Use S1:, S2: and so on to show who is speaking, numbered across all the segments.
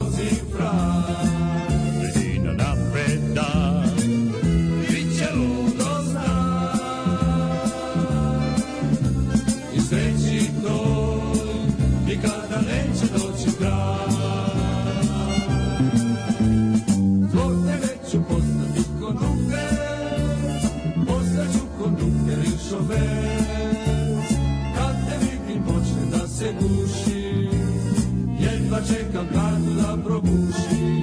S1: novi prag. Brzina napreda, bit će ludo znak. I sreći to, nikada neće doći kraj. Zbog tebe ću postati kondukter, postaću kondukter i šofer. Kad te vidim počne da se guši, jedva čekam kartu da probuši.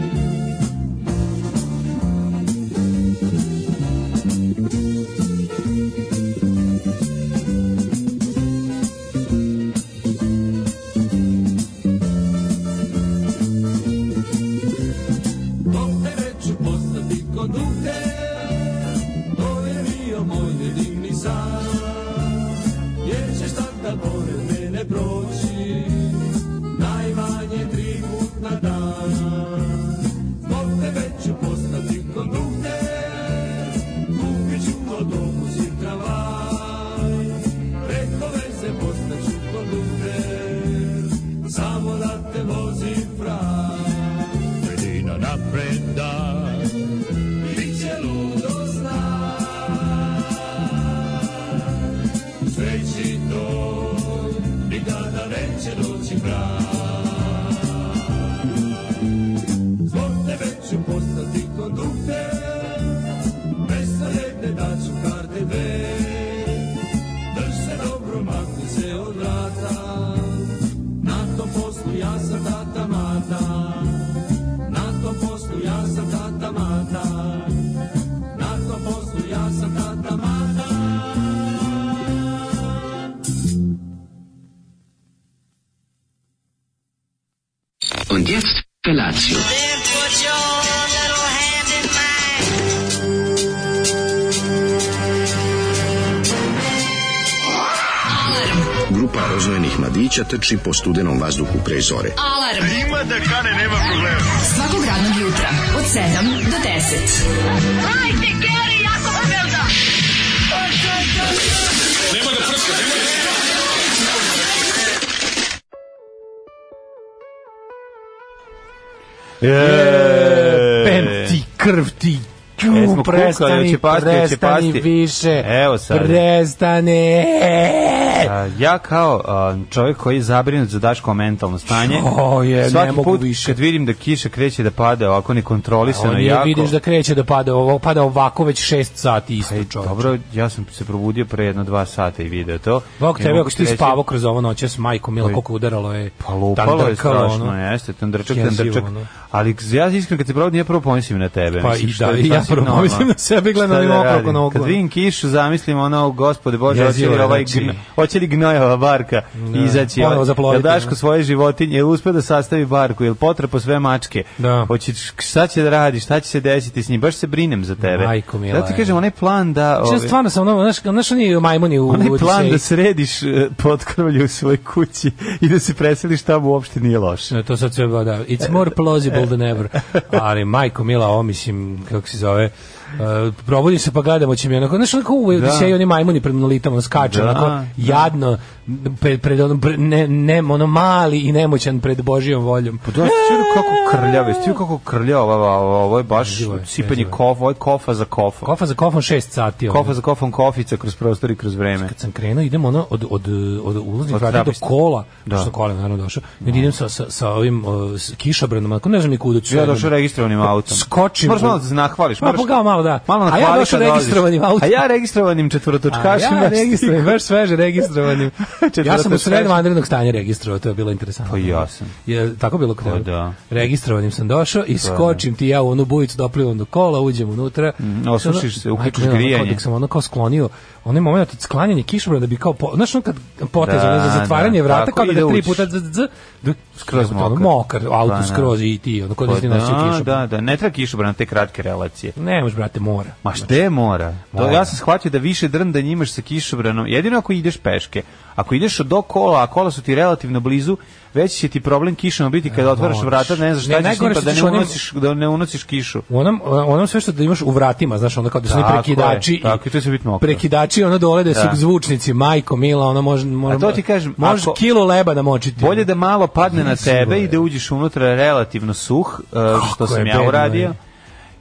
S1: Dok tebe ću postati kondukter, to je bio moj nedivni san. Jer ćeš tada pored mene proći, najmanje tri put na dan. Zbog tebe ću postati kondukter, kupit ću autobus i tramvaj. Preko veze postaću kondukter, samo da te vozi fraj. Sredina napreda, bit će ludo znak. Sreći to, nikada neće doći kraj. Zbog tebe ću postati kondukter, besojedne daću karte dve. Drž se dobro, makni se od vrata, na tom poslu ja sam tata mata. Na tom poslu ja sam tata mata, na tom poslu ja sam tata mata.
S2: Und jetzt Felatio.
S3: Then put your little hand in mine.
S4: Grupa rozvojenih mladića trči po studenom vazduhu pre zore.
S5: Alarm. A ima da kane, nema problema. Svakog radnog jutra, od 7 do 10. Hajde, Geri, jako pobjelda!
S6: Eee,
S7: Pem ti, krv ti, ću,
S6: E, smo kukali,
S7: prestani,
S6: hoće pasti, hoće
S7: prestani
S6: pasti.
S7: više.
S6: Evo sad.
S7: Prestani.
S6: a, ja kao a, čovjek koji je zabrinut za Daško mentalno stanje,
S7: O, je, ne
S6: svaki
S7: mogu
S6: put
S7: više.
S6: kad vidim da kiša kreće da pada ovako
S7: On
S6: nekontrolisano
S7: je,
S6: Ono jako...
S7: vidiš da kreće da pada, ovo, pada ovako već 6 sati isto
S6: Ej,
S7: čovječe.
S6: dobro, ja sam se probudio pre jedno dva sata i video to.
S7: Bog
S6: I
S7: tebe,
S6: mogu
S7: ako si ti
S6: reći-
S7: spavao kroz ovo noće s majkom, mila,
S6: Oj.
S7: koliko udaralo je.
S6: Pa lupalo je
S7: tandrkalo,
S6: strašno,
S7: ono.
S6: jeste, tandrčak,
S7: Jezivo,
S6: tandrčak.
S7: ono.
S6: Ali ja iskreno kad se probudim, ja prvo pomislim na tebe.
S7: Pa
S6: mislim,
S7: i
S6: šta
S7: da,
S6: je
S7: i ja
S6: sasvim
S7: prvo
S6: normalno.
S7: pomislim na sebe i gledam
S6: Šta
S7: ovim
S6: da
S7: okolko
S6: radim?
S7: na oglu.
S6: Kad vidim kišu, zamislim ono, gospode Bože, hoće
S7: Jezivo
S6: li,
S7: je,
S6: ovaj
S7: znači.
S6: gn- hoće li gnojava barka izaći?
S7: Ponovo
S6: Jel
S7: zaploviti,
S6: Daško
S7: da.
S6: svoje životinje, jel uspio da sastavi barku, jel potrpo sve mačke?
S7: Da.
S6: Hoće, šta će da radi, šta će se desiti s njim? Baš se brinem za tebe.
S7: Majko mila,
S6: Zato ti
S7: je.
S6: kažem, onaj plan da...
S7: Šta
S6: ove-
S7: stvarno sam ono, znaš, znaš oni majmuni u
S6: Onaj plan
S7: Odiseji?
S6: da središ e, potkrovlje u svojoj kući i da se preseliš tamo uopšte nije loše.
S7: No, E, to sad sve da. It's more plausible than ever. Ali majko mila, ovo mislim, kako se zove, uh, probudim se pa gledam oči mi onako, znaš onako u Odiseju oni majmuni pred monolitom ono skače,
S6: Da,
S7: onako
S6: da.
S7: jadno, pred, pred ono, br- ne, ne, ono mali i nemoćan pred Božijom voljom.
S6: Da, čujem kako krljave, čujem kako krljava, ovo, ovo, ovo je baš
S7: Jezivo je,
S6: sipanje
S7: jezivo je.
S6: kofa, ovo je kofa za kofa.
S7: Kofa za kofom 6 sati. ono.
S6: Kofa za kofom, kofica kroz prostor i kroz vreme.
S7: kad sam krenuo idem ono od od
S6: Od
S7: od ulaznih vrata do
S6: trapista.
S7: kola
S6: Da.
S7: što sam kola naravno došao i idem sa sa sa ovim uh, s kišobranom ako ne znam ni kuda ću
S6: Ja
S7: sad.
S6: došao registrovanim autom.
S7: skočim
S6: Moraš malo da se nahvališ.
S7: Pa Ma,
S6: moraš-
S7: pogledaj malo, da.
S6: Malo
S7: A ja
S6: nahvali
S7: došao
S6: kad dolaziš.
S7: registrovanim autom.
S6: A ja registrovanim
S7: Kašim
S6: četvorotočkašem.
S7: ja
S6: znaš ti.
S7: registrovanim, baš sveže registrovanim. ja sam u sred
S6: Četvorotočkašem.
S7: vanrednog stanja registrovao, to je bilo interesantno.
S6: Pa i ja sam. Pa
S7: Je, tako bilo kod tebe?
S6: da.
S7: Registrovanim sam došao i skočim ti ja u onu bujicu, doplivam do kola, uđem unutra.
S6: Mm,
S7: Znači,
S6: osušiš se, uključiš
S7: Majko, ono,
S6: grijanje.
S7: kao Dok sam ono kao sklonio, onaj moment od sklanjanja kišobrana da bi kao, po, znaš ono kad potez
S6: Da,
S7: ono za zatvaranje
S6: da,
S7: vrata,
S6: tako
S7: kao da
S6: ide
S7: ga tri
S6: ući.
S7: puta z, z, z, d-
S6: Skroz
S7: jebote, ono,
S6: mokar.
S7: mokar, auto
S6: Pa, da.
S7: skroz i ti, ono kao da si ti nosio
S6: Pa Da,
S7: kišobran.
S6: da, da, ne treba kišobran na te kratke relacije.
S7: Ne možeš, brate, mora.
S6: Ma šte mora? To,
S7: Mora.
S6: ja sam shvatio da više drnda njimaš sa kišobranom, jedino ako ideš peške. Ako Ako ideš do kola, a kola su ti relativno blizu, već će ti problem kišama biti kada otvaraš vrata, ne znaš šta
S7: Ne,
S6: ćeš s njim,
S7: najgore
S6: pa
S7: što
S6: da
S7: ćeš
S6: ne
S7: onim-
S6: unosiš, da ne unosiš kišu.
S7: U onom, onom sve što da imaš u vratima, znaš, ono kao da su oni
S6: Tako je,
S7: prekidači. i-
S6: tako je, to će biti mokro.
S7: Prekidači, ono dole da su
S6: Da.
S7: zvučnici, majko, mila, ono može... može
S6: A to ti kažem,
S7: Možeš
S6: ako-
S7: kilo leba namočiti.
S6: Bolje da malo padne na tebe i da uđeš unutra relativno suh, uh, što sam ja
S7: bedno,
S6: uradio.
S7: je.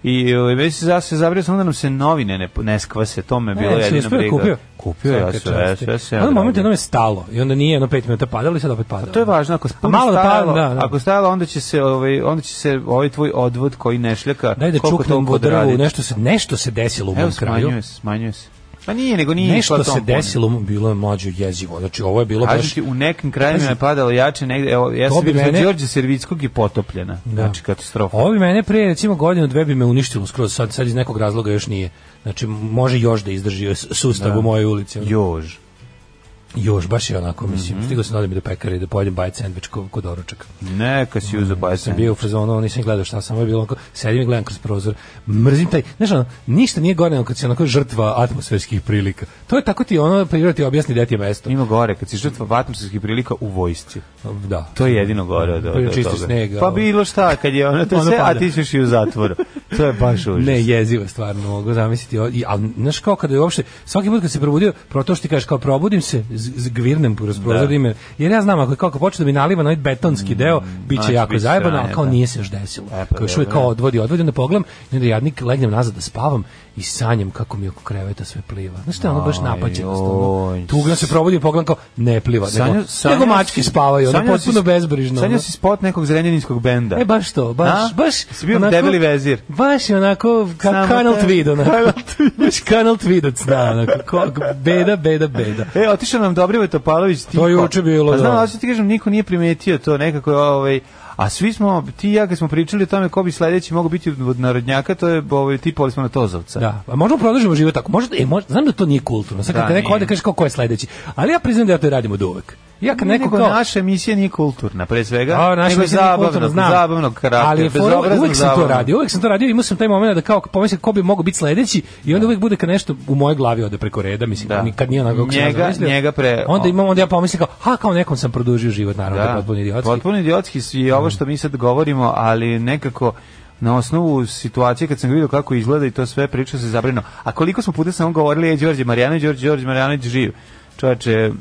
S6: I ovaj, već se zase zabrio sam da nam se novine ne, ne skvase, to me je bilo
S7: Ne, jesi
S6: jedino
S7: E, uspio da
S6: briga.
S7: Kupio?
S6: Kupio ja
S7: Svaka
S6: sve,
S7: čast.
S6: sve se.
S7: Ono moment jednom je stalo i onda nije jedno pet minuta padalo i sad opet padalo.
S6: Pa To je važno, ako
S7: A
S6: puno
S7: malo da
S6: stajalo,
S7: padalo, da, da.
S6: ako stajalo, onda će se ovaj onda će se ovaj tvoj odvod koji ne šljaka
S7: Daj da
S6: koliko
S7: čuknem
S6: toliko
S7: po drvu,
S6: odraditi.
S7: nešto se, nešto se desilo u
S6: Evo
S7: mom kraju.
S6: smanjuje se, smanjuje se. Pa nije, nego nije išla
S7: Nešto se
S6: tom
S7: desilo, mu, bilo je mlađo jezivo. Znači, ovo je bilo
S6: puno.
S7: baš...
S6: Kažem ti, u nekim krajima je
S7: Pazi.
S6: padalo jače negde, evo, ja
S7: To
S6: sam
S7: bi
S6: bio mene...
S7: mene-
S6: Đorđe Servickog i potopljena.
S7: Da.
S6: Znači, katastrofa.
S7: Ovo bi mene prije recimo godinu dve bi me uništilo skroz, sad, sad iz nekog razloga još nije. Znači može još da izdrži s- sustav u mojoj ulici. ono.
S6: Jož.
S7: Još baš je onako mislim. Stigao sam da odem i do pekare i da pojedem bajt sendvič ko, kod doručak.
S6: Neka si uzeo pa
S7: Sam bio u fazonu, nisam gledao šta samo je bilo onako, sedim i gledam kroz prozor. Mrzim taj, znaš ono, ništa nije gore nego kad si onako žrtva atmosferskih prilika. To je tako ti ono priroda ti objasni gde ti je mesto.
S6: Ima gore, kad si žrtva vatmosferskih prilika u vojsci.
S7: Da.
S6: To je jedino gore od, od,
S7: Pa je
S6: od
S7: čisti
S6: toga.
S7: sneg,
S6: pa
S7: ali-
S6: bilo šta, kad je ono, to je
S7: Ono
S6: sve, a
S7: pada.
S6: ti ćeš i u zatvoru. To je baš užas.
S7: Ne, jezivo je stvarno, mogu zamisliti. O, I, ali, znaš, kao kada je uopšte, svaki put kad se probudio, pro to što ti kažeš, kao probudim se, z- zgvirnem kroz prozor, ime, jer ja znam, ako je kao kad počne da mi naliva na ovaj betonski deo, bit će
S6: znači,
S7: jako
S6: bit će
S7: zajebano,
S6: sranje,
S7: ali kao
S6: da.
S7: nije se još desilo.
S6: E, pa
S7: kao još uvijek
S6: dobro.
S7: kao odvodi, odvodi, onda pogledam, i onda jadnik legnem nazad da spavam i sanjam kako mi oko kreveta sve pliva. Znaš, to je ono baš napaćenost.
S6: joj.
S7: Ono. Tuga se probudi i pogledam kao, ne pliva, nego,
S6: sanjao
S7: nego mačke
S6: si-
S7: spavaju, ono
S6: sanjao si-
S7: potpuno bezbrižno.
S6: Sanjao
S7: ono.
S6: si spot nekog zrenjaninskog benda.
S7: E baš to,
S6: A?
S7: baš, baš.
S6: Si bio debeli vezir.
S7: Baš je onako ka,
S6: Samo
S7: kanal
S6: te-
S7: tweed, onako. baš kanal tweedac, da, onako. ko- beda, beda, beda.
S6: E, otišao nam Dobrivoje Topalović Tiko.
S7: je juče bilo,
S6: Pa znam,
S7: da.
S6: ali sad ti kažem, niko nije primetio to nekako, ovaj, a svi smo, ti i ja kad smo pričali o tome ko bi sledeći mogao biti od narodnjaka, to je, ovaj, tipali smo na Tozovca.
S7: Da, a možemo produžimo život tako. Možda, e, možda, znam da to nije kulturno. Sad kad
S6: Da,
S7: te neko
S6: nije.
S7: ode kaže kao ko je sledeći. Ali ja priznam da ja to radimo od uvek. Ja kad neko
S6: Nego
S7: kao
S6: naša emisija nije kulturna, pre svega,
S7: A, naša
S6: nego je
S7: emisija nije
S6: zabavnog,
S7: kulturna, znam.
S6: zabavnog karaktera,
S7: Ali je fora-
S6: bezobrazno
S7: uvek sam to
S6: zabavnog.
S7: radio, uvek sam to radio, imao sam taj moment da kao pomislim ko bi mogao biti sledeći i onda uvek bude kad nešto u mojoj glavi ode preko reda, mislim,
S6: Da.
S7: da. kad nije onako kako sam ja
S6: Njega-
S7: zamislio.
S6: njega pre-
S7: Onda imam, onda ja pomislim kao, ha, kao nekom sam produžio život, naravno, da, je potpuno idiotski.
S6: Potpuno idiotski su i ovo što mi sad govorimo, ali nekako na osnovu situacije kad sam vidio kako izgleda i to sve pričao se zabrino. A koliko smo puta samo govorili je Đorđe Marijanović, Đorđe Đorđe Marijanović živ. Čoveče,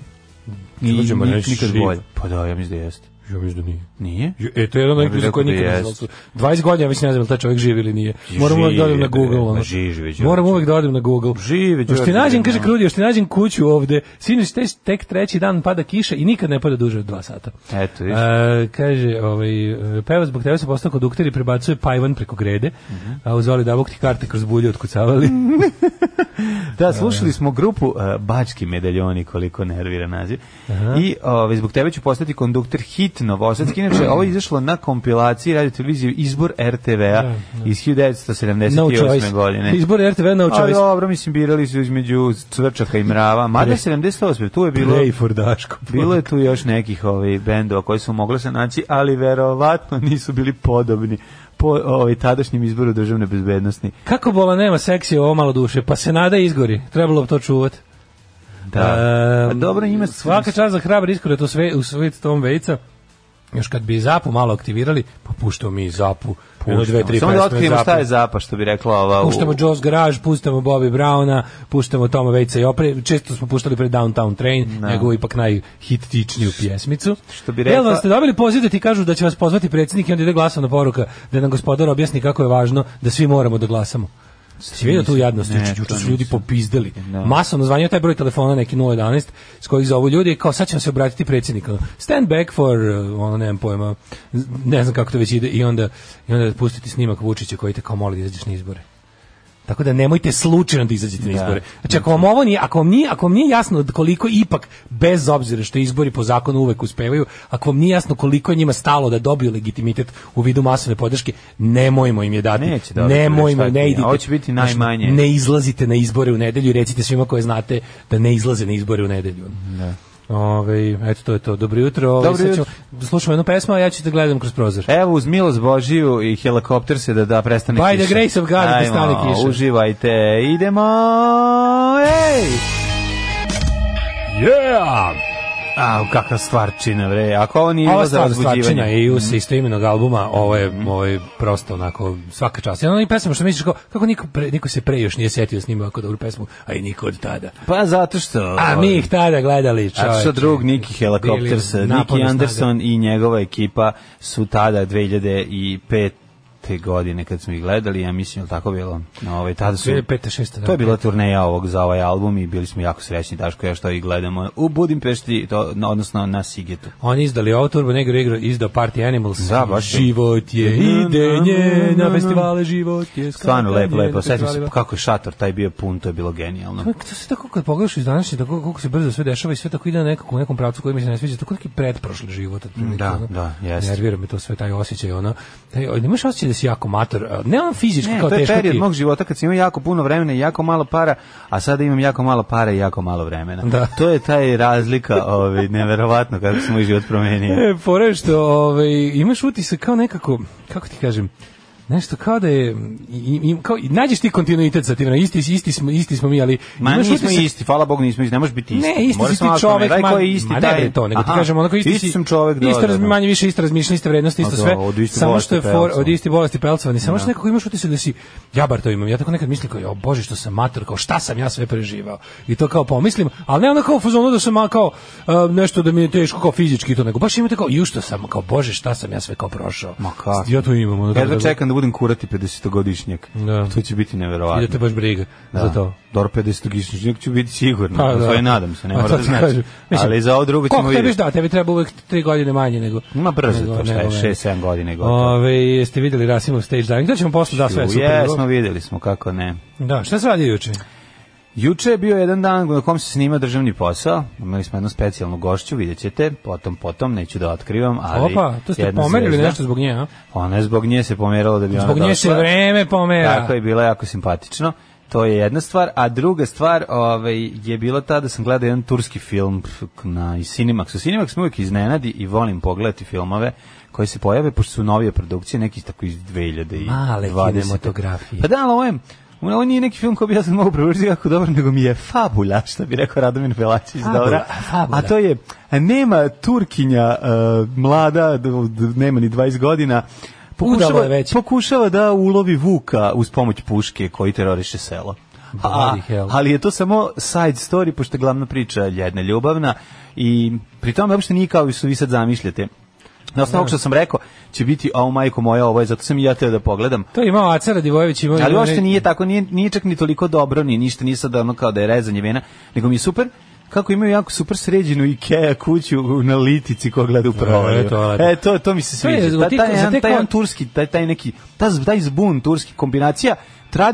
S6: i
S7: Đorđe
S6: nik-
S7: Marjanović
S6: nikad
S7: živ.
S6: bolje. Pa da, ja mislim da jeste.
S7: Ja mislim da nije.
S6: Nije?
S7: Jo, E, to je jedan
S6: Ja
S7: od
S6: bih
S7: nekih za
S6: rekao
S7: koje
S6: da
S7: nikad ne
S6: jeste.
S7: znam. 20 godina već ne znam da li taj čovjek živi ili nije. Moram uvek da odem na
S6: Živi,
S7: Google.
S6: bre,
S7: Ono.
S6: ma živi, Đorđe.
S7: Moram uvek da odem na Google.
S6: Živi,
S7: Još
S6: Đorđe,
S7: ti nađem,
S6: bre,
S7: kaže
S6: no.
S7: Krudi, još ti nađem kuću ovde. Sinoć te, tek treći dan pada kiša i nikad ne pada duže od dva sata.
S6: Eto, viš.
S7: E, kaže, ovaj, e, peva zbog tebe se postao kondukter i prebacuje pajvan preko grede,
S6: Mhm.
S7: a uzvali da ti karte kroz bulje otkucavali.
S6: Da, slušali smo grupu uh, Bački medaljoni, koliko nervira naziv. I ovaj, zbog tebe ću postati kondukter hit Novosadski. Inače, ovo je izašlo na kompilaciji radio televizije Izbor RTV-a iz 1978.
S7: no choice.
S6: godine.
S7: Izbor RTV No
S6: A
S7: choice.
S6: dobro, mislim, birali su između cvrčaka i mrava. Mada je 78. Tu je bilo...
S7: Play for Daško.
S6: Bilo je tu još nekih ovaj bendova koji su mogli se naći, ali verovatno nisu bili podobni po ovaj tadašnjem izboru državne bezbednosti.
S7: Kako bola nema seksi ovo malo duše, pa se nada izgori. Trebalo bi to čuvati.
S6: Da.
S7: Ehm,
S6: A dobro ima
S7: svaka čast za hrabar iskorak u sve u svet Tom Vejca. Još kad bi Zapu malo aktivirali, pa puštao mi Zapu. Puštamo. Dve, tri
S6: Samo da
S7: pesme
S6: otkrijemo
S7: Zapu.
S6: šta je zapa, što bi rekla ova... u-
S7: Puštamo Joe's Garage, puštamo Bobby Browna, puštamo Toma Vejca i opre. Često smo puštali pre Downtown Train, nego ipak najhitičniju pjesmicu.
S6: Što bi rekla-
S7: Jel vam ste dobili poziv da ti kažu da će vas pozvati predsjednik i onda ide glasovna poruka da nam gospodar objasni kako je važno da svi moramo da glasamo. Si vidio tu jadnost,
S6: Ne,
S7: juče
S6: to
S7: juče su ljudi
S6: nisam.
S7: popizdali.
S6: Da.
S7: Masovno zvanio taj broj telefona neki 011 s kojih zovu ljudi i kao sad ćemo se obratiti predsjedniku. Stand back for, uh, ono nemam pojma, z- ne znam kako to već ide i onda, i onda pustiti snimak Vučića koji te kao moli da izađeš na izbore. Tako da nemojte slučajno da izađete na izbore. Znači ako vam ovo nije, ako vam nije, ako vam nije jasno od koliko ipak bez obzira što izbori po zakonu uvek uspevaju, ako vam nije jasno koliko je njima stalo da dobiju legitimitet u vidu masovne podrške, nemojmo im je dati.
S6: Neće dobiti,
S7: nemojmo,
S6: šta ti
S7: ne
S6: je.
S7: idite.
S6: Ovo će biti
S7: Znači,
S6: najmanje.
S7: Ne izlazite na izbore u nedelju i recite svima koje znate da ne izlaze na izbore u nedelju. Ne. Ove, eto to je to. Dobro jutro. Ove,
S6: Dobro E,
S7: sad ćemo- Slušamo jednu pesmu, a ja ću da gledam kroz prozor.
S6: Evo uz milost Božiju i helikopter se da da prestane
S7: By
S6: kiša.
S7: the grace of God, da
S6: Ajmo,
S7: prestane kiša.
S6: Uživajte, idemo! Ej!
S7: Yeah!
S6: A, kakva stvarčina, bre. Ako ovo nije
S7: Ova
S6: bilo za
S7: stvar
S6: razbuđivanje. Mhm.
S7: stvarčina i us isto imenog albuma, ovo je, ovo je prosto onako svaka čast. Jedna i pesma što misliš kao, kako niko, pre, niko se pre još nije setio snima ovako dobru pesmu, a i niko od tada.
S6: Pa zato što... ovaj,
S7: A mi ih tada gledali, čovječe.
S6: A što drug Niki Helicopters,
S7: Bili
S6: Niki
S7: naporna
S6: Anderson i njegova ekipa su tada 2005 godine kad smo ih gledali, ja mislim je tako bilo. Ovaj tada su
S7: 2005., 2006., da.
S6: To je bila turneja ovog za ovaj album i bili smo jako srećni Daško i ja što ih gledamo u Budimpešti, to, na- odnosno na Sigetu.
S7: Oni izdali ovo Turbo Negro igru, izdao Party Animals.
S6: Da, baš je.
S7: Život je idenje, na festivale život je
S6: Stvarno
S7: skakanje,
S6: lepo,
S7: na
S6: lepo. Sećam se
S7: festivalima.
S6: kako je šator taj bio pun, to je bilo genijalno.
S7: To, to se tako kad pogledaš iz današnje, tako kako se brzo sve dešava i sve tako ide na nekako u nekom pravcu koji mi se ne sviđa, tako neki pretprošli život. otprilike,
S6: Da,
S7: ono.
S6: da, jeste.
S7: Nervira me to sve, taj osjećaj, ono, taj, nemaš osjećaj da si jako mator, a ne on fizički
S6: Ne,
S7: kao
S6: to je
S7: teško
S6: period
S7: ti.
S6: mog života kad sam imao jako puno vremena i jako malo para, a sada imam jako malo para i jako malo vremena.
S7: Da.
S6: To je taj razlika, ovaj, neverovatno kako se moj život promenio.
S7: E, fora je što ovaj, imaš utisak kao nekako, kako ti kažem, nešto kao da je i, i, kao, i nađeš ti kontinuitet sa tim, ono, isti, isti, smo, isti smo mi, ali
S6: Ma
S7: imaš
S6: nismo
S7: utisak-
S6: isti, hvala Bogu nismo isti, ne možeš biti isti.
S7: Ne, isti
S6: Moraš
S7: si ti
S6: malo ako
S7: čovek,
S6: me- Daj,
S7: ma-
S6: ko je isti,
S7: ma ne
S6: taj-
S7: bre to, nego ti
S6: Aha,
S7: kažem, onako isti, si-
S6: sam čovek, da,
S7: isto
S6: da,
S7: raz-
S6: da.
S7: manje više isto razmišljanje, isto vrednosti, isto
S6: Ma da,
S7: sve,
S6: od iste
S7: samo
S6: bolesti
S7: što je for,
S6: pelcovani.
S7: od iste bolesti pelcovani, samo što nekako imaš utisak da si, ja bar to imam, ja tako nekad mislim kao, jo, bože što sam mator, kao šta sam ja sve preživao, i to kao pomislim, ali ne ono kao u fazonu da sam ma, kao e, nešto da mi je teško kao fizički i to, nego baš imam tako, ju što sam, kao bože šta sam ja sve kao prošao,
S6: Ma kako?
S7: ja to imam, ono,
S6: Jedva
S7: da-
S6: čekam da budem kurati 50-godišnjak.
S7: Da.
S6: To će biti
S7: i da
S6: neverovatno.
S7: te baš briga za to.
S6: Dobro, 50-godišnjak ću biti sigurno.
S7: Pa,
S6: Pa,
S7: da.
S6: da. nadam se, ne
S7: Pa,
S6: mora
S7: to
S6: da
S7: ti
S6: znači.
S7: kažem. Mislim,
S6: Ali za ovo drugo ćemo
S7: Koliko tebi
S6: vidjeti.
S7: da, tebi treba uvek tri godine manje nego...
S6: Ma brzo
S7: nego-
S6: to, šta je,
S7: nego-
S6: šest, sedam godina je gotovo.
S7: Ove, jeste videli Rasimov stage diving? Da ćemo posle, da, sve je super.
S6: Jesmo, videli smo kako ne.
S7: Da, šta se radi juče?
S6: Juče je bio jedan dan na kom se snima državni posao. Imali smo jednu specijalnu gošću, vidjet ćete, potom, potom, neću da otkrivam, ali...
S7: Opa, to ste
S6: jedna
S7: pomerili
S6: zvezda.
S7: nešto zbog nje, a?
S6: Ona je zbog nje se pomerala da bi ona
S7: Zbog nje se
S6: došla.
S7: vreme pomera.
S6: Tako je, bilo je jako simpatično. To je jedna stvar, a druga stvar ovaj, je bila ta da sam gledao jedan turski film pf, na Cinemaxu. Cinemax me uvijek iznenadi i volim pogledati filmove koji se pojave, pošto su novije produkcije, neki tako iz 2000 i
S7: Male
S6: 20.
S7: kinematografije.
S6: Pa da, ali ovo je, ovo nije neki film koji bi ja sad mogu prevršiti kako dobar, nego mi je fabula, što bi rekao Radomir Velačić,
S7: Fabula,
S6: dobra.
S7: fabula.
S6: A to je, nema Turkinja uh, mlada, d- d- nema ni 20 godina,
S7: Udala
S6: pokušava,
S7: je već.
S6: pokušava da ulovi Vuka uz pomoć puške koji teroriše selo. A,
S7: Bloody hell.
S6: ali je to samo side story, pošto je glavna priča jedna ljubavna i pri tome uopšte nije kao što vi sad zamišljate. Na osnovu ovog što sam rekao, će biti, a majko moja, ovo je, zato sam i ja teo da pogledam.
S7: To Znači, je imao Acara Divojević, imao...
S6: Ali
S7: imao
S6: uopšte
S7: ne-
S6: nije tako, nije, nije čak ni toliko dobro, ni ništa, nije sad ono kao da je rezanje vena, nego mi je super kako imaju jako super sređenu Ikea kuću u- na litici ko gleda u provalju.
S7: E, to je lepo.
S6: E, to, to mi se
S7: To je,
S6: sviđa.
S7: za
S6: Ta,
S7: te-
S6: taj,
S7: za
S6: jedan,
S7: te
S6: taj jedan
S7: kon-
S6: turski, taj, taj neki, ta, z- taj zbun turski, kombinacija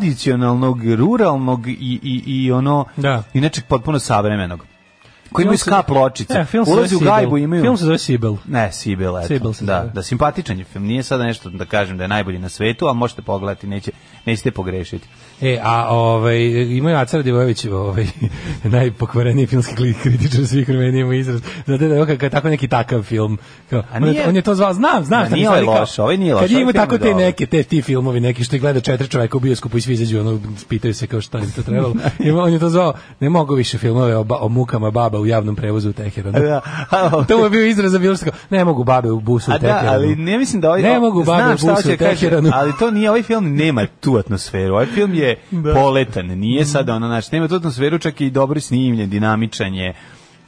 S6: tradicionalnog, ruralnog i, i, i ono,
S7: Da.
S6: i nečeg potpuno savremenog. Koji
S7: Film
S6: imaju
S7: se-
S6: ska pločice.
S7: E, film se
S6: Ulazi u
S7: zove
S6: gajbu
S7: Sibel.
S6: imaju...
S7: Film se zove Sibel.
S6: Ne, Sibel, eto.
S7: Sibel se
S6: da,
S7: zove.
S6: da, simpatičan je film. Nije sada nešto da kažem da je najbolji na svetu, ali možete pogledati, neće, nećete pogrešiti.
S7: E, a ovaj, imaju Acar Divojević, ovaj, najpokvareniji filmski kli- kritičar svih Rumenije ima izraz. Znate da je ovo kak- tako neki takav film. Kao,
S6: A nije-
S7: on, je, on je to zvao, znam, znam.
S6: Da,
S7: šta mi
S6: nije ovaj
S7: stvari kao-
S6: loš, ovaj nije loš,
S7: Kad
S6: ovaj
S7: ima
S6: film je
S7: tako te
S6: dobar.
S7: neke, te ti filmovi neki što ih gleda četiri čoveka u bioskopu i svi izađu, ono, pitaju se kao šta im to trebalo. I on je to zvao, ne mogu više filmove o, ba- o mukama baba u javnom prevozu u Teheranu.
S6: Da, a- ovaj-
S7: to mu je bio izraz za bilo što kao, ne mogu babe u busu u
S6: A da,
S7: Teheranu.
S6: ali ne mislim da ovaj...
S7: Ne mogu
S6: Znam
S7: babe u
S6: šta
S7: busu
S6: hoće
S7: u
S6: da kaže,
S7: Teheranu.
S6: Ali to nije, ovaj film nema tu atmosferu. Ovaj film je poletan, nije sad ono, znači, nema tu atmosferu, čak i dobro snimljen, dinamičan je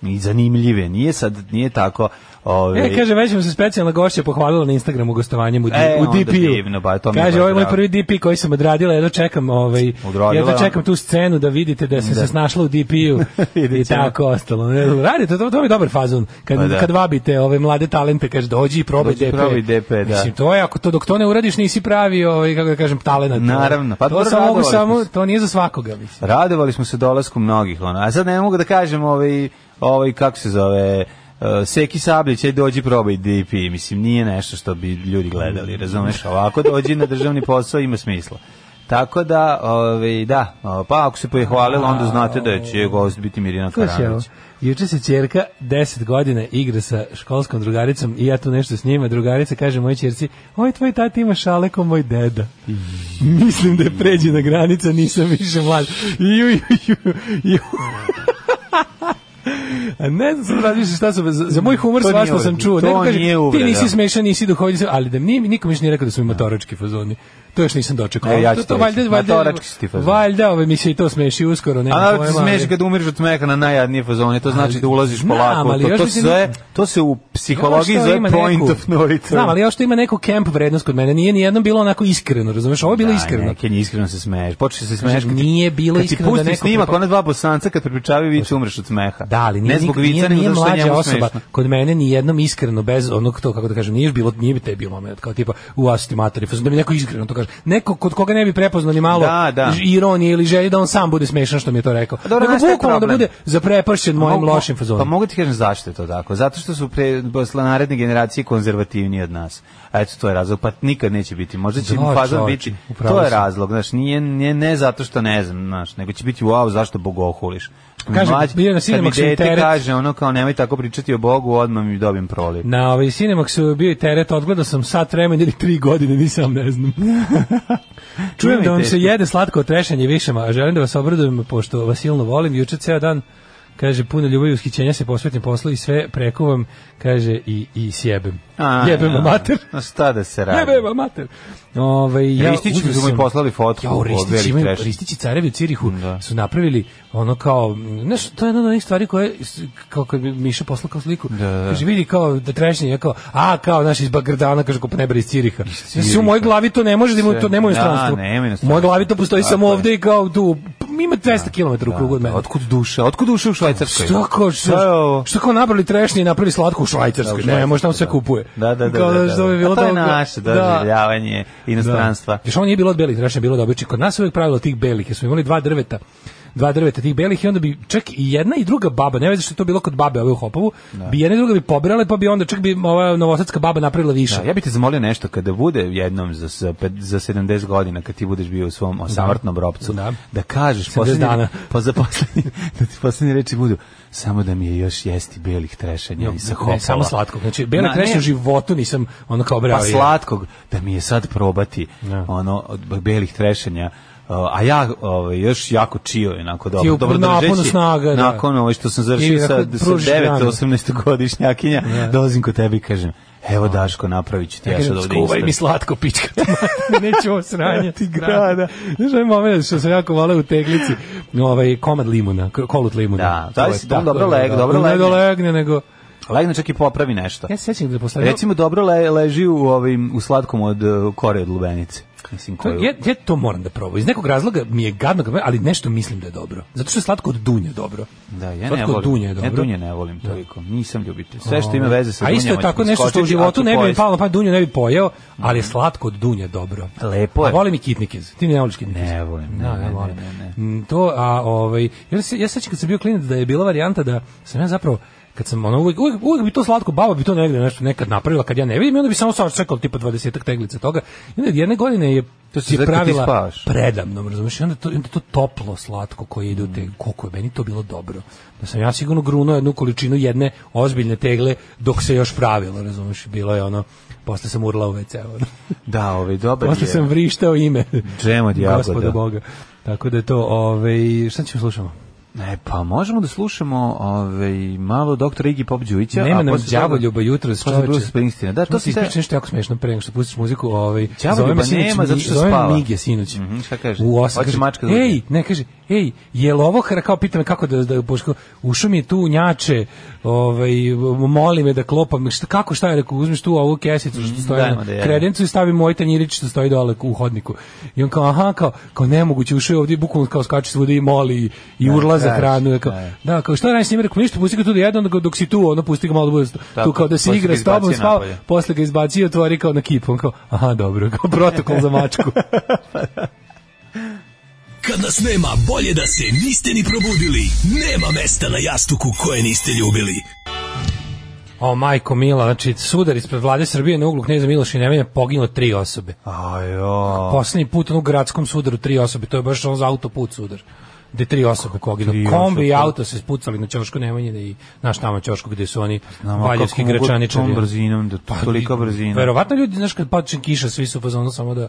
S6: i zanimljiv je. Nije sad, nije tako... ovaj, Ove,
S7: E, kaže, već mu se specijalna gošća pohvalila na Instagramu gostovanjem u,
S6: E,
S7: e, u
S6: onda
S7: DP-u.
S6: divno, ba, to mi je
S7: kaže,
S6: baš
S7: ovo je moj
S6: drago.
S7: prvi DP koji sam odradila, jedno čekam, ovaj,
S6: Odradila,
S7: jedno
S6: ono.
S7: čekam tu scenu da vidite da sam se snašla u DP-u i
S6: Vidit ćemo.
S7: tako ostalo. Ne, Radite, to, to mi je dobar fazon. Kad,
S6: Pa da.
S7: kad vabite ove mlade talente, kaže, dođi i probaj
S6: Dođi i
S7: DP.
S6: probaj DP, da.
S7: Mislim, to je, ako to dok to ne uradiš, nisi pravi, ovaj, kako da kažem, talenat.
S6: Naravno, pa
S7: Pa
S6: dobro,
S7: to samo mogu
S6: radovali smo
S7: samo,
S6: se.
S7: to nije za svakoga, mislim.
S6: Radovali smo se dolasku mnogih, ono. A sad ne mogu da kažem ovaj, ovaj kako se zove, uh, Seki Sablić, aj dođi probaj DP, mislim, nije nešto što bi ljudi gledali, razumeš? Ovako dođi na državni posao, ima smisla. Tako da, ovaj, da, o, pa ako se pohvalila, onda znate da će gost biti Mirjana
S7: Ko će ovo?
S6: Karanović.
S7: Juče se ćerka 10 godina igra sa školskom drugaricom i ja tu nešto s njima. Drugarica kaže moj ćerci, oj tvoj tati ima šale ko moj deda. Mislim da je pređena granica, nisam više mlad. Ju, ju, ju, ju. A ne znam sad razmišljam šta su, za, za moj humor
S6: To
S7: svašta
S6: nije
S7: sam
S6: uvreda.
S7: čuo.
S6: To
S7: Neko kaže,
S6: nije
S7: ti
S6: uvreda."
S7: nisi smešan, nisi duhovni, ali da mi nikom još nije rekao da su mi motorački fazoni. To još nisam dočekao.
S6: E, ja
S7: to,
S6: ću
S7: to,
S6: ti
S7: valjda,
S6: reći,
S7: valjda,
S6: matorački su ti fazoni.
S7: valjda ove mi se i to smeši uskoro. Nema
S6: A naravno ti se
S7: pojma, ali-
S6: smiješ kad umiriš od smeka na najjadnije fazone, to znači da ulaziš
S7: Znam,
S6: polako.
S7: ali
S6: To,
S7: još
S6: to,
S7: mislim-
S6: sve, to se u psihologiji
S7: Ovo ono što
S6: zove
S7: ima
S6: point
S7: neku-
S6: of no return.
S7: Znam, ali još to ima neku camp vrednost kod mene. Nije ni jednom bilo onako iskreno, razumeš? Ovo je bilo
S6: Da,
S7: iskreno.
S6: Neke nje iskreno se smeješ. Počeš se smeješ. kad ti-
S7: nije bilo
S6: kad
S7: iskreno da
S6: Ti pusti
S7: neko
S6: snimak,
S7: prepa-
S6: ona dva bosanca kad prepričavaju vič umreš od smeha.
S7: Da, ali nije,
S6: ne zbog
S7: nik- nije,
S6: vica,
S7: nije,
S6: nego zato što je
S7: mlađa
S6: njemu
S7: osoba
S6: smešno.
S7: kod mene ni jednom iskreno bez onog to kako da kažem nije bilo nije bi te bilo moment kao tipa u asti materi fazon, da mi neko iskreno to kaže neko kod koga ne bi prepoznao ni malo
S6: Da, da. Pa
S7: ž- ironije ili želje da on sam bude smešan što mi je to rekao
S6: dobro, znaš šta
S7: nego
S6: je
S7: bukvalno da
S6: problem?
S7: bude zaprepašćen mojim
S6: Mogu-
S7: lošim
S6: Pa
S7: fazonom
S6: mogu ti kažem zašto je to tako. Zato što su pre, posle naredne generacije konzervativniji od nas. A eto, to je razlog. Pa nikad neće biti. Možda će
S7: Da,
S6: fazon
S7: čoveče,
S6: biti.
S7: upravo
S6: To je
S7: si.
S6: razlog. Znaš, nije, nije, ne zato što ne znam, znaš, nego će biti wow, zašto bogohuliš.
S7: Kažem,
S6: Mlađi-
S7: bio je na
S6: kad mi
S7: Cinemaxu i
S6: dete
S7: teret.
S6: kaže ono kao nemoj tako pričati o Bogu, odmah mi dobijem proliv.
S7: Na ovaj Cinemaxu je bio i teret, odgledao sam sat vremena ili tri godine, nisam ne znam. Čujem da vam se
S6: Teško.
S7: jede slatko otrešanje višama, a želim da vas obradujem, pošto vas silno volim, juče ceo dan kaže puno ljubavi i ushićenja se posvetim poslu i sve prekuvam, kaže i, i sjebem.
S6: A,
S7: jebem vam mater.
S6: a šta da se radi?
S7: Jebem vam mater. Ovaj, ja
S6: Ristić
S7: uzeo
S6: su mu i
S7: sam-
S6: poslali fotku.
S7: Jo,
S6: o
S7: Ristić,
S6: veliki
S7: imaju,
S6: trash.
S7: Ristić i Carevi u Cirihu
S6: Da.
S7: su napravili ono kao, znaš, to je jedna od onih stvari koje, s- kao kad mi Miša poslao kao sliku,
S6: da.
S7: kaže, vidi kao da trešnje, ja kao, a, kao, znaš, iz Bagrdana, kaže, ko nebra iz Ciriha. Znaš, u mojoj glavi to ne može da ima,
S6: Sve.
S7: to nema u
S6: Da,
S7: inostranstvu.
S6: nema u
S7: U
S6: inostranstvu.
S7: mojoj glavi to postoji
S6: Tako
S7: samo
S6: je.
S7: ovde i kao tu, p- ima 200 km u krugu od mene.
S6: Otkud duša? Otkud duša u Švajcarskoj?
S7: Što kao,
S6: Šta je ovo?
S7: što, što kao nabrali trešnje i napravili slatko u Švajcarskoj.
S6: Da, u
S7: Ne, možda tamo sve
S6: da.
S7: kupuje.
S6: Da, da, da.
S7: Kao
S6: da, da,
S7: što bi
S6: da.
S7: bilo
S6: A to je
S7: dobro.
S6: naše doživljavanje inostranstva.
S7: Još ovo nije bilo od belih trešnja, bilo od običnih. Kod nas je uvijek pravilo tih belih, jer smo imali dva drveta dva drveta tih belih i onda bi čak i jedna i druga baba, ne vezi što je to bilo kod babe ove u Hopovu, bi jedna i druga bi pobirale pa bi onda čak bi ova novosadska baba napravila više.
S6: Da, ja bih te zamolio nešto kada bude jednom za s- pet- za 70 godina kad ti budeš bio u svom osamrtnom ropcu
S7: Da.
S6: da, kažeš
S7: 70
S6: poslednji
S7: dana.
S6: pa za poslednji da ti poslednje reči budu samo da mi je još jesti belih trešanja i sa hopala.
S7: ne, samo slatkog. Znači, bele
S6: Na,
S7: trešnje
S6: ne,
S7: u životu nisam ono kao bravo.
S6: pa slatkog da mi je sad probati
S7: Da.
S6: ono od belih trešanja Uh, a ja ovaj još jako čio je onako dobro
S7: Ti je u
S6: dobro
S7: naponu
S6: držeći.
S7: snaga, da.
S6: nakon ovo što sam
S7: I
S6: završio sa,
S7: onako
S6: sa
S7: pružiš
S6: 9
S7: granu.
S6: 18 godišnjakinja dolazim kod tebe i kažem evo Daško napravit ću ti ja, sad ovde
S7: skuvaj
S6: isto."
S7: mi slatko pička. Neću ovo sranje.
S6: Ti grada.
S7: Znaš, ovaj moment što sam jako volao u teglici, ovaj, komad limuna, k- kolut limuna.
S6: Da,
S7: To
S6: taj
S7: je
S6: si dobro
S7: tako,
S6: leg-
S7: da.
S6: dobro
S7: Ne da
S6: legne.
S7: legne, nego...
S6: Legne čak i popravi nešto.
S7: Ja se sjećam da postavljam...
S6: Recimo dobro le, leži u ovim u slatkom od uh, kore od lubenice. Mislim
S7: To,
S6: koju.
S7: ja, ja to moram da probam. Iz nekog razloga mi je gadno, kad- ali nešto mislim da je dobro. Zato što je slatko od dunje dobro.
S6: da, ja
S7: slatko
S6: ne
S7: od
S6: volim.
S7: dunje je dobro. Ovaj.
S6: Ja dunje ne volim toliko. Nisam ljubitelj. Sve što ima veze sa
S7: A
S6: dunjama.
S7: isto je
S6: ću
S7: tako nešto što u
S6: preskočiti,
S7: životu
S6: ali ću
S7: ne bi mi
S6: pojesti.
S7: palo, pa dunju ne bi pojeo, ali je slatko od dunje dobro.
S6: Mhm. Lepo je.
S7: A volim i kitnikez. Ti ne voliš kitnikez?
S6: Ne volim, ne,
S7: Da,
S6: ne,
S7: ja
S6: ne,
S7: volim.
S6: ne,
S7: Mm, To, a ovaj, ja se, ja sećam kad sam bio klinac da je bila varijanta da sam ja zapravo kad sam ono uvek, uvek, uvek bi to slatko baba bi to negde nešto nekad napravila kad ja ne vidim i onda bi samo sad čekao tipa 20 teglica toga i onda jedne godine je
S6: To si
S7: je
S6: sad kad ti
S7: pravila
S6: spavaš.
S7: predamnom, razumiješ, i onda to, i onda to toplo slatko koje ide u te,
S6: Mm.
S7: koliko je meni to bilo dobro. Da sam ja sigurno grunuo jednu količinu jedne ozbiljne tegle dok se još pravilo, razumiješ, bilo je ono, posle sam urla u WC, ono.
S6: Da, ovaj dobar
S7: posle
S6: je.
S7: sam vrištao ime.
S6: Džem od jagoda.
S7: Gospoda Boga. Tako da je to, ovaj, šta ćemo slušamo?
S6: E, pa možemo da slušamo ovaj, malo doktora Igi Pop Đujića.
S7: Nema
S6: a
S7: nam
S6: posle toga-
S7: đavoljuba jutro,
S6: Posle Bruce Springsteena. Da, to
S7: Moram ti
S6: si te...
S7: ispričati nešto jako smešno pre nego što pustiš muziku, ovaj
S6: Đavoljuba
S7: zove me sinoć
S6: nema,
S7: Mi-
S6: zato što
S7: zove me
S6: spava.
S7: Mige sinoć.
S6: Mhm, šta kaže?
S7: U osam
S6: Hoće
S7: kaže,
S6: mačka da
S7: Ej,
S6: ubije."
S7: ne kaže, ej, je li ovo hra- kao pita me kako da da pošto ušao mi je tu njače, ovaj moli me da klopam, šta kako šta je rekao, uzmeš tu ovu kesicu što stoji
S6: dajmo
S7: na
S6: da jedemo.
S7: kredencu i stavi moj tanjirić što stoji dole u hodniku. I on kao aha, kao kao nemoguće, ušao je ovdje i bukvalno kao skače svuda i moli i, i urla
S6: kaže,
S7: za hranu, Ja kao,
S6: da.
S7: da, kao šta radiš s njim, rekao ništa, pusti ga tu da jede, onda ga dok si tu, ono pusti ga malo da bude tu
S6: Tako,
S7: kao da se
S6: posle
S7: igra
S6: ga
S7: s tobom,
S6: izbaci
S7: spava,
S6: napolje.
S7: posle ga izbaci i otvori kao na kipu, on kao, aha, dobro, kao protokol za mačku.
S8: Kad nas nema, bolje da se niste ni probudili. Nema mesta na jastuku koje niste ljubili.
S7: o, majko mila, znači, sudar ispred vlade Srbije na uglu Kneza Miloša i Nemanja poginulo tri osobe.
S6: Ajo.
S7: Poslednji put ono, u gradskom sudaru tri osobe, to je baš ono za autoput sudar gde tri osobe
S6: Tri
S7: poginu. Kombi i
S6: osobe.
S7: auto se spucali na Ćošku Nemanjine i naš tamo Ćošku gde su oni
S6: Znam, a
S7: valjevski Pa,
S6: kako mogu
S7: gračaničari.
S6: Pa, Tom brzinom, da to, tolika brzina.
S7: Verovatno ljudi, znaš, kad pače kiša, svi su u fazonu samo da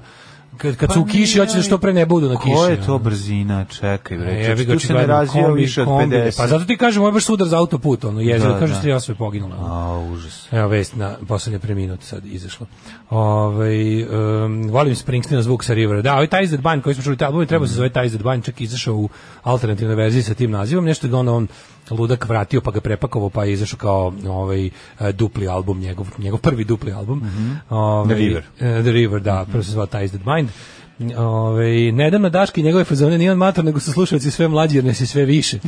S7: Kad, kad
S6: Pa
S7: su u kiši,
S6: nije,
S7: hoće da što pre ne budu na kiši.
S6: Koja je to
S7: ono.
S6: brzina? Čekaj,
S7: E,
S6: bre.
S7: jebi
S6: čekaj,
S7: ga,
S6: tu se ne
S7: očigledno,
S6: razvija
S7: kombi-
S6: više od
S7: kombi-
S6: 50.
S7: Pa zato ti kažem, ovo je baš sudar za autoput, ono, jezio,
S6: Da,
S7: da, kaže
S6: da.
S7: da. 38 je poginulo. ono.
S6: A, užas.
S7: Evo vest na poslednje pre minut sad izašla. Ovaj um, volim Springsteen zvuk sa Rivera. Da, ovaj Ties That Bind koji smo čuli, taj album
S6: Mm.
S7: treba se zove Ties That Bind, čak je izašao u alternativnoj verziji sa tim nazivom, nešto ga ono on ludak vratio pa ga prepakovao pa je izašao kao ovaj eh, dupli album njegov njegov prvi dupli album. ovaj,
S6: Mhm. The River.
S7: eh, The River, da, prvo se zvao Ties That Bind. Ove, nedavno Daški i njegove fazone nije on mator, nego su slušalci sve mlađi jer nas je sve više.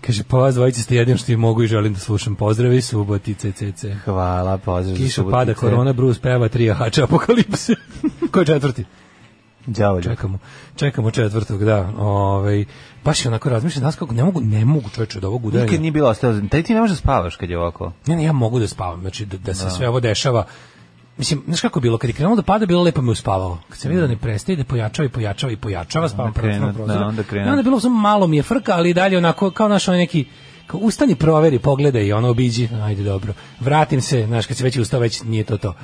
S7: Kaže, pa vas dvojice ste jedin što i mogu i želim da slušam. Pozdravi, suboti, CCC.
S6: Hvala, pozdrav. za
S7: Kiša
S6: subotice.
S7: pada, korona, Bruce peva, tri jahača apokalipse. Ko je četvrti?
S6: Đavolje.
S7: Čekamo, čekamo četvrtog, da. Ovaj baš je onako razmišljam, danas kako ne mogu, ne mogu čoveče od ovog udaranja.
S6: Nikad nije bilo ostao. Taj ti ne možeš da spavaš kad je ovako.
S7: Ne, ne, ja mogu da spavam, znači da, da se sve ovo dešava. Mislim, znaš kako je bilo, kad je krenulo da pada, bilo lepo me uspavalo. Kad sam vidio da ne prestaje, da pojačava i pojačava i pojačava, spavam
S6: Onda
S7: prvo
S6: krenu,
S7: na prozor.
S6: da, onda krenu.
S7: I onda je bilo samo malo mi je frka, ali i dalje onako, kao naš onaj neki, kao ustani, proveri, pogledaj i ono obiđi, ajde dobro. Vratim se, znaš, kad se već ustao, već nije to to.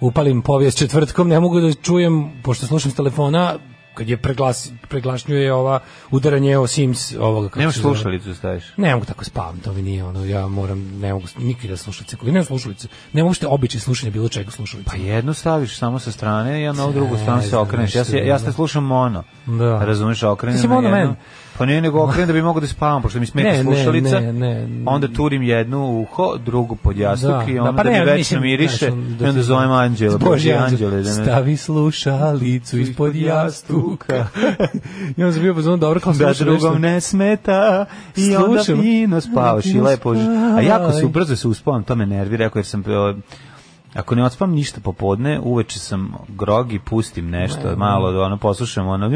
S7: Upalim povijest četvrtkom, ne mogu da čujem, pošto slušam s telefona, kad je preglas, preglašnjuje ova udaranje o Sims ovoga. kako
S6: Nemaš
S7: se zove.
S6: slušalicu da staviš.
S7: Ne mogu tako spavam, to mi nije ono, ja moram, ne mogu nikada slušalice, koji ne slušalice, ne mogu uopšte običaj slušanja bilo čega slušalice.
S6: Pa jednu staviš samo sa strane, ja na ovu drugu
S7: Ne
S6: stranu se
S7: znam
S6: okreneš. Ja, se,
S7: što
S6: ja
S7: je.
S6: se slušam mono.
S7: Da.
S6: Razumeš, okrenem
S7: Ti si
S6: na
S7: mono
S6: jednu.
S7: man.
S6: Pa nije nego okrenem da bi mogao da spavam, pošto mi smeta
S7: Ne, ne,
S6: slušalica.
S7: ne, ne, ne.
S6: Onda turim jednu u uho, drugu pod jastuk
S7: Da,
S6: i
S7: da,
S6: onda
S7: pa
S6: da,
S7: ne,
S6: mi večno
S7: mislim,
S6: miriše.
S7: znaš, ono, da
S6: I onda
S7: ti-
S6: zovem anđela.
S7: Boži
S6: Bože
S7: anđel,
S6: anđele. Da, me-
S7: stavi slušalicu ispod jastuka. I onda sam bio pozvan, dobro, kao
S6: da
S7: slušam nešto.
S6: drugom ne smeta i onda
S7: Slušam.
S6: fino spavaš i lepo ži- a jako se
S7: Spavaj.
S6: ubrzo se uspavam to me nervira rekao jer sam e, Ako ne otspam ništa popodne, uveče sam grog i pustim nešto, malo da ono poslušam ono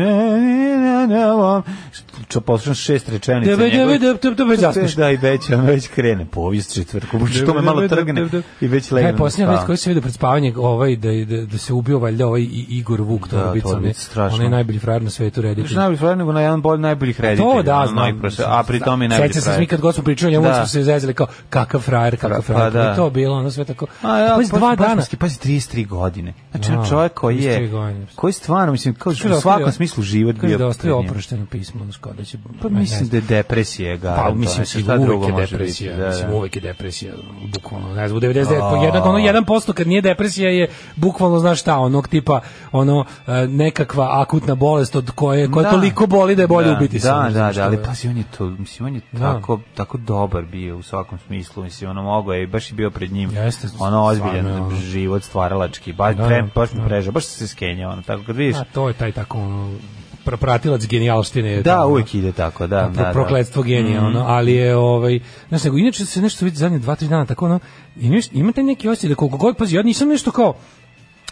S6: što poslušam šest rečenica
S7: Debe, debe,
S6: njegovih.
S7: debe, debe, debe, zaspeš.
S6: Da, i već, ono već krene, povijest četvrkom, što me malo trgne i već
S7: Kaj,
S6: legnem. da
S7: posljednja vez
S6: spavam.
S7: koji se vidio pred spavanje, ovaj, da, je- da, da se ubio valjda ovaj I- Igor Vuk, to
S6: Da,
S7: da,
S6: to je
S7: obica,
S6: strašno.
S7: on je najbolji frajer na svetu,
S6: Još
S7: reditelj.
S6: najbolji frajer nego na jedan bolj najboljih reditelja.
S7: To da,
S6: ono,
S7: znam.
S6: najprošle- A pri tome i najbolji
S7: Sećam se
S6: frajer.
S7: svi kad god smo pričali, njemu
S6: Da.
S7: smo se zezali kao kakav frajer, kakav
S6: Pa,
S7: frajer.
S6: da.
S7: I to bilo, ono sve tako.
S6: A ja,
S7: Pa iz dva dana.
S6: Pa 33 godine. Znači
S7: Da,
S6: čovjek koji
S7: 33
S6: je
S7: godine.
S6: koji stvarno mislim kao
S7: Kaže
S6: u svakom
S7: ostavio-
S6: smislu život
S7: Kaže
S6: bio.
S7: da ostaje
S6: pred njim.
S7: oprošteno pismo, znači kao da će...
S6: Pa
S7: ne
S6: mislim
S7: znam.
S6: da je znači, depresija ga.
S7: Pa mislim se uvek je depresija,
S6: Da,
S7: mislim
S6: da.
S7: uvek je depresija, bukvalno, ne znam, u 99, pa jedan, ono, 1% kad nije depresija je bukvalno, znaš šta, onog tipa, ono, e, nekakva akutna bolest od koje, koja
S6: Da.
S7: toliko boli da je bolje
S6: da,
S7: ubiti se.
S6: Da,
S7: ono,
S6: da,
S7: znaš,
S6: da,
S7: to
S6: ali
S7: je.
S6: pazi, on je to, mislim, on je
S7: Da.
S6: tako, tako dobar bio u svakom smislu, mislim, ono mogao je, baš je bio pred njim,
S7: Jeste,
S6: ono ozbiljan
S7: stvarno je, ono.
S6: život stvaralački, baš,
S7: Da,
S6: pre, baš mi
S7: da.
S6: prežao, baš se skenja, ono, tako kad vidiš,
S7: A to je taj tako, ono, pra- pratilac genijalštine. je
S6: da,
S7: tamo,
S6: uvek ide tako, da, da,
S7: Pa, pro-
S6: da. Mhm.
S7: prokletstvo genija, ono, ali je, ovaj, znaš, nego, inače se nešto vidi zadnje dva, tri dana, tako, ono, imaš, imate neki osjećaj da koliko god, pazi, ja nisam nešto kao,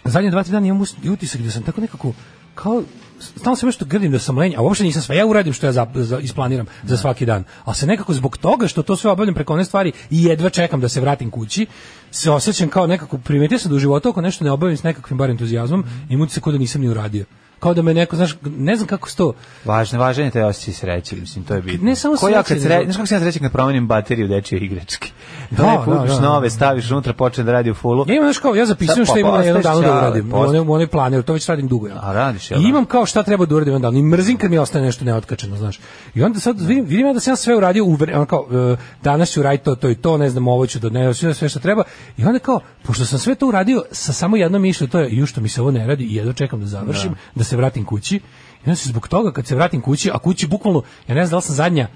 S7: zadnje dva, tri dana imam us- utisak da sam tako nekako, kao, stalno se nešto grdim da sam lenj, a uopšte nisam sve, ja uradim što ja za, za, isplaniram za svaki dan, ali se nekako zbog toga što to sve obavljam preko one stvari i jedva čekam da se vratim kući, se osjećam kao nekako, primetio sam da u životu ako nešto ne obavim s nekakvim bar entuzijazmom,
S6: Mhm.
S7: imam utisak kao da nisam ni uradio. Kao da me neko, znaš, ne znam kako se to,
S6: Važno, važan je taj osjećaj sreće, mislim, to je bitno.
S7: Ne samo
S6: Ko ja kad
S7: sreće,
S6: sre...
S7: nego-
S6: Znaš kako sam ja srećan kad promenim bateriju dečije igračke? Da,
S7: Da,
S6: da,
S7: da,
S6: da,
S7: da.
S6: nove, staviš unutra, počne da radi u fullu.
S7: Ja imam, znaš, kao, ja
S6: Sad, pa,
S7: zapisujem šta imam na jednom
S6: postaješ
S7: danu da
S6: ćale,
S7: uradim, u
S6: postaje-
S7: onoj, u onoj planer, to već radim dugo, ja.
S6: A, radiš, jel
S7: I
S6: da?
S7: imam kao šta treba da uradim jedan dan, i mrzim kad mi ostane nešto neotkačeno, znaš. I onda sad vidim, vidim ja da sam ja sve uradio, u, vre- ono kao, e, danas ću raditi to, to i to, ne znam, ovo ću da ne, sve, sve što treba, i onda kao, pošto sam sve to uradio sa samo jednom mišlju, to je, ju što mi se ovo ne radi, i jedno čekam da završim, da, se vratim kući, i onda se zbog toga, kad se vratim kući, a kući bukvalno, ja ne znam da li sam zadnja,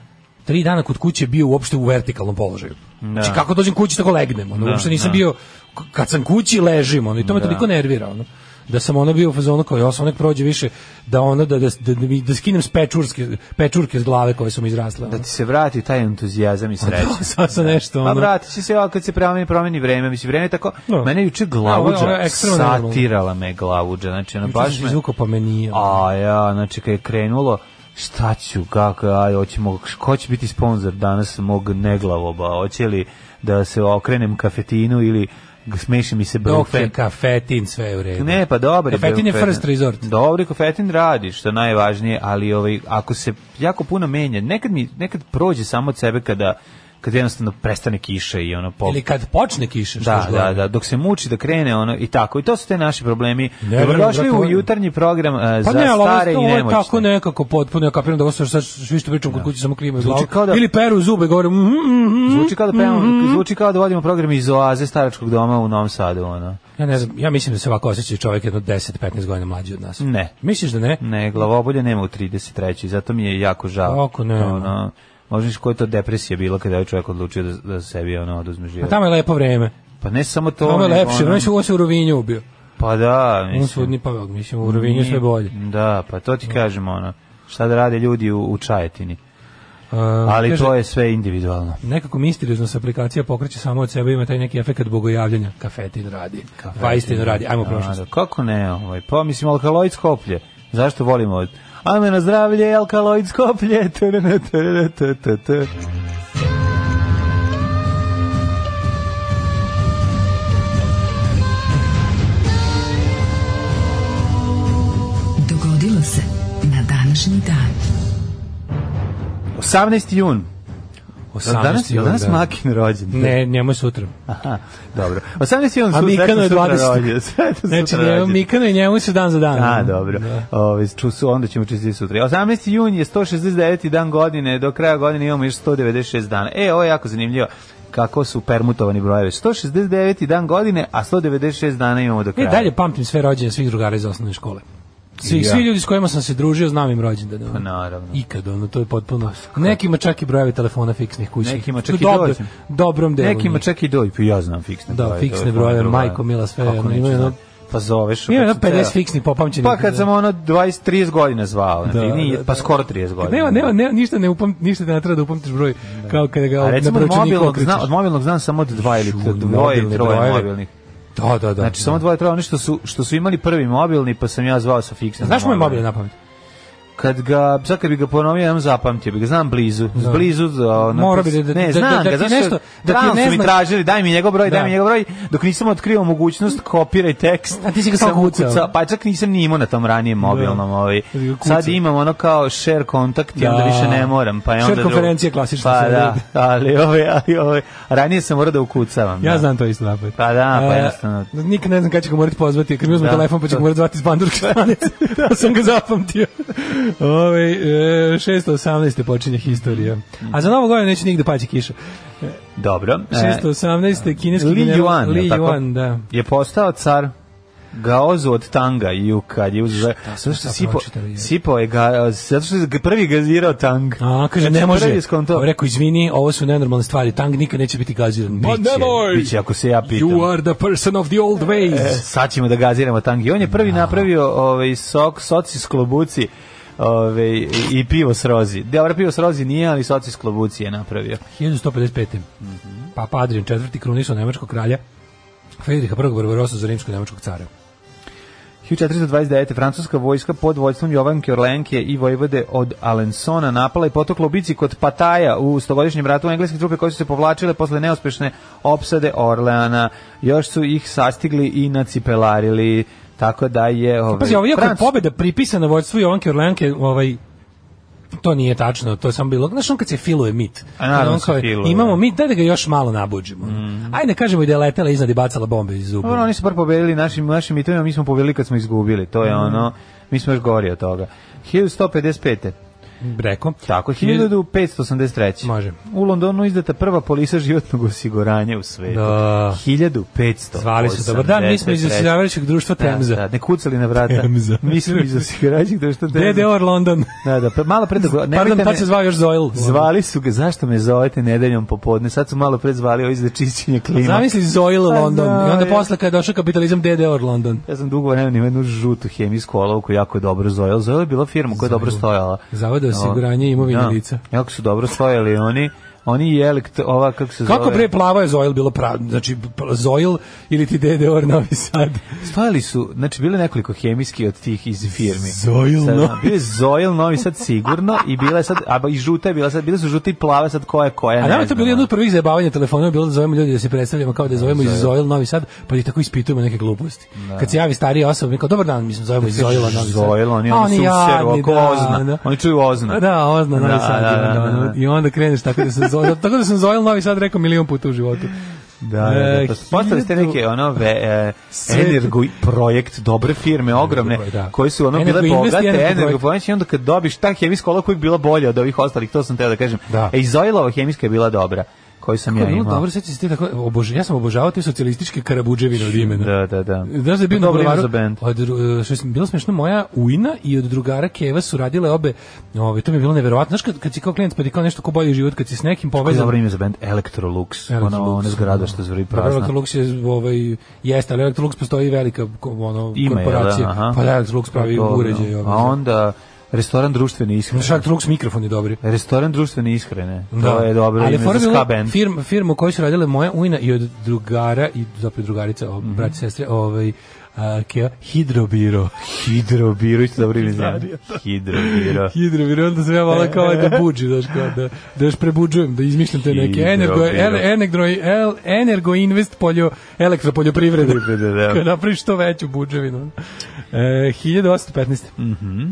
S7: tri dana kod kuće bio uopšte u vertikalnom položaju. Znači kako dođem kući tako legnem, ono, uopšte nisam bio k- kad sam kući ležim, ono, i to me toliko nervira, ono. Da sam ono bio u fazonu kao, ja sam nek prođe više, da ono, da, da, da, da, mi- da skinem s pečurske, pečurke s glave koje su mi izrasle. Ono.
S6: Da ti se vrati taj entuzijazam i sreća.
S7: Sa, sa nešto,
S6: Pa
S7: Pa ono.
S6: vrati će se a kad se promeni, promeni vreme, mislim, vreme je tako...
S7: Da.
S6: Mene je juče
S7: Ovo je- ovo
S6: glavuđa
S7: je ekstremno normalno.
S6: satirala me glavuđa, znači, ono,
S7: baš
S6: baš me...
S7: izvukao pa me nije. ono.
S6: A ja, znači kad je krenulo, šta ću, kako, aj, hoćemo, ko će biti sponsor danas mog neglavoba, hoće li da se okrenem kafetinu ili g- smeši mi se
S7: Dok je
S6: brufen.
S7: kafetin, sve je u redu.
S6: Ne, pa dobro.
S7: Kafetin je first resort.
S6: Dobri kafetin radi, što je najvažnije, ali ovaj, ako se jako puno menja, nekad, mi, nekad prođe samo od sebe kada kad jednostavno prestane kiša i ono pop.
S7: Ili kad počne kiša, što
S6: Da,
S7: još gore.
S6: da, da, dok se muči da krene ono i tako. I to su te naši problemi.
S7: Ne,
S6: Dobrodošli
S7: ne, ne,
S6: u
S7: ne.
S6: jutarnji program e,
S7: Pa
S6: za
S7: ne, ali
S6: stare i
S7: ovo, ovo je
S6: nemoćne.
S7: tako nekako potpuno, ja kapiram da ovo sve sad što- što pričam kod kuće samo klima
S6: Zvuči
S7: glavu.
S6: kao da-
S7: Ili peru zube, govorim... Mm, mm, mm.
S6: Zvuči kao da pevamo, zvuči kao da vodimo program iz oaze staračkog doma u Novom Sadu, ono.
S7: Ja ne znam, ja mislim da se ovako osjeća čovjek jedno 10-15 godina mlađi od nas.
S6: Ne.
S7: Misliš da ne?
S6: Ne, glavobolje nema u 33. Zato mi je jako žao.
S7: Kako nema?
S6: Ono, možeš koja je to depresija bila kada je ovaj čovjek odlučio da, da sebi ono oduzme
S7: A
S6: život.
S7: tamo je lepo vreme.
S6: Pa ne samo to.
S7: Tamo je
S6: nego
S7: lepše.
S6: ono-
S7: Vreme se ovo se u Rovinju ubio. Ono
S6: Pa da, mislim.
S7: On sudni pavog, pa, mislim, u Rovinju sve bolje.
S6: Da, pa to ti kažem, ono. Šta da rade ljudi u, u Čajetini.
S7: Uh,
S6: Ali
S7: kaže,
S6: to je sve individualno.
S7: Nekako misteriozno se aplikacija pokreće samo od sebe, ima taj neki efekt bogojavljanja. Kafetin radi, Vajstin radi, ajmo u prošlost.
S6: Da, da, kako ne, ovaj, pa mislim alkaloid skoplje. Zašto volimo od... Ajme na zdravlje, alkaloid skoplje. Tarana, tarana, ta, ta, ta.
S3: Dogodilo se na današnji dan.
S6: 18. jun.
S7: 18.
S6: danas, jel
S7: jula,
S6: danas
S7: da.
S6: Makin rođen.
S7: Ne, njemu je sutra.
S6: Aha, dobro. 18. jun,
S7: A
S6: su-
S7: Mikano
S6: srećno
S7: je
S6: sutra
S7: 20..
S6: rođen, srećno
S7: Znači,
S6: sutra
S7: njemu
S6: rođen.
S7: Mikano i njemu se dan za dan.
S6: A, dobro. Ove, ču su, onda ćemo čistiti sutra. 18. jun je 169. dan godine, do kraja godine imamo još 196 dana. E, ovo je jako zanimljivo kako su permutovani brojevi. 169. dan godine, a 196 dana imamo do
S7: E,
S6: kraja.
S7: dalje pamtim sve rođenje svih drugara iz osnovne škole. Svi,
S6: I ja.
S7: svi ljudi s kojima sam se družio, znam im rođendane. ono.
S6: Pa naravno. Pa,
S7: Ikad, ono, to je potpuno... Nekima čak i brojeve telefona fiksnih kućnih.
S6: Nekima čak i
S7: Dobro-
S6: dođem.
S7: Dobrom delu.
S6: Nekima
S7: njih.
S6: čak i doj, pa ja znam fiksne
S7: Da,
S6: brojeve,
S7: fiksne
S6: to je
S7: brojeve,
S6: druga.
S7: majko mila, sve,
S6: Kako
S7: ono,
S6: neću
S7: imaju
S6: znati?
S7: ono-
S6: pa zoveš.
S7: Imaju
S6: kad sam
S7: ono 50
S6: ceo-
S7: fiksnih popamćenih.
S6: Pa kad sam ono 20-30 godina zvao, znači,
S7: Da,
S6: nije,
S7: da,
S6: pa
S7: da.
S6: skoro 30 godina.
S7: Nema, nema, nema, ništa ne upam, ništa te natreba da upamtiš broj, kao kada ga
S6: A
S7: na
S6: recimo od
S7: brojčaniku
S6: mobilnog,
S7: okrećeš.
S6: zna, od mobilnog znam samo od dva ili
S7: Šu,
S6: dvoje ili
S7: mobilni
S6: troje
S7: brojevi.
S6: mobilnih.
S7: Da, da, da.
S6: Znači samo dvoje troje, oni što su što su imali prvi mobilni, pa sam ja zvao sa fiksnim.
S7: Znaš moj
S6: mobilnim.
S7: mobil na pamet?
S6: Kad ga sad kad bi ga ponovio, jednom zapamtio, bi ga znam blizu, da. blizu da ono, pa
S7: Mora bi da- da-
S6: ne
S7: da-
S6: znam
S7: da- da
S6: ga,
S7: ti
S6: zašto
S7: nešto- da ti
S6: stalno
S7: ne
S6: su mi
S7: zna-
S6: tražili, daj mi njegov broj, daj
S7: Da.
S6: mi njegov broj, dok nisam otkrio mogućnost kopiraj tekst.
S7: A ti si ga
S6: sam
S7: samo kucao.
S6: ukucao, pa čak nisam ni imao na tom ranijem mobilnom, ovaj.
S7: Kad bi ga kucao.
S6: Sad imam ono kao share kontakt i
S7: Da.
S6: onda više ne moram, pa je onda
S7: Share
S6: drugo.
S7: konferencije klasično
S6: Pa
S7: se
S6: da,
S7: radi.
S6: ali ove, ali ove, ranije sam morao da ukucavam.
S7: Ja
S6: da.
S7: znam to isto napad.
S6: Pa da, pa
S7: E,
S6: jednostavno.
S7: Nikad ne znam kada će ga morati pozvati. Kad mi uzme
S6: Da.
S7: telefon pa će ga morati zvati iz bandurke stranice. da sam ga zapamtio. Ove, e, 618. počinje historija. A za novu godinu neće nigde paći kiša.
S6: Dobro. e,
S7: 618. kineski
S6: Li
S7: general-
S6: Yuan,
S7: Li
S6: je tako?
S7: Yuan, da.
S6: je postao car Gaozu od Tanga i u kad je uzeo zato što
S7: sad
S6: sipo,
S7: pročitali, je?
S6: sipao je ga, zato što je ga prvi gazirao Tang.
S7: A, kaže,
S6: Znači,
S7: ne
S6: prvi
S7: može.
S6: je skonto-
S7: Ovo rekao, izvini, ovo su nenormalne stvari. Tang nikad neće biti gaziran. Ma
S6: Biće, biće, ako se ja pitam.
S7: You are the person of the old ways.
S6: E, sad ćemo da gaziramo Tang. I on je prvi napravio ovaj, sok, soci s klobuci ovaj, i- i pivo s rozi. Dobro, pivo s rozi nije, ali soci s klobuci je napravio.
S7: 1155. Papa Adrian IV. krunisao nemačkog kralja Friedricha I. Barbarosa za rimsko-nemačkog
S6: Ovaj,
S7: cara.
S6: 1429. francuska vojska pod vojstvom Jovanke Orlenke i vojvode od Alensona napala i potokla u bici kod Pataja u stogodišnjem ratu engleske trupe koje su se povlačile posle neuspešne opsade Orleana. Još su ih sastigli i nacipelarili, tako da je... Ovaj,
S7: Pazi, ovo iako je
S6: Franc-
S7: pobjeda pripisana vojstvu Jovanke Orlenke, ovaj, to nije tačno, to je samo bilo. Znaš, on kad se filuje mit.
S6: A naravno
S7: Kad on
S6: se
S7: kao,
S6: filuje. Mm.
S7: Imamo mit, daj da ga još malo nabuđimo. Ajde, kažemo i da je letela iznad i bacala bombe iz zuba.
S6: Dobro, oni su bar pobedili našim, našim mitovima, ono, mi smo pobedili kad smo izgubili, to
S7: Mhm.
S6: je ono, mi smo još gori od toga. 1155.
S7: Reko.
S6: Tako, 1583.
S7: Može.
S6: U Londonu izdata prva polisa životnog osiguranja u svetu.
S7: Da.
S6: 1500.
S7: Zvali su, dobar dan, mi smo iz osiguravajućeg društva Temza.
S6: Da, da, ne kucali na vrata.
S7: Temza.
S6: Mi smo iz osiguravajućeg društva Temza.
S7: DDR London.
S6: Da, da, pa malo pre da... go- nemojte
S7: Pardon,
S6: me-
S7: tad se zvao još Zoil.
S6: Zvali su ga, zašto me zovete nedeljom popodne? Sad su malo pre zvali ovo iz za čišćenje klima.
S7: Zamisli Zoil
S6: Pa
S7: London. I
S6: da,
S7: onda
S6: je.
S7: posle kada je došao kapitalizam DDR London.
S6: Ja sam dugo vremena imao jednu žutu hemijsku olovku, jako je dobro Zoil. Zoil je bila firma koja je dobro stojala.
S7: Zavod za osiguranje imovine lica.
S6: Jako su dobro stojali oni. Oni je elekt, ova kako se
S7: Kako
S6: zove.
S7: pre plava je Zoil bilo pravno, znači pl- Zoil ili ti DDR Novi
S6: E,
S7: Sad.
S6: Stojali su, znači bile nekoliko hemijski od tih iz firmi.
S7: Zoil
S6: Sad,
S7: Novi-
S6: Bio je Zoil Novi Sad sigurno i bila je sad, a i žuta je bila sad, bile su žute i plave sad koja je koja,
S7: A
S6: ne
S7: nama je to
S6: znam,
S7: bilo jedno
S6: ono.
S7: od prvih zajebavanja telefona, bilo da zovemo ljudi da se predstavljamo kao da zovemo iz Zoil Novi Sad, pa ih tako ispitujemo neke gluposti. Kad se javi starija osoba, mi kao, dobar dan, mi smo zovemo iz Zoila Novi Sad.
S6: Zoil, oni,
S7: A
S6: oni su u seru,
S7: jadni,
S6: oko
S7: da,
S6: ozna.
S7: da.
S6: Oni čuju ozna.
S7: Da, ozna Novi
S6: Da,
S7: Sad.
S6: da,
S7: ima,
S6: da,
S7: ono,
S6: da.
S7: I onda kreneš tako da se Zo- tako da sam Zoil Novi Sad rekao milion puta u životu.
S6: Da, da,
S7: E,
S6: da. Pa Postali ste
S7: hiljadu-
S6: neke ono ve, e,
S7: Sve-
S6: energo projekt, dobre firme, ogromne,
S7: Energo, da.
S6: koje su ono
S7: Energo
S6: bile
S7: Invest i Energo
S6: bogate, energo
S7: projekt.
S6: projekt, i onda kad dobiš ta hemijska ola koja je bila bolja od ovih ostalih, to sam teo da kažem.
S7: Da.
S6: E, i Zoilova hemijska je bila dobra, koju sam ja
S7: Ja,
S6: imao.
S7: dobro, sećam se ti tako, obož, ja sam obožavao te socijalističke karabudževine od imena.
S6: Da, da, da.
S7: Znaš da je bio na
S6: Dobro ime
S7: Bulevaru,
S6: za bend.
S7: od, dru- e, što je bilo smešno, moja Uina i od drugara Keva su radile obe, ove, to mi je bilo neverovatno, znaš kad, kad si kao klijent pa ti kao nešto ko bolji život, kad si s nekim
S6: Koje je
S7: povezan,
S6: dobro ime ono, za band? Electrolux.
S7: Electrolux,
S6: Ona, ona zgrada što zvori
S7: Dobro,
S6: prazna.
S7: Electrolux je ovaj jeste, ali Electrolux postoji velika ko- ono
S6: Ima je,
S7: korporacija.
S6: da, aha.
S7: pa da Electrolux pravi
S6: Dobro.
S7: uređaje ono,
S6: A onda, restoran društvene ishrane.
S7: Šak Electrolux mikrofon je dobri.
S6: Restoran društvene ishrane. To je dobro
S7: ali
S6: ime
S7: fora
S6: za ska
S7: bila
S6: band.
S7: Firma, firma u kojoj su radile moja ujna i od drugara, i zapravo drugarica,
S6: Mhm.
S7: mm brati sestre, ovaj, a, Keva, Hidrobiro.
S6: Hidrobiro, isto dobro ime za Hidrobiro.
S7: Hidrobiro, onda sam ja malo kao da buđi, znaš, kao da, da još prebuđujem, da izmišljam te neke energo,
S6: Hidrobiro.
S7: el, energo, el, energo invest poljo, elektropoljoprivrede.
S6: Poljoprivrede, da.
S7: Kad napraviš što veću buđevinu. E, 1815. Mhm.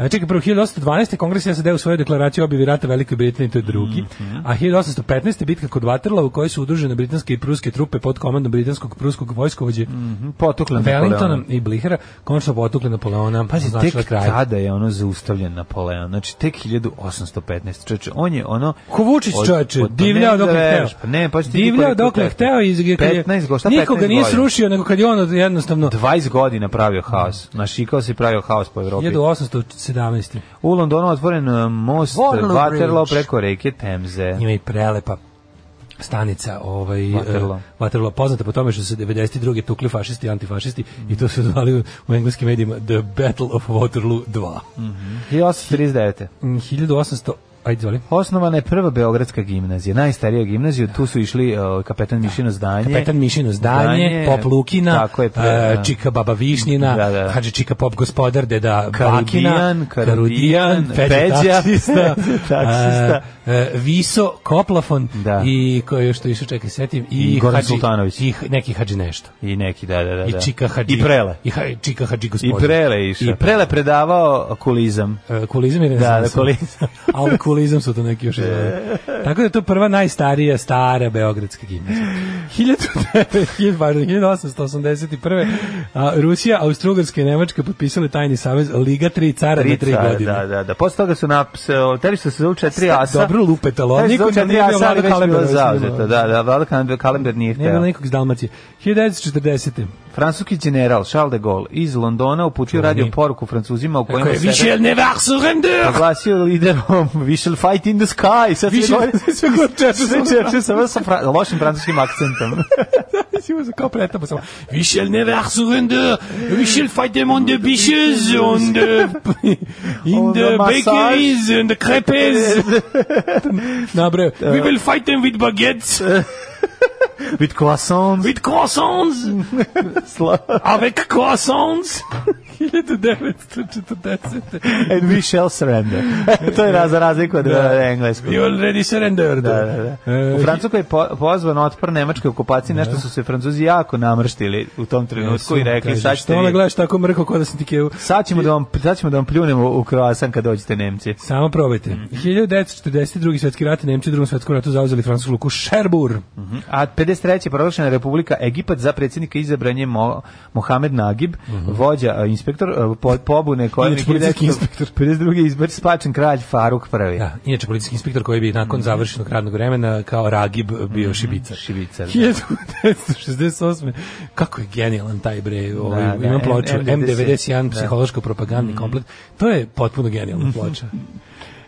S7: E, Čekaj, prvo 1812. Kongres je SAD u svojoj deklaraciji objavi rata Velikoj Britaniji, to je drugi,
S6: Mhm.
S7: a 1815. bitka kod Waterloo u kojoj su udružene britanske i pruske trupe pod komandom britanskog i pruskog vojskovođe
S6: Mhm. Potukle
S7: Wellingtona i Blihera konačno potukle Napoleona,
S6: Pazi,
S7: označile
S6: Znači, tek
S7: kraj.
S6: tada je ono zaustavljen Napoleon. Znači, tek 1815. Čovječe, on je ono...
S7: Ko Vučić
S6: od-
S7: čoveče,
S6: od-
S7: divljao
S6: ne,
S7: dok
S6: da
S7: je hteo.
S6: veruješ, Pa ne, pa
S7: divljao dok je hteo i kad je-
S6: 15 godina, šta 15
S7: nikoga nije
S6: godina?
S7: srušio, nego kad je on jednostavno
S6: 20 godina pravio haos. Našikao se i pravio haos po Evropi.
S7: 1817.
S6: U Londonu otvoren e, most
S7: Waterloo
S6: Waterloo
S7: Bridge.
S6: preko reke Temze.
S7: Ima i prelepa stanica ovaj
S6: Waterloo.
S7: Waterloo. Waterloo poznata po tome što su se 92. tukli fašisti i antifašisti i to su zvali u- u engleskim medijima The Battle of Waterloo 2.
S6: 1839.
S7: Mm, 1800 Ajde, zvali.
S6: Osnovana je prva Beogradska gimnazija, najstarija gimnazija, tu su išli e, kapetan Mišino zdanje.
S7: Petan Mišino zdanje,
S6: Zdanje,
S7: Pop Lukina,
S6: tako je, pre-
S7: e,
S6: da.
S7: Čika Baba Višnjina,
S6: Da, da.
S7: Hadži Čika Pop Gospodar, Deda
S6: Karudijan,
S7: Bakina,
S6: Karudijan, Peđa,
S7: Peđa, Taksista,
S6: Taksista.
S7: e, e, Viso, Koplafon
S6: Da.
S7: i ko je još to išao, čekaj, setim, i,
S6: I Goran
S7: Hadži-
S6: Sultanović.
S7: I h- neki Hadži nešto.
S6: I neki, da, da, da.
S7: i
S6: da.
S7: Čika Hadži.
S6: I Prele.
S7: I ha, Čika Hadži
S6: I
S7: gospodin.
S6: Prele išao.
S7: I
S6: I Prele predavao kulizam.
S7: E, kulizam je
S6: Da, da,
S7: renesansa.
S6: kulizam.
S7: Ali kulizam su to neki još izvode. Tako da je to prva najstarija, stara beogradska gimnazija. 1900 pardon, 1881. A, Rusija, Austro-Ugarska i Nemačka potpisali tajni savez Liga 3 cara na 3
S6: Trica,
S7: godine.
S6: Da, da, da. Posle toga su napsao, teli su se zovu četiri
S7: Sta-
S6: asa.
S7: dobro lupetalo,
S6: Teli su
S7: niko
S6: zovu
S7: nam nije
S6: četiri asa, ali već
S7: bio Vlada
S6: bilo
S7: Kalembera, već
S6: zauzeto.
S7: bilo.
S6: Da, da, Vlada Kalem- Kalember nije
S7: Nije bilo
S6: hteo.
S7: nikog iz Dalmacije. 1940.
S6: Francuski general Charles de Gaulle iz Londona uputio radio poruku Francuzima u
S7: Koji
S6: kojima
S7: je
S6: se
S7: Michel Nevard surrender!
S6: proglasio liderom We shall fight in the sky. Sad
S7: Više
S6: sve govori-
S7: sve god čeče
S6: sve čeče sa sa fra- lošim francuskim akcentom.
S7: Si uzeo kao pretamo samo. We shall never surrender. We shall fight them on the beaches, on the, in
S6: On the
S7: the
S6: massage.
S7: bakeries and the crepes. Nabre. We will fight them with baguettes,
S6: With croissants.
S7: with croissants,
S6: Sla-
S7: avec croissants. 1940.
S6: And we shall surrender. E, to je raz- za razliku od da. engleskog.
S7: You already surrendered. E,
S6: Da, da, da. U Francuskoj je po, pozvan otpor nemačke okupacije, nešto su se Francuzi jako namrštili u tom trenutku i rekli sad ćete
S7: Što ona
S6: vi-
S7: gledaš tako mrko kao da sam ti kevu.
S6: Sad ćemo da vam sad ćemo da vam pljunemo u kroasan kad dođete Nemci.
S7: Samo probajte.
S6: Mhm.
S7: 1942. Drugi svetski rat, Nemci u drugom svetskom ratu zauzeli francusku luku Šerbur.
S6: A 53. je proglašena Republika Egipat za predsjednika izabran je Mo, Mohamed Nagib,
S7: Mhm.
S6: vođa a, inspektor a, po, pobune koji
S7: Inače, policijski inspektor.
S6: 52. izbr spačen kralj Faruk prvi.
S7: Da, inače policijski inspektor koji bi nakon završenog radnog vremena kao ragib bio šibicar.
S6: Šibicar, da.
S7: 1968. Kako je genijalan taj bre, ovaj,
S6: Da, da,
S7: imam ploču
S6: M- M91,
S7: M91
S6: da. Mhm.
S7: psihološko-propagandni komplet. To je potpuno genijalna ploča.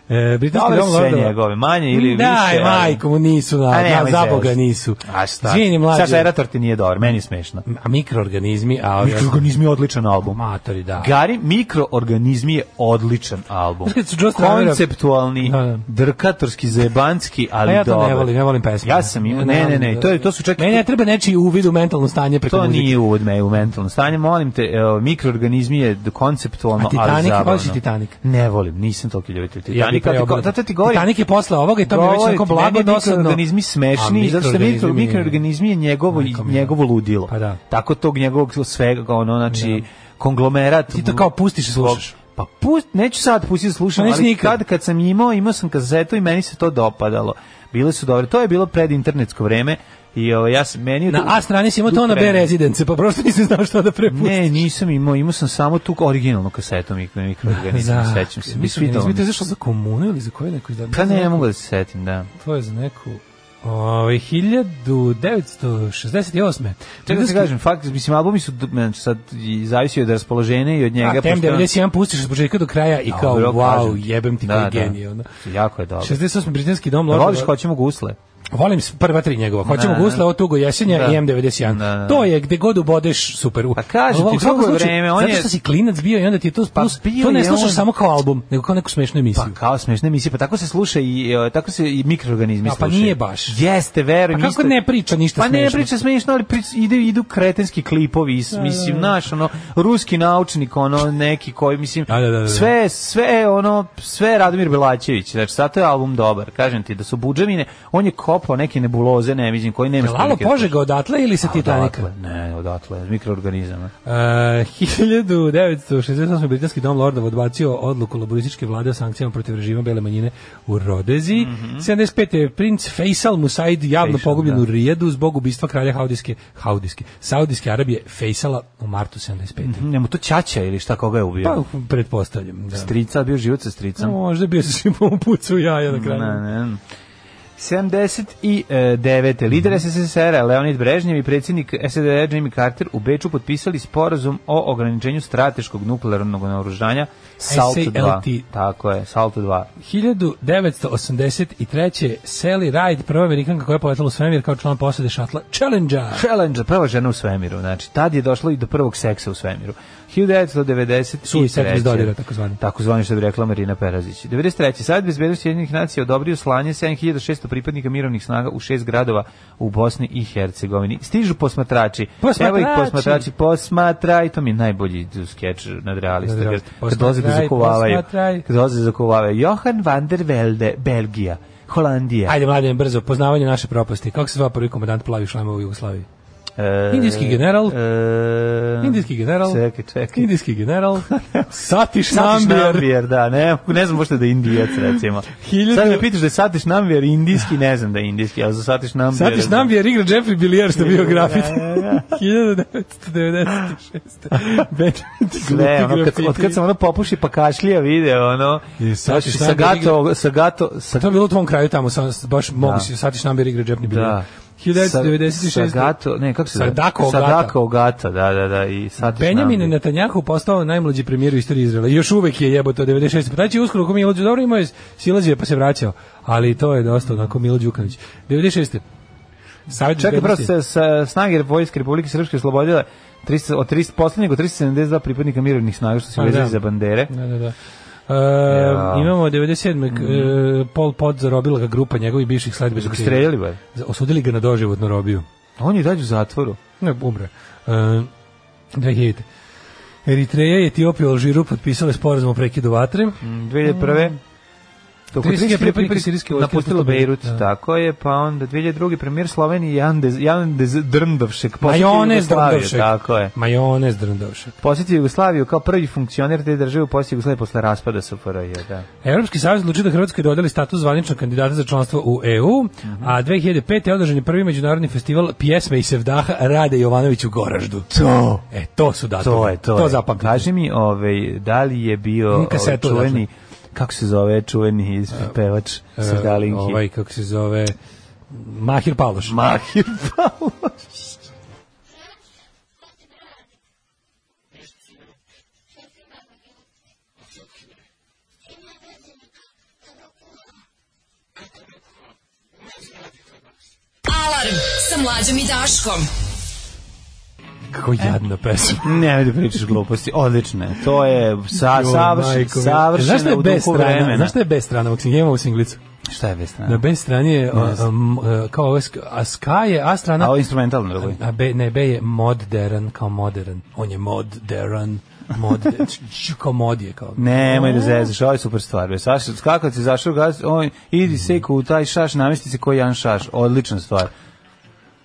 S7: E, Britanski
S6: Dobre
S7: dom
S6: su sve
S7: lordova.
S6: njegove, manje ili
S7: da,
S6: više. ali-
S7: majko mu nisu, da,
S6: A nemoj
S7: da, za
S6: zezati.
S7: boga nisu.
S6: A šta?
S7: Izvini, mlađe.
S6: Saša Erator ti nije dobar, meni je smešno.
S7: A mikroorganizmi, a ovi
S6: Mikroorganizmi je odličan album.
S7: matori, da.
S6: Gari Mikroorganizmi je odličan album.
S7: Kad su Joe Stramera-
S6: Konceptualni,
S7: Da, da.
S6: drkatorski, zebanski, ali
S7: A ja to
S6: dobar.
S7: ne volim, ja volim pesme.
S6: Ja sam imao, ne, ne, ne, to, je, to su čak...
S7: Meni ne treba nečiji uvid u mentalno stanje preko
S6: To
S7: muzike.
S6: nije uvod me u mentalno stanje, molim te, evo, mikroorganizmi je d- konceptualno,
S7: A Titanic,
S6: ali zabavno.
S7: voliš i Titanic?
S6: Ne volim, nisam toliki ljubitelj Titanika.
S7: Ja
S6: Ja
S7: bih preobrnuo.
S6: zato ti govorim,
S7: Titanik je posle ovoga i to mi je već
S6: govorim
S7: tako
S6: ti,
S7: blago
S6: meni je
S7: dosadno.
S6: Mikroorganizmi smešni,
S7: A
S6: zato što
S7: mikroorganizmi
S6: mikro,
S7: mi je-
S6: mikroorganizmi je njegovo,
S7: Majko mila.
S6: njegovo ludilo.
S7: Pa da.
S6: Tako tog njegovog svega, ono, znači, konglomerat.
S7: Ti to kao pustiš i slušaš.
S6: Pa pust, neću sad pustiti da slušam,
S7: Pa neću
S6: ali
S7: nikad.
S6: kad, kad sam imao, imao sam kazetu i meni se to dopadalo. Bile su dobre. To je bilo pred internetsko vreme i ovaj, ja sam meni... je
S7: Na
S6: tu-
S7: A strani si imao
S6: tu
S7: to na B
S6: vreme.
S7: rezidence, pa prosto nisam znao šta da prepustiš.
S6: Ne, nisam imao, imao sam samo tu originalnu kasetu mikro, mikroorganizma,
S7: Da.
S6: sećam se. Bi
S7: Mikroorganizmi,
S6: svidao mi
S7: to je
S6: se.
S7: zašlo za komunu ili za koje neko izdan?
S6: Pa ne mogu da se setim, da.
S7: To je za neku... Ove, 1968.
S6: Čekaj da se kažem, fakt, mislim, albumi su, men, sad i zavisi od raspoloženja i od njega.
S7: A tem
S6: pošto-
S7: 91 pustiš od početka do kraja i kao,
S6: Dobro,
S7: wow,
S6: kažem ti.
S7: jebem ti
S6: Da,
S7: koji
S6: da.
S7: genij. ono.
S6: Jako je dobro.
S7: 68. britanski dom
S6: Da
S7: lordova.
S6: voliš ko ćemo gusle?
S7: Volim s- prva tri njegova. Hoćemo
S6: Da, da.
S7: gusla, o tugo jesenja
S6: Da.
S7: i M91.
S6: Da, da.
S7: To je gde god ubodeš super.
S6: Pa kažem ti,
S7: U svakom
S6: drugo je
S7: slučaju,
S6: vreme, on
S7: zato
S6: je- Pa
S7: što si klinac bio i onda ti je to plus,
S6: bio
S7: to ne
S6: je
S7: slušaš
S6: on-
S7: samo kao album, nego kao neku smešnu emisiju.
S6: Pa kao smešne emisije, pa tako se sluša i e, tako se i mikroorganizmi
S7: A, pa
S6: slušaju.
S7: nije baš.
S6: Jeste, veruj
S7: Pa kako ne priča ništa
S6: Pa ne
S7: smešno?
S6: priča smešno, ali prič, ide, idu kretenski klipovi, is, mislim, naš, ono, ruski naučnik, ono, neki koji, mislim,
S7: Da, da, da, da.
S6: sve, sve, ono, sve Radomir Belačević, znači, zato je album dobar, kažem ti, da su budževine, on je kopao neke nebuloze, ne vidim, koji nema
S7: Jel Lalo Požega odatle ili sa Titanika?
S6: Odatle, ne, odatle, mikroorganizama.
S7: Uh, 1968. britanski dom Lordova odbacio odluku laborističke vlade o sankcijama protiv režima bele manjine u Rodezi. 75. je princ Faisal Musaid javno
S6: Mhm. Faisal,
S7: pogubljen
S6: da.
S7: u Rijadu zbog ubistva kralja Haudijske, Haudijske, Saudijske Arabije Faisala u martu 75.
S6: Njemu to Ćaća ili šta koga je ubio?
S7: Pa, pretpostavljam. Da.
S6: Strica, bio život sa stricom.
S7: Možda bi se šipom pucu u jaja na kraju.
S6: Mm, Ne, ne. 79. Lider SSSR-a Leonid Brežnjev i predsjednik SED Jimmy Carter u Beču potpisali sporazum o ograničenju strateškog nuklearnog naoružanja SALT 2.
S7: SALT.
S6: Tako je, SALT 2.
S7: 1983. Sally Ride, prva amerikanka koja je poletala u svemir kao član posade šatla Challenger.
S6: Challenger, prva žena u svemiru, znači tad je došlo i do prvog seksa u svemiru. 1993.
S7: Suicide bez dodira, takozvani.
S6: Takozvani što bi rekla Marina Perazić. 93. Savjet bezbednosti Jedinih nacija odobrio slanje 7600 pripadnika mirovnih snaga u šest gradova u Bosni i Hercegovini. Stižu posmatrači. Evo ih
S7: Posmatrači.
S6: posmatrači. Posmatraj, to mi je najbolji skeč nad realista.
S7: Nad
S6: Kad,
S7: realista.
S6: kad dolaze da
S7: Posmatraj,
S6: zakuvavaju.
S7: posmatraj.
S6: Kad dolaze da zakuvavaju. Johan van der Velde, Belgija. Holandija.
S7: Ajde, mladen, brzo, poznavanje naše propasti. Kako se zva prvi komandant plavi šlama u Jugoslaviji?
S6: E,
S7: Indijski general.
S6: e,
S7: Indijski general.
S6: Čekaj, čekaj.
S7: Indijski general. Satiš
S6: Satiš
S7: Nambijer.
S6: Nambijer, da, ne, ne znam možda da je indijac, recimo.
S7: Hiljadu-
S6: Sad me pitaš da je Satiš Nambijer indijski, ne znam da je indijski, ali za Satiš Nambijer...
S7: Satiš Nambijer igra Jeffrey Billier što je bio grafit.
S6: Da, da, da.
S7: 1996. Benjamin ti
S6: Ne,
S7: glupi
S6: ono, kad,
S7: grafiti.
S6: od kad sam ono popuši pa kašlija video, ono,
S7: I Satiš
S6: sa
S7: Nambijer
S6: gato, sa gato, sa,
S7: To je bilo u tvom kraju tamo, sam, baš mogu
S6: Da.
S7: si, Satiš Nambijer igra Jeffrey Billier.
S6: da. Sa
S7: Pa 1996.
S6: gato, ne, kako se zove?
S7: Sadako
S6: Sa
S7: Ogata.
S6: Dako Ogata, da, da, da, i Satiš
S7: Benjamin
S6: Nambijer.
S7: Netanjahu postao najmlađi premijer u istoriji Izraela. I Još uvek je jebote od 96. Pa taj će uskoro ko Milo Đu- dobro imao je silazio je pa se vraćao. Ali to je dosta onako Milo Đukanović. 96. Savjet
S6: Čekaj,
S7: bezbednosti.
S6: prosto, sa, sa snage Vojske Republike Srpske oslobodile 300, od 300, poslednjeg od 372 pripadnika mirovnih snaga što su
S7: Pa,
S6: vezali
S7: da.
S6: za bandere.
S7: Da, da, da. E,
S6: Ja.
S7: imamo 97. k- e, Pol Pot zarobila ga grupa njegovih bivših
S6: Su ga
S7: sledbenika.
S6: streljali, bar.
S7: Osudili ga na doživotnu robiju.
S6: On je dalje u zatvoru.
S7: Ne, umre. E, 2000. Eritreja i Etiopija u Alžiru potpisale sporazum o prekidu vatre.
S6: 2001. Toko
S7: Sirijski
S6: 30
S7: Mm. pripadnika sirijske vojske
S6: napustilo
S7: napustilo
S6: Bejrut,
S7: Bejrut, da.
S6: tako je, pa onda 2002. premijer Slovenije Jan Dez, Jan Dez Drndovšek, posjetio
S7: Majonez
S6: Jugoslaviju,
S7: Drndovšek.
S6: Tako je.
S7: Majonez Drndovšek.
S6: Posjetio Jugoslaviju kao prvi funkcioner te države u posjeti Jugoslavije posle raspada SFRJ, da.
S7: Evropski savez odlučio da Hrvatskoj dodeli status zvaničnog kandidata za članstvo u EU, a 2005. je održan je prvi međunarodni festival pjesme i sevdaha Rade Jovanović u Goraždu.
S6: To,
S7: E, to su datumi.
S6: to je, to, je.
S7: zapamtite.
S6: Kaži mi, ovaj, da li je bio
S7: Imam kasetu,
S6: ovaj, čuveni, kako se zove čuveni iz- pevač
S7: E,
S6: sa Dalinki?
S7: Ovaj, kako se zove, Mahir Paloš.
S6: Mahir Pavlović.
S3: Alarm sa mlađom i Daškom.
S6: e.
S7: Kako jadna pesma.
S6: Ne, da pričaš gluposti. Odlično je. To je sa
S7: Joj,
S6: savršen,
S7: majko mila.
S6: savršeno
S7: Znaš šta je
S6: u
S7: bez
S6: duhu
S7: strana?
S6: vremena.
S7: Znaš šta je bez strana? Ovog singlema u singlicu.
S6: šta je bez strana?
S7: Na bez strani je, a, a, m, a, kao ovo, je sk- a ska je, a strana...
S6: A ovo je instrumentalno drugo.
S7: A B, ne, B je modern, kao modern. On je modern, modern, kao mod je, kao...
S6: Nemoj da zezaš, ovo je super stvar. bre. Saš, kako si
S7: Mm.
S6: zašao gaz, on, idi seku u taj šaš, namesti se koji jedan šaš. Odlična stvar.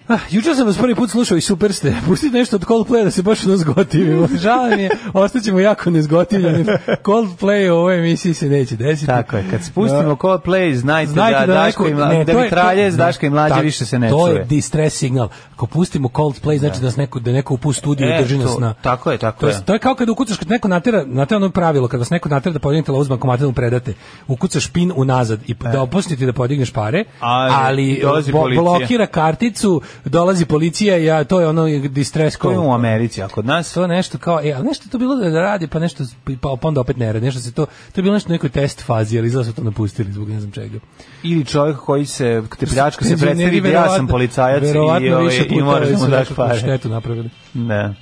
S7: Ah, juče sam vas prvi put slušao i super ste. Pustite nešto od Coldplaya da se baš nezgotivimo. Žao mi je, ostaćemo jako nezgotivljeni. Coldplay u ovoj emisiji se neće desiti.
S6: Tako je, kad spustimo
S7: Da.
S6: Coldplay, znajte,
S7: Znajte
S6: da, Daško
S7: neko-
S6: i mla,
S7: ne,
S6: da
S7: to
S6: mi
S7: je-
S6: tralje s
S7: to-
S6: Daška i mlađe
S7: tak,
S6: više se ne
S7: To je
S6: čuje.
S7: distress signal. Ako pustimo Coldplay, znači da, nas neko, da neko upu studiju
S6: E,
S7: i drži nas
S6: to-
S7: na...
S6: tako je, tako
S7: to
S6: je.
S7: To je kao kada ukucaš, kad neko natera, natera ono pravilo, kada vas neko natera da podigne telefon s bankomata da mu predate, ukucaš pin unazad i da opustiti da podigneš pare,
S6: Ali,
S7: ali,
S6: E. dolazi
S7: bo-
S6: policija.
S7: blokira karticu, dolazi policija i ja, to je ono distress
S6: To je
S7: call
S6: u Americi, a kod nas...
S7: to nešto kao, e, ali nešto je to bilo da radi, pa nešto, pa, pa onda opet ne radi, nešto se to, to je bilo nešto u nekoj test fazi, ali izgleda su to napustili zbog ne znam čega. Znači,
S6: Ili čovjek koji se, kad te pljačka se predstavi, da ja
S7: Verovatno-
S6: sam policajac i,
S7: verovatno
S6: ovaj,
S7: više
S6: i
S7: puta
S6: moraš da mu
S7: su
S6: daš
S7: nekakvu
S6: pare.
S7: štetu napravili.
S6: Ne.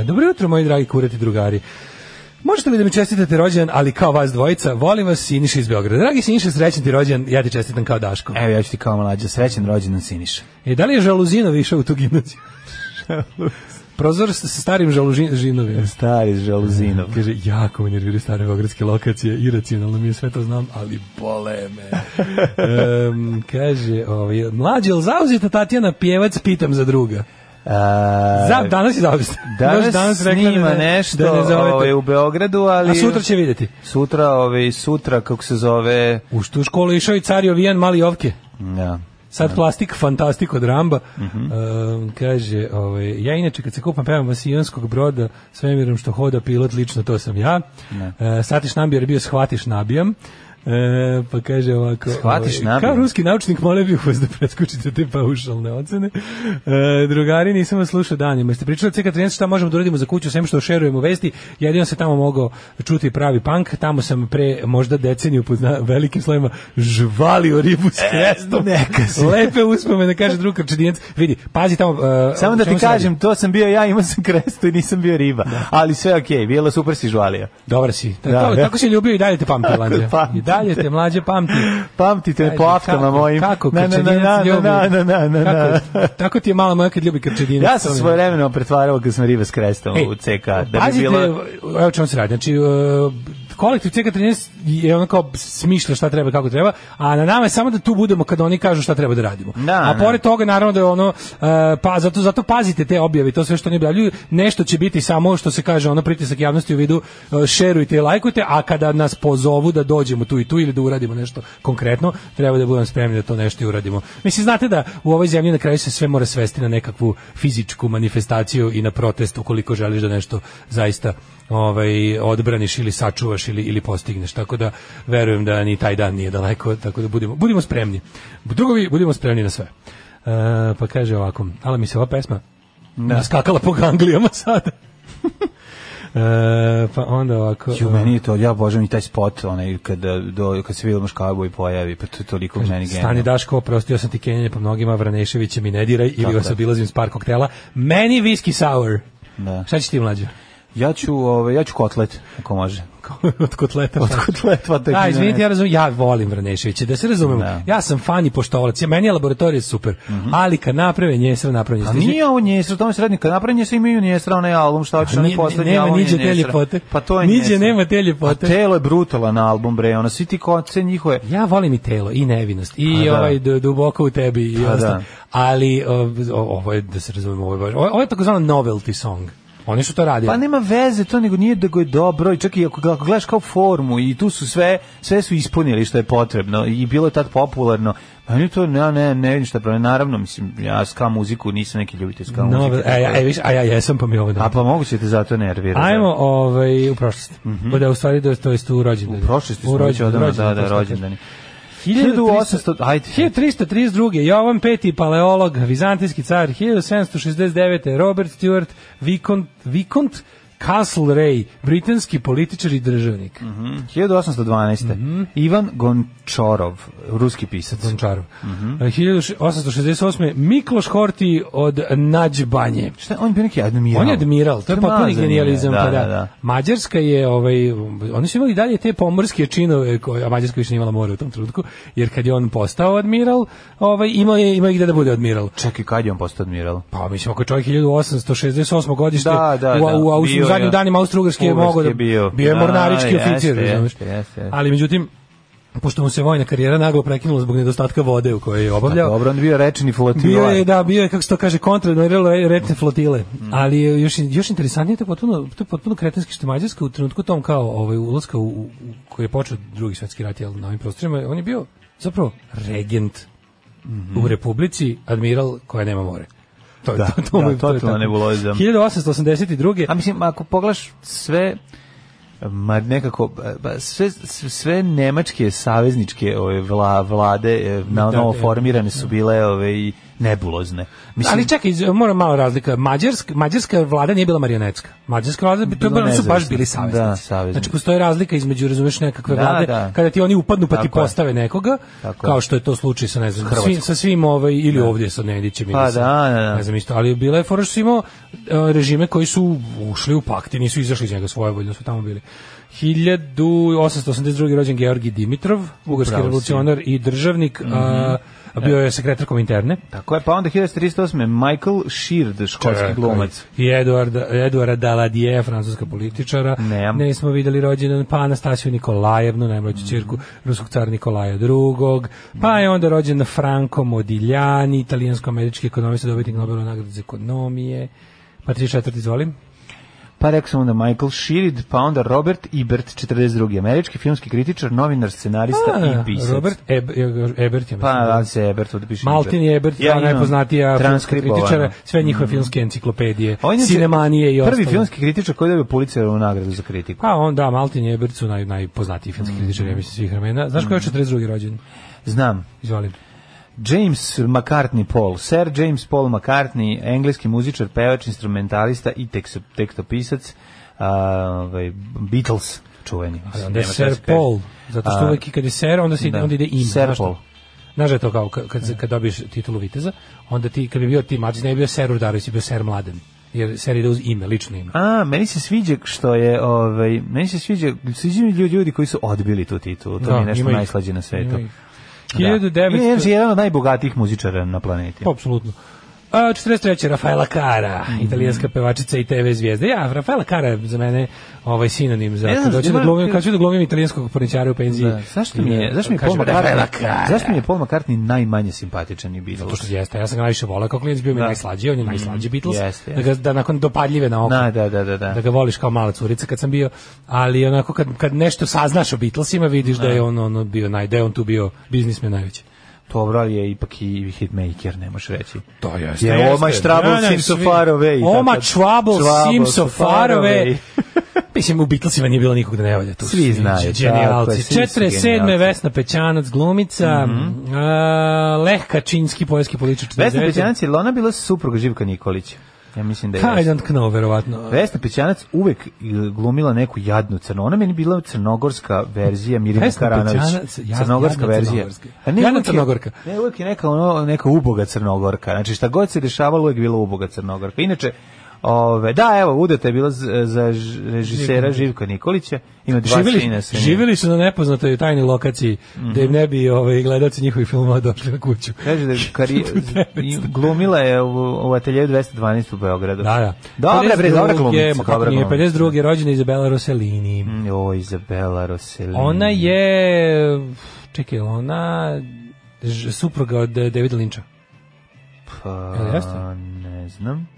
S7: E, dobro jutro, moji dragi kurati drugari. Možete mi da mi čestitate rođendan, ali kao vas dvojica, volim vas Siniša iz Beograda. Dragi Siniša, srećan ti rođendan, ja ti čestitam kao Daško.
S6: Evo, ja ću ti kao mlađa, srećen rođendan Siniša.
S7: E, da li je Žaluzinov išao u tu gimnaziju? Prozor sa sa starim Žaluzinovim.
S6: Stari žaluzinov.
S7: Kaže, jako me nerviraju stare beogradske lokacije, iracionalno mi je sve to znam, ali bole me. Em, kaže, ovaj, mlađe, jel zauzeta Tatjana Pjevac, pitam za druga. Za,
S6: Za,
S7: danas je zauzeta.
S6: E, danas,
S7: Baš rekla da
S6: snima
S7: ne-
S6: nešto
S7: da ne zovete.
S6: ovaj, u Beogradu, ali...
S7: A sutra će vidjeti.
S6: Sutra, ovaj, sutra, kako se zove...
S7: U što u školu je išao i car Jovijan Mali Ovke.
S6: Ja.
S7: Sad plastik, fantastik od Ramba.
S6: Mhm.
S7: Em, kaže, ovaj, ja inače kad se kupam pevam vasijonskog broda svemirom što hoda pilot, lično to sam ja. E, satiš nabija, jer je bio shvatiš nabijam. E, pa kaže ovako
S6: Shvatiš
S7: ovaj,
S6: nabijam?
S7: kao ruski naučnik mole bih vas da preskočite te paušalne ocene e, drugari nisam vas slušao danima ste pričali od CK13 šta možemo da uradimo za kuću sem što šerujemo vesti jedino se tamo mogao čuti pravi punk tamo sam pre možda deceniju pod zna- velikim slovima žvalio ribu s krestom
S6: E, neka si.
S7: lepe uspomene kaže drug krčedinac vidi pazi tamo e,
S6: Samo
S7: o
S6: da ti
S7: čemu se radi.
S6: kažem, to sam bio ja, imao sam krestu i nisam bio riba. Ali sve okej, bilo super si žvalio.
S7: dobar si
S6: Da,
S7: tako,
S6: da.
S7: tako si ljubio i dalje te pamti mlađe
S6: pamti
S7: i dalje te mlađe pamti
S6: Pamtite me
S7: Ajde,
S6: po aftama
S7: kako-
S6: mojim.
S7: Kako
S6: Na, na, na,
S7: krčedinac
S6: na,
S7: ljubi.
S6: na, na, na, na, na.
S7: Kako- Tako ti je mala moja kad ljubi krčedinac.
S6: Ja sam svoje vremeno pretvarao kad sam riba s krestom u CK. Da bi
S7: E, pazite,
S6: bila...
S7: evo čemu se radi. Znači, uh, kolektiv CK13 je ono kao smišlja šta treba i kako treba, a na nama je samo da tu budemo kada oni kažu šta treba da radimo.
S6: Da,
S7: a
S6: da.
S7: pored toga, naravno da je ono, uh, pa zato, zato pazite te objave i to sve što oni objavljuju, nešto će biti samo što se kaže, ono pritisak javnosti u vidu uh, šerujte i lajkujte, a kada nas pozovu da dođemo tu i tu ili da uradimo nešto konkretno, treba da budemo spremni da to nešto i uradimo. Mislim, znate da u ovoj zemlji na kraju se sve mora svesti na nekakvu fizičku manifestaciju i na protest ukoliko želiš da nešto zaista ovaj odbraniš ili sačuvaš ili ili postigneš. Tako da verujem da ni taj dan nije daleko, tako da budemo budimo spremni. Drugovi, budimo spremni na sve. E, pa kaže ovako, ali mi se ova pesma skakala po ganglijama sada. E, pa onda ovako...
S6: Ju, meni je to, ja božem i taj spot, onaj, kada, do, kad se Vilmoš Cowboy pojavi, pa to je toliko meni genijalno.
S7: Stani Daško, oprostio sam ti kenjanje po mnogima, Vraneševića mi ne diraj ili vas
S6: je.
S7: obilazim s par koktela. Meni whisky sour.
S6: Da.
S7: Šta će ti mlađo?
S6: Ja ću, ovaj, ja ću kotlet, ako može. pa
S7: Od kotleta. Od
S6: Kotletva tek.
S7: Da,
S6: ne-
S7: izvinite, ja razumem, ja volim Vraneševića, da se razumemo.
S6: Da.
S7: Ja sam fan i poštovalac, ja- meni je laboratorija super, ali kad naprave njesra, naprave
S6: A
S7: njesra.
S6: Pa nije ovo njesra, o tome se radi, kad napravljen njesra imaju njesra, onaj album, šta hoćeš,
S7: A
S6: onaj
S7: nije-
S6: poslednji
S7: nema
S6: album je
S7: niđe te
S6: njesra.
S7: ljepote.
S6: Pa to je
S7: Niđe
S6: njesra.
S7: nema te ljepote.
S6: A telo je brutalan album, bre, ono, svi ti koce njihove,
S7: Ja volim i telo, i nevinost,
S6: Pa
S7: i
S6: da.
S7: ovaj d- duboko u tebi, i
S6: Pa
S7: ostalo.
S6: da.
S7: Ali o- o- ovo je, da se razumemo, ovo je, baš- ovo- ovo je takozvani novelty song. Oni su to radili.
S6: Pa nema veze to, nego nije da go je dobro i čak i ako, ako gledaš kao formu i tu su sve, sve su ispunili što je potrebno i bilo je tad popularno. Meni to, ja ne, ne vidim šta pravi. Naravno, mislim, ja ska muziku nisam neki ljubitelj ska
S7: Novel,
S6: muzike.
S7: e, ja, e, viš, a ja jesam, pa mi je ovo
S6: A
S7: da.
S6: pa moguće te zato nervira.
S7: Ajmo ovaj, u prošlost. O da, u stvari, da, to je u rođendan.
S6: Mhm. U prošlosti smo već odavno, da, da, rođendani.
S7: 1800,
S6: 1800, ajde.
S7: 1332. Jovan V. Paleolog, vizantijski car, 1769. Robert Stewart, Vikont, Vikont Castlereagh, britanski političar i državnik.
S6: Mhm.
S7: Mm
S6: 1812.
S7: Mhm.
S6: Ivan Gončorov, ruski pisac.
S7: Dončarov.
S6: Mhm.
S7: 1868. Mikloš Horti od Nađbanje.
S6: Šta, je- on je bio neki admiral.
S7: On je admiral, to je potpuni
S6: Mazan je,
S7: genijalizam.
S6: Da,
S7: pa
S6: da, da.
S7: Mađarska je, ovaj, oni su imali dalje te pomorske činove, koje, a Mađarska više nije imala more u tom trenutku, jer kad je on postao admiral, ovaj, imao je, imao je gde da bude admiral.
S6: Čekaj, kad je on postao admiral?
S7: Pa mislim, ako je čovjek 1868. godište
S6: Da, da,
S7: u, u,
S6: da,
S7: u,
S6: bio
S7: u zadnjim
S6: je.
S7: danima Austro-Ugrske je
S6: Ugarske
S7: mogao da...
S6: je bio.
S7: bio je
S6: Da,
S7: mornarički
S6: jeste,
S7: oficir, razumeš?
S6: jeste, jeste.
S7: Ali međutim, pošto mu se vojna karijera naglo prekinula zbog nedostatka vode u kojoj je obavljao.
S6: A dobro, on je bio rečeni
S7: Bio
S6: flotila.
S7: je, da, bio je, kako se to kaže, kontradmiralo retne flotile.
S6: Mm.
S7: Ali je još, još interesantnije, to je potpuno, to je potpuno kretenski što je Mađarska u trenutku tom kao ovaj, ulazka u, u, u- koji je počeo drugi svetski rat jel, na ovim prostorima, on je bio zapravo regent u republici, admiral koja nema more. To, je-
S6: Mhm. Da, da,
S7: mu je- je
S6: totalna
S7: tako.
S6: nebuloza.
S7: 1882.
S6: A Pa mislim, ako pogledaš sve ma nekako e, ba, sve sve nemačke savezničke ove vla, vlade e, na
S7: Da,
S6: novo
S7: da.
S6: formirane su bile ove i nebulozne. Mislim,
S7: ali čekaj, iz- moram malo razlika. Mađarska, mađarska vlada nije bila marionetska. Mađarska vlada bi
S6: Bilo
S7: to bilo su baš
S6: nezavisno.
S7: bili saveznici.
S6: Da, saveznici.
S7: Znači postoji razlika između razumeš nekakve
S6: Da,
S7: vlade
S6: da.
S7: kada ti oni upadnu pa ti
S6: Tako je.
S7: postave nekoga,
S6: Tako je.
S7: kao što je to slučaj sa ne znam sa
S6: Hrvatskom.
S7: svim, sa svim ovaj ili ovdje sa Nedićem
S6: Pa
S7: ili sa,
S6: da, da, da.
S7: ne znam isto, ali bila je fora što si imao e, režime koji su ušli u pakt i nisu izašli iz njega svojevoljno su tamo bili. 1882. rođen Georgi Dimitrov, bugarski
S6: Upravo si. Mhm.
S7: revolucionar i državnik, a, a bio je sekretar kominterne.
S6: Tako je, pa onda 1338. Michael Sheard, školski
S7: Čekaj.
S6: glumac.
S7: E, I Eduarda, Eduarda Daladije, francuska političara.
S6: Nemam. Mm.
S7: Ne smo videli rođendan pa Anastasiju Nikolajevnu, najmlađu ćerku ruskog cara Nikolaja II. Pa je onda rođen Franco Modigliani, italijansko-američki ekonomista, dobitnik Nobelove nagrade za ekonomije. Pa 34. izvolim.
S6: Pa rekao sam onda Michael Sheard, pa onda Robert Ebert, 42. američki filmski kritičar, novinar, scenarista i pisac.
S7: Robert Eb- Eb- Ebert je
S6: Pa,
S7: mislim.
S6: ali se Ebert ovdje piše.
S7: Maltin i Ebert,
S6: Ja
S7: dva
S6: imam
S7: najpoznatija filmska
S6: transkripovano.
S7: kritičara, sve njihove filmske enciklopedije,
S6: On je inače
S7: cinemanije i ostalo.
S6: Prvi filmski kritičar koji je dobio Pulitzerovu nagradu za kritiku.
S7: Pa on, da, Maltin i Ebert su naj, najpoznatiji filmski
S6: Mhm.
S7: kritičari, ja mislim, svih vremena. Znaš ko je 42. rođen?
S6: Znam.
S7: Izvolim.
S6: James McCartney Paul, Sir James Paul McCartney, engleski muzičar, pevač, instrumentalista i tekso- tekstopisac, a, ovaj, Beatles, čuveni.
S7: Ali
S6: mislim,
S7: Pa onda
S6: nema
S7: je
S6: šta
S7: Sir
S6: se kaže.
S7: Paul, zato što
S6: A,
S7: uvek i kad je Sir, onda, se,
S6: da.
S7: onda ide ime.
S6: Sir
S7: znaš šta?
S6: Paul.
S7: Znaš da je to kao kad, kad, kad dobiješ titulu viteza, onda ti, kad bi bio ti mađis, ne bi bio Sir Urdarović, bi bio Sir Mladen. Jer Sir ide uz ime, lično ime.
S6: A, meni se sviđa što je, ovaj, meni se sviđa, sviđa mi ljudi, ljudi koji su odbili tu titulu, to
S7: Da,
S6: mi je nešto
S7: ima ih.
S6: najslađe na svetu.
S7: Ima ih.
S6: Da. I James
S7: 1900...
S6: je jedan od najbogatijih muzičara na planeti.
S7: Pa, Apsolutno. A, 43. Rafaela Cara,
S6: Mhm.
S7: italijanska pevačica i TV zvijezda. Ja, Rafaela Cara je za mene ovaj sinonim za
S6: Ne znam,
S7: kad hoću da
S6: ima-
S7: glumim, kad hoću da glumim italijanskog porničara u penziji.
S6: Da, zašto mi je, zašto mi je Paul
S7: Kažem, Rafaela
S6: McCartney,
S7: Cara.
S6: zašto mi je Paul McCartney najmanje simpatičan i Beatles?
S7: Zato što jeste, ja sam ga najviše volao kao klijent, bio mi
S6: Da. Mm,
S7: da. najslađi, on je najslađi Beatles,
S6: jeste,
S7: da, ga, da nakon dopadljive na oko,
S6: Da, da, da, da, da.
S7: da ga voliš kao mala curica kad sam bio, ali onako kad, kad nešto saznaš o Beatlesima vidiš da je on, on bio naj, da je on tu bio biznismen najveći.
S6: Dobro, ali je ipak i hitmaker, ne možeš reći.
S7: To Pa jeste.
S6: Je, oh my trouble seems so far away.
S7: Oh my
S6: Tako-
S7: trouble seems so far away.
S6: away.
S7: Mislim, u Beatlesima nije bilo nikog da ne valja. Tu
S6: Svi znaju, tako je,
S7: Genijalci.
S6: svi su
S7: 47.
S6: genijalci.
S7: Vesna Pećanac, glumica. a, Leh Kačinski, poljski političar.
S6: Vesna
S7: 49..
S6: Pećanac, je li ona bila supruga Živka Nikolića? Ja mislim da je.
S7: I
S6: jeste.
S7: don't know, verovatno.
S6: Vesna Pećanac uvek e, glumila neku jadnu crno. Ona meni bila crnogorska verzija Mirjana
S7: Vesna
S6: Karanović.
S7: Pećanac, jadna-
S6: crnogorska
S7: jadna
S6: verzija.
S7: crnogorska.
S6: A ne,
S7: Jadna
S6: uvek je-
S7: crnogorka.
S6: Ne, uvek je neka, ono, neka uboga crnogorka. Znači šta god se dešavalo, uvek je bila uboga crnogorka. Inače, Ove, da, evo, udata je bila z- za ž- režisera Živka Nikolića. Ima dva sina
S7: Živeli,
S6: sa njim.
S7: živeli su na nepoznatoj tajnoj lokaciji
S6: Mhm.
S7: da im ne bi ovaj, gledaoci njihovih filmova došli na kuću.
S6: Kaže da je kari... i glumila je u, u ateljevu 212 u Beogradu.
S7: Da, da.
S6: Dobra, bre, dobra
S7: 52.,
S6: glumica.
S7: ma kako
S6: dobra
S7: nije,
S6: glumica.
S7: 52. rođena Izabela Rossellini.
S6: Mm, O, Izabela Rossellini.
S7: Ona je, čekaj, ona ž- supruga od eh, Davida Linča.
S6: Pa,
S7: Jel jeste?
S6: ne znam.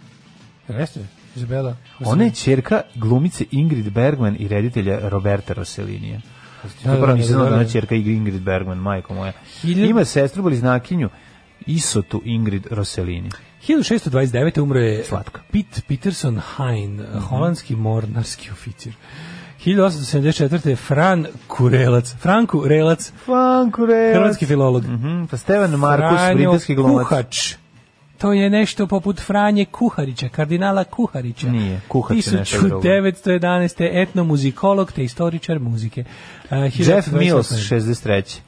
S7: Jeste, Izabela.
S6: Ona je čerka glumice Ingrid Bergman i reditelja Roberta Rossellinija.
S7: Da,
S6: Ja
S7: da,
S6: prvo
S7: da,
S6: nisam
S7: da,
S6: znao da
S7: da.
S6: ona čerka igra Ingrid Bergman, majko moja.
S7: Hiljad-
S6: Ima sestru bliznakinju Isotu Ingrid Rossellini.
S7: 1629. umro je
S6: Slatka.
S7: Pete Peterson Hein, eh, holandski mornarski oficir. 1874. Fran Kurelac, Franku Relac,
S6: Franko Revac.
S7: hrvatski filolog.
S6: Mhm, pa Stevan Markus,
S7: Franjo
S6: britanski glumac.
S7: Kuhač. To je nešto poput Franje Kuharića, kardinala Kuharića.
S6: Nije, Kuhać je nešto drugo.
S7: 1911. etnomuzikolog te istoričar muzike. Uh,
S6: Jeff Mills, 63.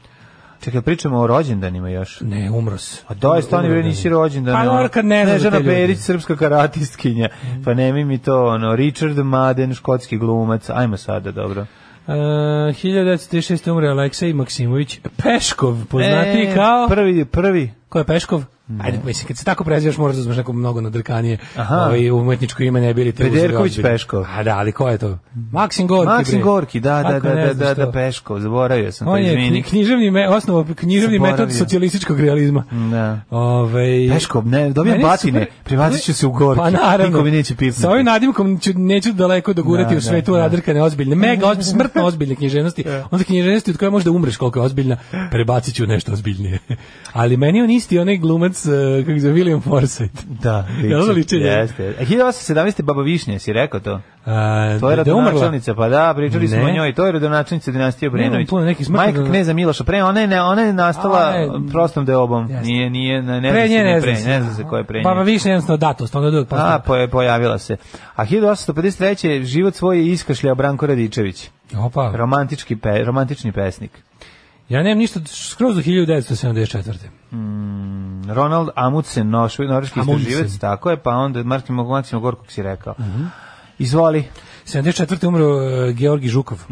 S6: Čekaj, pričamo o rođendanima još.
S7: Ne, umros.
S6: A da je stani bre nisi rođendan.
S7: Pa
S6: ono.
S7: dobro, kad ne znaš za te
S6: Snežana
S7: ljude. Mhm.
S6: Perić, srpska karatistkinja. Pa nemi mi to ono Richard Madden, škotski glumac. Ajmo sada, dobro.
S7: Uh, 1936. umre Aleksej Maksimović Peškov, poznati
S6: E,
S7: kao...
S6: prvi prvi
S7: Ko je Peškov? Ajde, mislim, kad se tako prezivaš, moraš da uzmeš neko mnogo nadrkanije
S6: Aha.
S7: ovaj, umetničko ime, ne bili te uzeli
S6: Pederković
S7: ozbiljno.
S6: Peško.
S7: A da, ali ko je to? Maksim Gorki.
S6: Maksim
S7: bre.
S6: Gorki, da, da,
S7: Kako
S6: da,
S7: ne
S6: da,
S7: znaš
S6: da, da,
S7: to?
S6: Peško, zaboravio sam to,
S7: On je kni-
S6: Pa izvini.
S7: književni me, osnova, književni
S6: Zaboravio.
S7: metod socijalističkog realizma.
S6: Da.
S7: Ovaj
S6: Peško, ne, dobijam
S7: Meni je
S6: batine,
S7: super-
S6: privazit ću se u Gorki,
S7: Pa naravno.
S6: niko mi neće pipnuti.
S7: Sa ovim nadimkom ću, neću daleko dogurati
S6: Da,
S7: u svetu
S6: da,
S7: da,
S6: da.
S7: radrkane ozbiljne, mega ozbiljne, smrtno ozbiljne književnosti. Onda književnosti od koje možda umreš koliko je ozbiljna, prebacit ću u nešto ozbiljnije. Ali meni je on isti onaj glumac, eh, kako se zove, William Forsythe.
S6: Da,
S7: Jel da
S6: liči.
S7: liči?
S6: Jeste. E, A 1817. Baba Višnja, si rekao to?
S7: A,
S6: To je
S7: da- da umrla?
S6: rodonačelnica, pa da, pričali smo
S7: Ne.
S6: o njoj, to je rodonačelnica dinastije Obrenović.
S7: tu je neki smrtno-
S6: Majka kneza Miloša, pre ona je, ne, ona je nastala
S7: A, ne.
S6: prostom deobom.
S7: Jeste.
S6: Nije, nije, ne, ne,
S7: Pre nje ne
S6: pre,
S7: zna se.
S6: ne zna se ko je pre nje.
S7: Baba Višnja je jednostavno datost, onda pa uvijek
S6: A,
S7: postane.
S6: po, Pa, pojavila se. A 1853. život svoj je iskašljao Branko Radičević,
S7: Opa.
S6: romantički pe, romantični pesnik.
S7: Ja nemam ništa skroz do 1974.
S6: Ronald Amundsen, noš, norveški
S7: Amundsen. Mhm.
S6: istraživac, tako je, pa onda Martin Mog- Maksim Gorkog si rekao. Izvoli,
S7: 74. umro eh, Georgi Žukov.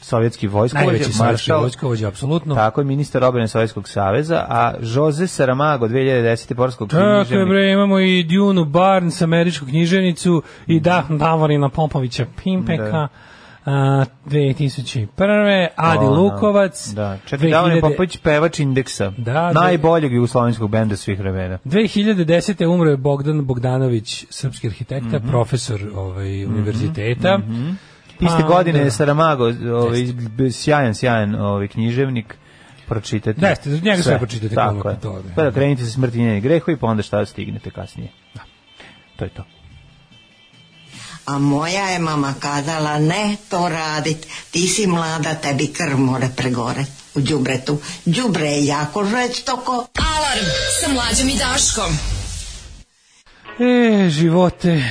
S6: sovjetski vojskovođa,
S7: Najveći sovjetski
S6: Mm. maršal,
S7: vojskovođa, apsolutno.
S6: Tako je ministar obrane Sovjetskog saveza, a Jose Saramago 2010. porskog
S7: Tako je,
S6: književnika.
S7: bre, imamo i Djunu Barnes, američku književnicu,
S6: Mm.
S7: i da, Davorina Popovića Pimpeka, a, 2001. Adi
S6: Ona.
S7: Lukovac,
S6: Ono, Da, četiri davne Popović pevač indeksa.
S7: Da, da.
S6: najboljeg jugoslovenskog benda svih vremena.
S7: 2010. umro je Bogdan Bogdanović, srpski arhitekta,
S6: Mhm.
S7: profesor ovaj, univerziteta.
S6: Iste
S7: Pa
S6: godine
S7: onda-
S6: je Saramago, ovaj, b- sjajan, sjajan ovaj, književnik, pročitajte.
S7: Da, jeste, njega sve pročitajte,
S6: Tako
S7: koliko
S6: je.
S7: je to, da.
S6: Pa da krenite sa smrti njenih grehovi, pa onda šta stignete kasnije. Da. To je to.
S3: A moja je mama kazala, ne to radit, ti si mlada, tebi krv more pregore u džubretu. Džubre je jako žestoko.
S5: Alarm sa mlađom i Daškom.
S7: E, živote.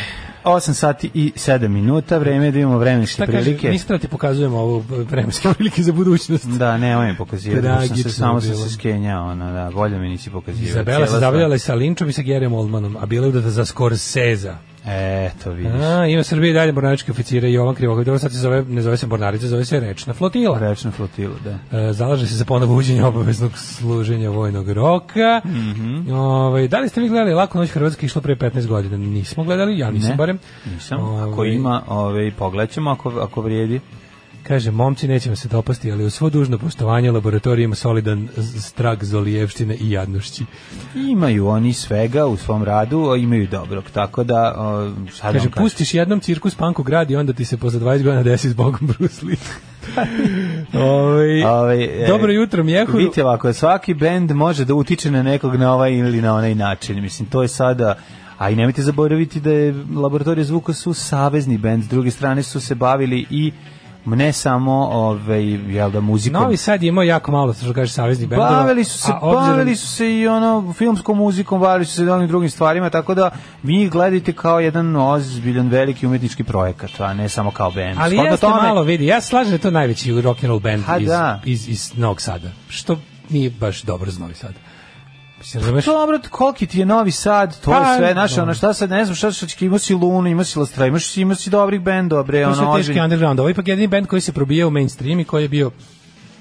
S6: 8 sati i 7 minuta, vreme je da imamo vremenske
S7: Šta kaže,
S6: prilike.
S7: nisam da ti pokazujem ovo vremenske prilike za budućnost.
S6: Da, ne, on je pokazio. sam se,
S7: Tragično
S6: samo sam
S7: bilo.
S6: se skenjao, ono, da, bolje mi nisi pokazio.
S7: Izabela se zabavljala i sa Linčom i sa Gerem Oldmanom, a bila je udata za Scorsese.
S6: E, to vidiš.
S7: A, ima Srbije i dalje mornarički oficire Jovan Krivoković. Dobro, sad se zove, ne zove se mornarica, zove se rečna flotila.
S6: Rečna flotila, da.
S7: E, Zalaže se za ponovo uđenje obaveznog služenja vojnog roka.
S6: Mhm.
S7: Ovaj, da li ste vi gledali Laku noć Hrvatske išlo pre 15 godina? Nismo gledali, ja nisam
S6: Ne,
S7: barem.
S6: Nisam. Ako
S7: Ovaj,
S6: ima, ove, pogledaćemo ako, ako vrijedi.
S7: Kaže, momci, nećemo se dopasti, ali u svo dužno poštovanje laboratorij ima solidan z- strag zolijevštine i jadnošći.
S6: Imaju oni svega u svom radu, a imaju dobrog, tako da, o, šta da
S7: Kaže,
S6: vam kažem?
S7: pustiš jednom cirkus punk u grad i onda ti se posle 20 godina desi s Bogom Bruce Lee. Ovaj,
S6: Ovaj, e,
S7: dobro jutro, Mjehuru.
S6: Vidite ovako, svaki bend može da utiče na nekog na ovaj ili na onaj način. Mislim, to je sada... A i nemojte zaboraviti da je Laboratorija zvuka su savezni bend, s druge strane su se bavili i ne samo ovaj, jel da, muzikom.
S7: Novi Sad je imao jako malo, što kaže, saveznih bendova.
S6: Bavili su se,
S7: a obzirom-
S6: bavili su se i ono filmskom muzikom, bavili su se i onim drugim stvarima, tako da vi ih gledajte kao jedan ozbiljan veliki umetnički projekat, a ne samo kao bend.
S7: Ali
S6: Shodno
S7: jeste malo vidi, ja se slažem da je to najveći rock and roll band
S6: Ha,
S7: iz,
S6: da.
S7: iz, iz Novog Sada, što nije baš dobro za Novi Sad. Mislim, razumeš?
S6: Dobro, koliki ti je Novi Sad, to
S7: Pa,
S6: je sve, znaš,
S7: da.
S6: ono šta sad, ne znam šta sad, ima si Lunu, ima si Lastra, imaš si, ima si dobrih bendova, bre,
S7: To su
S6: ono,
S7: teški
S6: ozbiljni.
S7: underground. Ovo je ipak jedini band koji se probijao u mainstream i koji je bio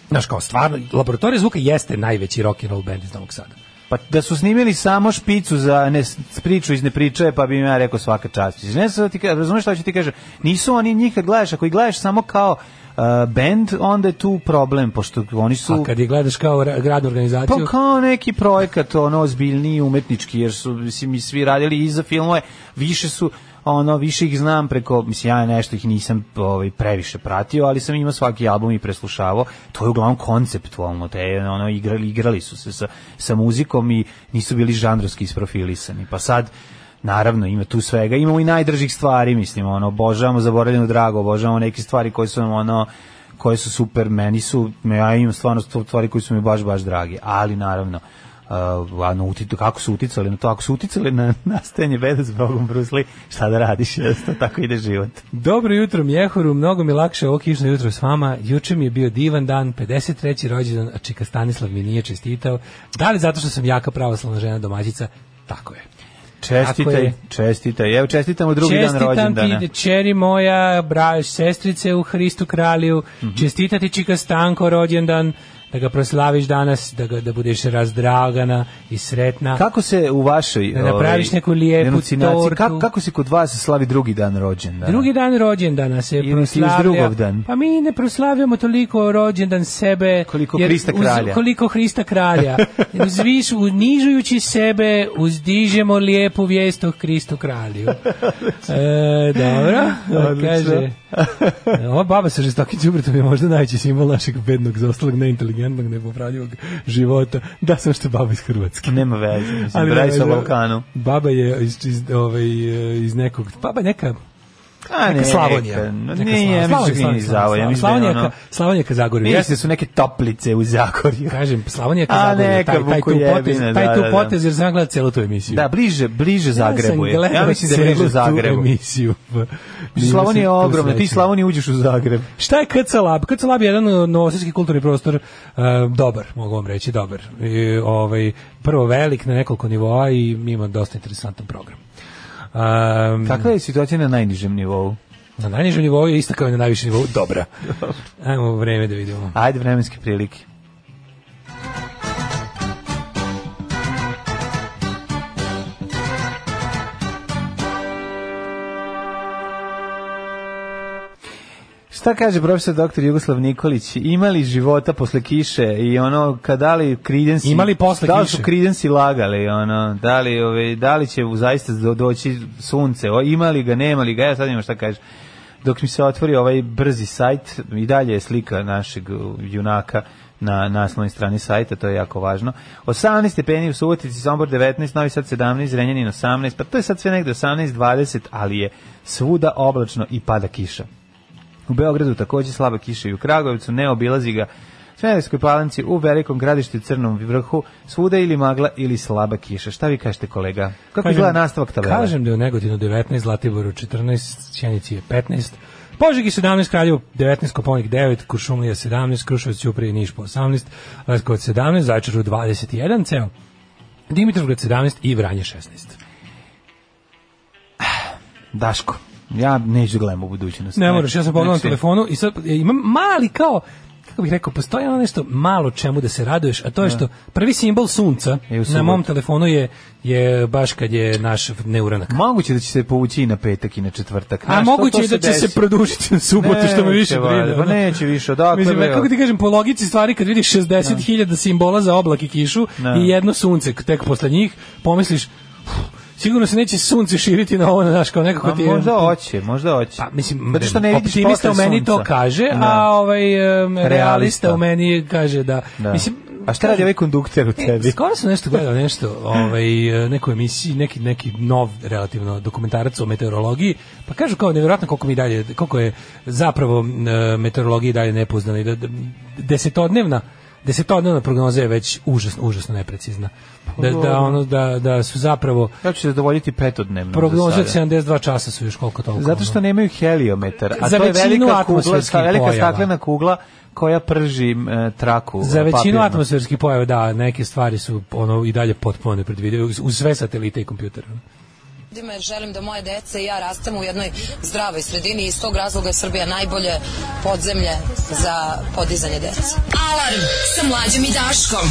S7: Znaš kao, stvarno, Laboratorija zvuka jeste najveći rock and roll band iz Novog Sada.
S6: Pa da su snimili samo špicu za ne, s- priču iz ne priče, pa bi im ja rekao svaka čast. Znači, Ne znam, ti, ka- razumeš šta ću ti kažem? Nisu oni njih kad gledaš, ako ih gledaš samo kao uh, band, onda je tu problem, pošto oni
S7: A
S6: su...
S7: kad je gledaš kao ra- gradnu
S6: Pa
S7: organizaciju,
S6: kao neki projekat, ono, ozbiljniji umetnički, jer su, mislim, mi svi radili i za filmove, više su, ono, više ih znam preko, mislim, ja nešto ih nisam ovaj, previše pratio, ali sam imao svaki album i preslušavao, to je uglavnom konceptualno, te, ono, igrali, igrali su se sa, sa muzikom i nisu bili žanrovski isprofilisani, pa sad, Naravno, ima tu svega. Imamo i najdržih stvari, mislim, ono, obožavamo zaboravljeno drago, obožavamo neke stvari koje su nam, ono, koje su super, meni su, ja imam stvarno sto- stvari koje su mi baš, baš drage, ali naravno, uh, ano, uti- kako su uticali na to, ako su uticali na nastajanje beda s Bogom Bruce Lee, šta da radiš, jednostavno, tako ide život.
S7: Dobro jutro, Mjehoru, mnogo mi lakše ovo kišno jutro s vama. Juče mi je bio divan dan, 53. rođendan, a Čika Stanislav mi nije čestitao. Da li zato što sam jaka pravoslavna žena domaćica? Tako je. Tako
S6: Čestitaj,
S7: je.
S6: čestitaj, evo čestitamo drugi dan
S7: Čestitam
S6: rođendana.
S7: ti, čeri
S6: Mhm.
S7: moja, braš, sestrice u Hristu kralju, čestitati Čika Stanko rođendan, da ga proslaviš danas, da, ga, da budeš razdragana i sretna.
S6: Kako se u vašoj
S7: Da napraviš
S6: ovaj,
S7: neku lijepu
S6: denucinaciji,
S7: tortu.
S6: Kako, kako se kod vas slavi drugi dan rođendana?
S7: Drugi dan rođendana se
S6: Ili ti uz
S7: proslavlja.
S6: drugog dan?
S7: Pa mi ne proslavljamo toliko rođendan sebe.
S6: Koliko
S7: jer
S6: Hrista
S7: uz-
S6: kralja.
S7: koliko Hrista kralja. Uzviš, unižujući sebe, uzdižemo lijepu vijest o Hristu kralju. e, dobro.
S6: Odlično.
S7: Kaže, e, ova baba sa žestokim džubretom je možda najveći simbol našeg bednog, zaostalog, neinteligentnog, nepopravljivog života. Da, sam što je baba iz Hrvatske.
S6: Nema veze, mislim, Ali
S7: Ali ne,
S6: radi se o
S7: ne,
S6: Balkanu.
S7: Baba je iz, iz, ovaj, iz nekog, baba je neka
S6: A
S7: neka Slavonija.
S6: Neka,
S7: Neka
S6: nije, ja mislim da nije iz Zavolja.
S7: Slavonija,
S6: mislim da je
S7: Slavonija,
S6: ono-
S7: ka, Slavonija ka Zagorju.
S6: Mislim da su neke toplice u Zagorju.
S7: Kažem, Slavonija ka
S6: A,
S7: Zagorju. Taj,
S6: neka
S7: taj tu
S6: Vukujebina,
S7: potez,
S6: da,
S7: taj tu
S6: da, da.
S7: potez, jer sam ja gledao celu tu emisiju.
S6: Da, bliže, bliže Zagrebu je.
S7: Ja, sam
S6: Ja
S7: gledao
S6: mislim da je bliže
S7: celu tu
S6: Zagrebu.
S7: Emisiju.
S6: Slavonija je
S7: Nisam tu
S6: ogromna, ti
S7: srećan.
S6: Slavonija uđeš u Zagreb.
S7: Šta je Kcalab? Kcalab je jedan uh, novosadski kulturni prostor, uh, dobar, mogu vam reći, dobar. I, ovaj, prvo velik na nekoliko nivoa i ima dosta interesantan program. Um,
S6: Kakva je situacija na najnižem nivou?
S7: Na najnižem nivou je ista kao i na najvišem nivou. Dobra. Ajmo vreme da vidimo.
S6: Ajde vremenske prilike. Šta kaže profesor doktor Jugoslav Nikolić? Imali života posle kiše i ono, kada li kridensi...
S7: Imali posle
S6: Da li
S7: kiše?
S6: su kridensi lagali, ono, da li, ove, da li će zaista do- doći sunce, o, imali ga, nemali ga, ja sad imam šta kaže. Dok mi se otvori ovaj brzi sajt, i dalje je slika našeg uh, junaka na naslovnoj strani sajta, to je jako važno. 18 stepeni u Subotici, Sombor 19, Novi Sad 17, Renjanin 18, pa to je sad sve negde 18, 20, ali je svuda oblačno i pada kiša. U Beogradu takođe slaba kiša i u Kragujevcu ne obilazi ga. Smederevskoj palanci u velikom gradištu i crnom vrhu svuda ili magla ili slaba kiša. Šta vi kažete kolega? Kako
S7: Kažem-
S6: izgleda nastavak tabela?
S7: Kažem da je u Negotinu 19, Zlatiboru 14, Sjenici je 15, Požegi 17, Kraljevo 19, Koponik 9, Kuršumlija 17, Kruševac, Ćuprije i Niš po 18, Leskovac 17, Zaječaru 21, ceo, Dimitrovgrad 17 i Vranje 16.
S6: Daško, ja neću da gledam u budućnost.
S7: Ne moraš, ja sam pogledao na
S6: Znači,
S7: telefonu i sad e, imam mali kao, kako bih rekao, postoji ono nešto malo čemu da se raduješ, a to je što prvi simbol sunca
S6: Je E, u
S7: na
S6: subotu.
S7: mom telefonu je, je baš kad je naš neuranak.
S6: Moguće da će se povući i na petak i na četvrtak.
S7: A
S6: Znaš, to-
S7: moguće
S6: Pa to
S7: je da će
S6: desi.
S7: se produžiti na subotu, što me
S6: Neće,
S7: više
S6: valjda,
S7: brine.
S6: pa
S7: ono.
S6: neće više, odakle,
S7: Mislim,
S6: bre,
S7: kako ti kažem, po logici stvari, kad vidiš 60.000 simbola za oblak i kišu
S6: Da.
S7: i jedno sunce tek posle njih, pomisliš, "Uf, sigurno se neće sunce širiti na ovo, znaš, kao nekako
S6: A
S7: ti je...
S6: Pa možda hoće, možda hoće.
S7: Pa, mislim,
S6: Zato što ne vidiš
S7: optimista u
S6: posle
S7: meni to
S6: sunca.
S7: kaže, a
S6: Da.
S7: ovaj em, realista
S6: Realista.
S7: u meni kaže da...
S6: Da.
S7: Mislim,
S6: a šta radi ovaj kondukter u
S7: E,
S6: tebi?
S7: skoro sam nešto gledao, nešto, ovaj, e, neku emisiju, neki, neki nov relativno dokumentarac o meteorologiji, pa kažu kao nevjerojatno koliko mi dalje, koliko je zapravo e, meteorologiji dalje nepoznana i da, da desetodnevna desetodnevna prognoza je već užasno, užasno neprecizna. Da, da, ono, da, da su zapravo
S6: Ja ću se zadovoljiti petodnevno. za
S7: prognoze od
S6: sada.
S7: 72 časa su još koliko toliko.
S6: Zato što
S7: ono.
S6: nemaju heliometar, a
S7: Za
S6: to je
S7: većinu
S6: velika kugla,
S7: atmosferskih
S6: sta- velika
S7: pojava.
S6: staklena kugla koja prži e, traku.
S7: Za
S6: e,
S7: većinu
S6: papirnu.
S7: atmosferskih pojava, da, neke stvari su ono i dalje potpuno nepredvidive uz- uz sve satelite i kompjutere.
S5: ljudima jer želim da moje dece i ja rastemo u jednoj zdravoj sredini i iz tog razloga je Srbija najbolje podzemlje za podizanje dece.
S9: Alarm sa mlađom i Daškom.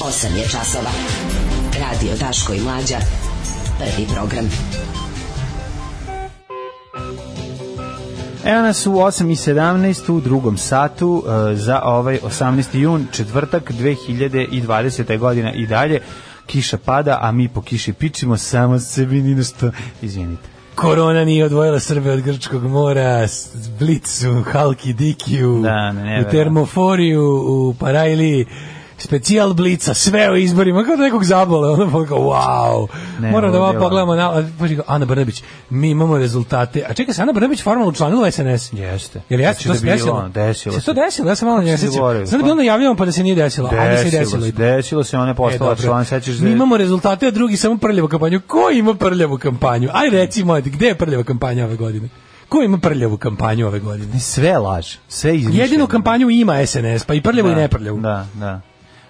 S5: 8 je časova. Radio Daško i Mlađa. Prvi program.
S6: Evo nas u 8.17 u drugom satu e, za ovaj 18. jun, četvrtak 2020. godina i dalje. Kiša pada, a mi po kiši pičimo samo sebi ni na što. Izvinite.
S7: Korona nije odvojila Srbe od Grčkog mora, s- Blicu, Halki Dikiju,
S6: Da, ne,
S7: u
S6: nevjerojatno.
S7: Termoforiju, u Parajli, specijal Blica, sve o izborima, kao da nekog zabola, ono pa kao, wow.
S6: Ne, ono.
S7: Moram da vam
S6: ludilo.
S7: pogledamo, na, a, pa čekaj, Ana Brnabić, mi imamo rezultate, a čekaj, se Ana Brnabić formalno učlanila u SNS?
S6: Jeste.
S7: Jel ja
S6: Znači
S7: to
S6: da
S7: se
S6: bilo,
S7: desilo?
S6: desilo
S7: se.
S6: se.
S7: to desilo, ja sam malo ne
S6: si zaboravio?
S7: sjećam. Sad je bilo najavljamo pa da se nije desilo, desilo ali se desilo.
S6: se,
S7: ipak.
S6: desilo se, ona je postala
S7: E, dobro.
S6: član, sećaš
S7: Mi
S6: da-
S7: imamo rezultate, a drugi samo prljavu kampanju. Ko ima prljavu kampanju? Aj reci, moj, gde je prljava kampanja ove godine? Ko ima prljavu kampanju ove godine?
S6: Sve laž, sve izmišljeno.
S7: Jedinu kampanju ima SNS, pa i prljavu i
S6: Da,
S7: neprljavu.
S6: Da, da.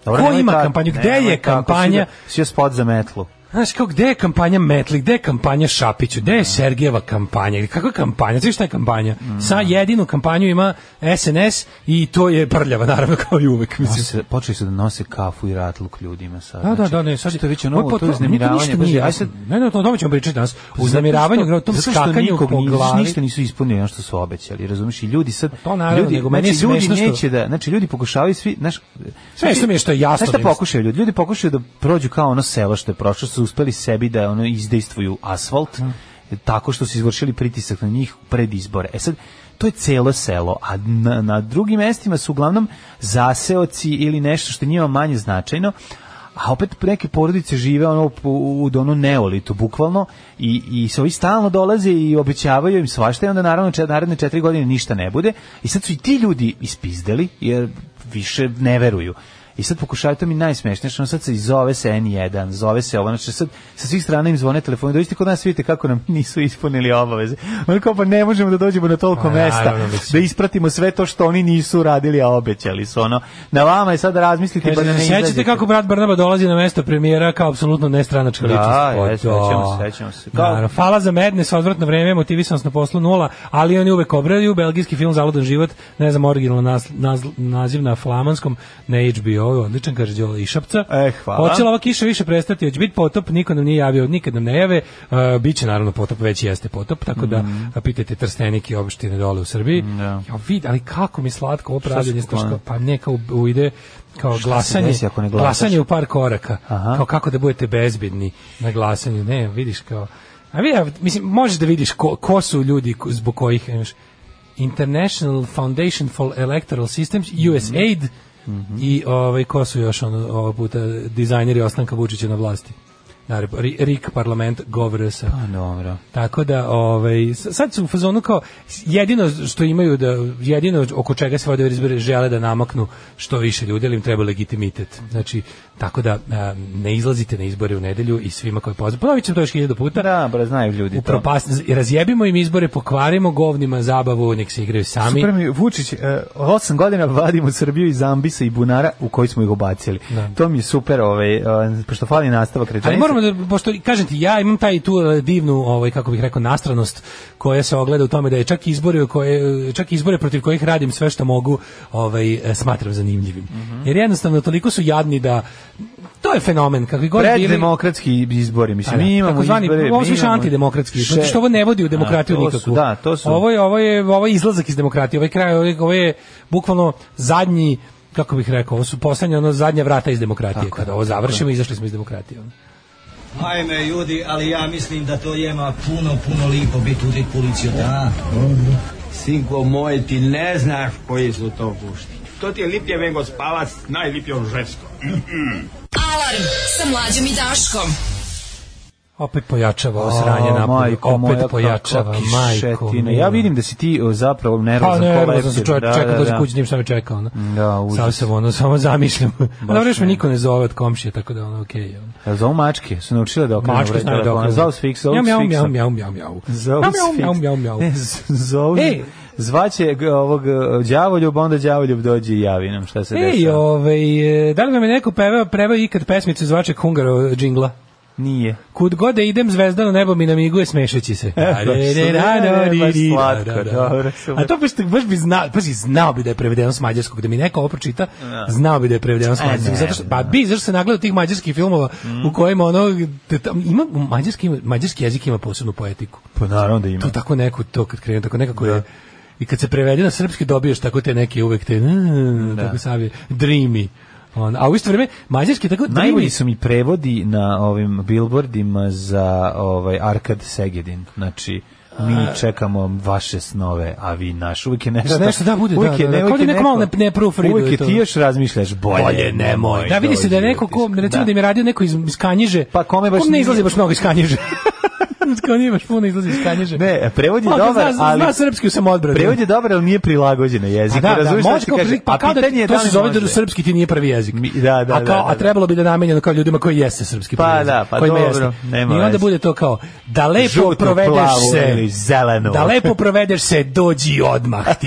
S7: Ko
S6: nemoj
S7: ima
S6: tako,
S7: kampanju? Gde
S6: nemoj
S7: je
S6: tako,
S7: kampanja?
S6: Svi, svi je spot za metlu.
S7: Znaš, kao, gde je kampanja Metli, gde je kampanja Šapiću, gde je Sergijeva kampanja, ili kakva kampanja, znaš šta je kampanja?
S6: Mm.
S7: Sa jedinu kampanju ima SNS i to je prljava, naravno, kao i uvek, mislim.
S6: Nose, počeli su da nose kafu i ratluk ljudima sad.
S7: Da, da,
S6: Znači,
S7: da, ne, sad
S6: Što je već
S7: Ovo
S6: ono, to je
S7: potpuno-
S6: uznemiravanje.
S7: nikom ništa
S6: Pazi,
S7: nije
S6: aj
S7: jasno.
S6: sad, Pa
S7: Ne, ne, o tome ćemo pričati danas. Uznemiravanju, o tom
S6: zato što
S7: skakanju
S6: nikog
S7: po
S6: ni-
S7: glavi. Pa
S6: Ništa nisu ispunili ono što su obećali, razumiješ? I ljudi sad...
S7: to naravno,
S6: ljudi,
S7: nego meni je
S6: znači, ljudi
S7: smešno što-
S6: neće da... Znači, ljudi pokušavaju svi... Znaš, znači,
S7: Smešno mi je što je jasno
S6: Znaš šta
S7: da im-
S6: pokušaju ljudi? Ljudi pokušaju da prođu kao ono selo što je prošlo, su uspeli sebi da ono izdejstvuju asfalt, tako što su izvršili pritisak na njih pred izbore. E sad, to je celo selo, a na, na drugim mestima su uglavnom zaseoci ili nešto što je njima manje značajno, a opet neke porodice žive ono po- u donu neolitu bukvalno i, i se ovi stalno dolaze i obećavaju im svašta i onda naravno čet, naredne četiri godine ništa ne bude i sad su i ti ljudi ispizdeli jer više ne veruju i sad pokušavaju, to mi je najsmešnije, što ono sad se i zove se N1, zove se ovo, znači sad sa svih strana im zvone telefoni, dođite kod nas, vidite kako nam nisu ispunili obaveze. Ono kao, pa ne možemo da dođemo na toliko
S7: Pa,
S6: mesta,
S7: naravno, mislim.
S6: da ispratimo sve to što oni nisu radili, a obećali su, ono, na vama je sad da razmislite, pa
S7: Kaže,
S6: da ne
S7: sećate
S6: izađete.
S7: kako brat Barnaba dolazi na mesto premijera kao apsolutno nestranačka
S6: Da,
S7: ličnost. Pa
S6: jes,
S7: to.
S6: sećamo se, sećamo se. Kao-
S7: Naravno, fala za medne sa odvratno vreme, motivisan sam na poslu nula, ali oni uvek obraju belgijski film Zaludan život, ne znam originalno nas, naz, naziv na flamanskom, na HBO, odličan kaže Đole Išapca.
S6: E, hvala.
S7: Hoće li ova kiša više prestati, hoće biti potop, niko nam nije javio, nikad nam ne jave, uh, biće naravno potop, već jeste potop, tako da a pitajte trstenik i opštine dole u Srbiji.
S6: Mhm. Da.
S7: Ja vid, ali kako mi je slatko ovo pravljenje,
S6: se poklanja?
S7: znaš, kao- pa ne kao u- ide kao
S6: se
S7: glasanje,
S6: desi ako ne glasaš?
S7: glasanje u par koraka,
S6: Aha.
S7: kao kako da budete bezbedni na glasanju, ne, vidiš kao, a vi, a, mislim, možeš da vidiš ko, ko su ljudi ko- zbog kojih, imaš, International Foundation for Electoral Systems,
S6: Mhm.
S7: USAID, i ovaj, ko su još ono, ovaj puta dizajneri ostanka Vučića na vlasti. Naravno, Ri- RIK parlament Govrsa.
S6: A, dobro.
S7: Tako da, ovaj, s- sad su u fazonu kao, jedino što imaju da, jedino oko čega se vode izbore, žele da namaknu što više ljudi, ali im treba legitimitet. Znači, tako da, a, ne izlazite na izbore u nedelju i svima koje pozivamo. Ponovit ćemo to još hiljadu puta.
S6: Da, bre, znaju ljudi to.
S7: Upropast- razjebimo im izbore, pokvarimo govnima zabavu, nek se igraju sami.
S6: Super mi, Vučić, e, osam godina vadimo Srbiju iz ambisa i bunara u koji smo ih obacili.
S7: Da.
S6: To mi je super, ovaj, e, pošto fali nastavak rečenice.
S7: Ali Pa moramo da pošto kažem ti ja imam taj tu e, divnu ovaj kako bih rekao nastranost koja se ogleda u tome da je čak izbore koje e, čak izbore protiv kojih radim sve što mogu, ovaj e, smatram zanimljivim.
S6: Mhm.
S7: Jer jednostavno toliko su jadni da to je fenomen kakvi god
S6: Pred
S7: bili.
S6: demokratski izbori, mislim, mi imamo
S7: takozvani,
S6: izbore.
S7: ovo su
S6: mi
S7: više
S6: imamo-
S7: antidemokratski,
S6: Še-
S7: zato što ovo ne vodi u demokratiju
S6: A, to su-
S7: nikakvu.
S6: Da, to su.
S7: Ovo je, ovo je, ovo je izlazak iz demokratije, ovaj kraj, ovo je, ovo je bukvalno zadnji, kako bih rekao, ovo su poslednje, ono, zadnja vrata iz demokratije. Kada ovo završimo, izašli smo iz demokratije. ono.
S10: Ajme ljudi, ali ja mislim da to jema puno, puno lipo biti udit policiju, da?
S11: Sinko moj, ti ne znaš koji su to gušti. To ti je lipje vengo spavac, najlipje on žensko.
S5: Alarm sa mlađom i Daškom.
S7: Opet pojačava ovo sranje
S6: A,
S7: napolju,
S6: majko
S7: opet
S6: moja,
S7: pojačava,
S6: kakva
S7: majko.
S6: kišetina.
S7: mila.
S6: Ja vidim da si ti o, zapravo
S7: Pa
S6: nervozan.
S7: ne,
S6: ko
S7: nervozan sam
S6: leptir.
S7: čovjek,
S6: Da,
S7: čekam
S6: da,
S7: da, dođe
S6: da.
S7: kući, nijem šta me čeka, ono.
S6: Da, užas.
S7: Sad sam ono, samo zamišljam. Dobro, još me
S6: ne.
S7: niko ne zove od komšije, tako da ono, okej. ono.
S6: Jel Zovu mačke, su naučile da okrenu
S7: Mačke
S6: vred
S7: znaju da
S6: telefona.
S7: okrenu.
S6: Zovu s fiksom, zovu s
S7: Mjau,
S6: fiksom.
S7: mjau, mjau, mjau, mjau.
S6: Zovu
S7: Mjau,
S6: s E, fiksom.
S7: mjau, mjau, mjau,
S6: Ne,
S7: mjau.
S6: z- zovu,
S7: Ej!
S6: zvaće g- ovog e, đavoljub, onda đavoljub dođe i javi nam šta se
S7: Ej,
S6: dešava.
S7: ovaj, e, da li vam je neko pevao, prevao ikad pesmicu zvačeg Hungaro džingla?
S6: Nije.
S7: Kud god da idem zvezdano nebo mi namiguje smešeći se.
S6: slatko, dobro, super.
S7: A to baš, baš bi znao, pazi, znao bi da je prevedeno s mađarskog, da mi neko ovo pročita, znao bi da je prevedeno s
S6: E,
S7: mađarskog.
S6: ne,
S7: Zato što, pa bi, zašto se nagleda tih mađarskih filmova u kojima ono, te tam- ima, mađarski, ima- mađarski jezik ima posebnu poetiku.
S6: Pa naravno da ima.
S7: To tako neko, to kad krenu, tako nekako je, i kad se prevede na srpski dobiješ tako te neke uvek te, mm, tako savje, dreamy. On, a u isto vreme, mađarski je tako
S6: Najbolji
S7: dreamy.
S6: su mi prevodi na ovim billboardima za ovaj Arkad Segedin. Znači, mi čekamo vaše snove, a vi naš. Uvijek je nešto...
S7: Nešto da bude,
S6: uvijek
S7: da,
S6: je-
S7: da, da.
S6: uvijek
S7: Kao da
S6: je
S7: neko malo ne- ne proofreaduje
S6: Uvijek je
S7: to.
S6: ti još razmišljaš, bolje, nemoj.
S7: Da, vidi se da je
S6: dođi
S7: neko ko,
S6: utisak.
S7: recimo da, im je radio neko iz, iz Kanjiže.
S6: Pa kome baš
S7: kom ne
S6: nije.
S7: izlazi baš mnogo iz Kanjiže. Crnac kao nije baš puno izlazi iz kanježe.
S6: Ne, prevod je
S7: Pa,
S6: dobar,
S7: zna- zna
S6: ali...
S7: srpski u samoodbrani.
S6: Prevod je dobar, ali nije prilagođen na jezik.
S7: Pa da, da,
S6: razumeš šta
S7: može
S6: ti
S7: kao
S6: kažem?
S7: pri- pa
S6: A
S7: kao da
S6: pitanje je
S7: to
S6: da
S7: se
S6: li
S7: zove da
S6: može.
S7: srpski ti nije prvi jezik.
S6: da, da,
S7: a, kao,
S6: da, da,
S7: a
S6: da.
S7: trebalo bi da je namenjeno kao ljudima koji jeste srpski
S6: Pa
S7: prvi jezik,
S6: da, pa
S7: kojima
S6: dobro,
S7: jeste.
S6: nema
S7: I onda
S6: veze.
S7: bude to kao da lepo
S6: Žuto,
S7: provedeš
S6: plavo
S7: se.
S6: ili zeleno.
S7: Da lepo provedeš se, dođi odmah ti.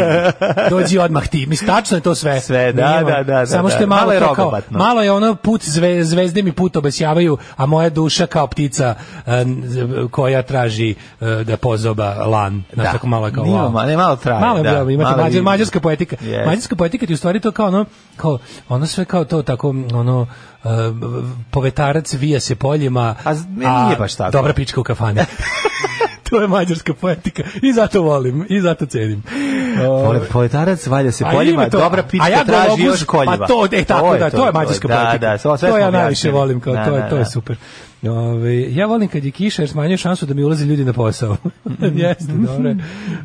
S7: Dođi odmah ti. Mislim, tačno je to sve.
S6: Sve, da,
S7: Nema-
S6: da, da, da,
S7: Samo što je
S6: da.
S7: malo,
S6: Malo je
S7: to kao,
S6: rogobatno.
S7: malo je ono put, zve, zvezde mi put obasjavaju, a moja duša kao ptica eh, koja traži eh, da pozoba lan. Znaš,
S6: Da.
S7: tako malo je kao
S6: Nije
S7: wow.
S6: ma- ne, malo traje,
S7: Malo je
S6: da.
S7: bilo, imate
S6: Malo
S7: mađar-
S6: i-
S7: mađarska poetika.
S6: Yes.
S7: Mađarska poetika ti je u stvari to kao ono, kao, ono sve kao to tako, ono, eh, povetarac vija se poljima,
S6: A z- ne, nije baš tako.
S7: Dobra pička u kafani. to je mađarska poetika i zato volim i zato cenim.
S6: Vole poetarac, valja se
S7: A
S6: poljima,
S7: ima to.
S6: dobra
S7: A
S6: pička
S7: ja
S6: traži
S7: gologuz,
S6: još koljiva.
S7: Pa to, e, tako da, to je mađarska
S6: da,
S7: poetika.
S6: Da, sve- sve
S7: to
S6: smo
S7: ja najviše
S6: objasnili.
S7: volim, kao,
S6: Da,
S7: to, je,
S6: da,
S7: to je
S6: da.
S7: super. Ove, ja volim kad je kiša jer smanjuje šansu da mi ulaze ljudi na posao. Jeste, dobro. je.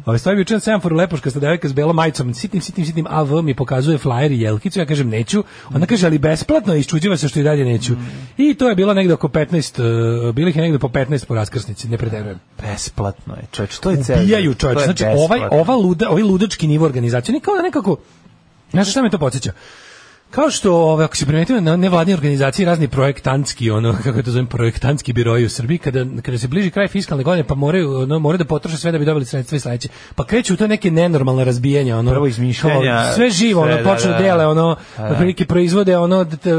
S7: Ove, stoji mi učin semaforu lepoškasta devojka s belom majicom, sitnim, sitnim, sitnim AV mi pokazuje flajer i jelkicu, ja kažem neću, ona kaže ali besplatno i iščuđiva se što i dalje neću. I to je bilo negde oko 15, e, bilih je negde po 15 po raskrsnici, ne preterujem.
S6: Besplatno je, čovječ, to je cezar.
S7: Ubijaju čovječ,
S6: To je
S7: znači
S6: besplatno.
S7: ovaj, ova luda, ovaj ludački nivo organizacije, oni kao da nekako, znaš šta me to podsjeća? Kao što, ove, ako se primetimo na nevladne organizacije, razni projektantski, ono, kako to zovem, projektantski biroji u Srbiji, kada, kada se bliži kraj fiskalne godine, pa moraju, ono, moraju da potroše sve da bi dobili sredstva i sledeće. Pa kreću u to neke nenormalne razbijanja, ono,
S6: Prvo izmišljanja,
S7: kao sve živo,
S6: sve,
S7: ono,
S6: da,
S7: počnu
S6: da.
S7: dele, ono,
S6: Da.
S7: na prilike proizvode, ono, d- t-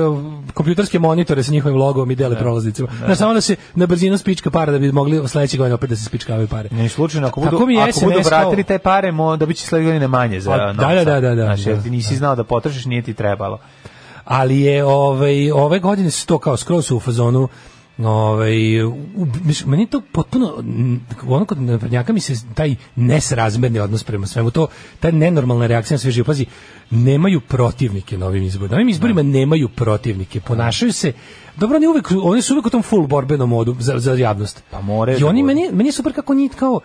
S7: kompjuterske monitore sa njihovim logom i dele prolaznicima. Znaš, samo da se na brzinu spička para da bi mogli sledeće godine opet da se spičkavaju pare.
S6: Ne slučajno, ako
S7: Tako
S6: budu,
S7: mi je
S6: ako budu
S7: SMS kao-
S6: vratili taj pare, mo, da biće sledeće godine manje za
S7: A, da,
S6: novca.
S7: da, da, da, da,
S6: Znači, jer
S7: da.
S6: ti nisi znao da potrošiš, nije ti trebalo.
S7: ali je ovaj ove godine su to kao skroz u fazonu ovaj u- mislim, meni to potpuno n- ono kod naprednjaka mi se taj nesrazmerni odnos prema svemu to ta nenormalna reakcija na sve živo pazi nemaju protivnike na ovim izborima na ovim izborima nemaju protivnike ponašaju se dobro oni uvek oni su uvek u tom full borbenom modu za, za javnost
S6: Pa moraju
S7: i
S6: da
S7: oni
S6: budu.
S7: meni meni je super kako njih kao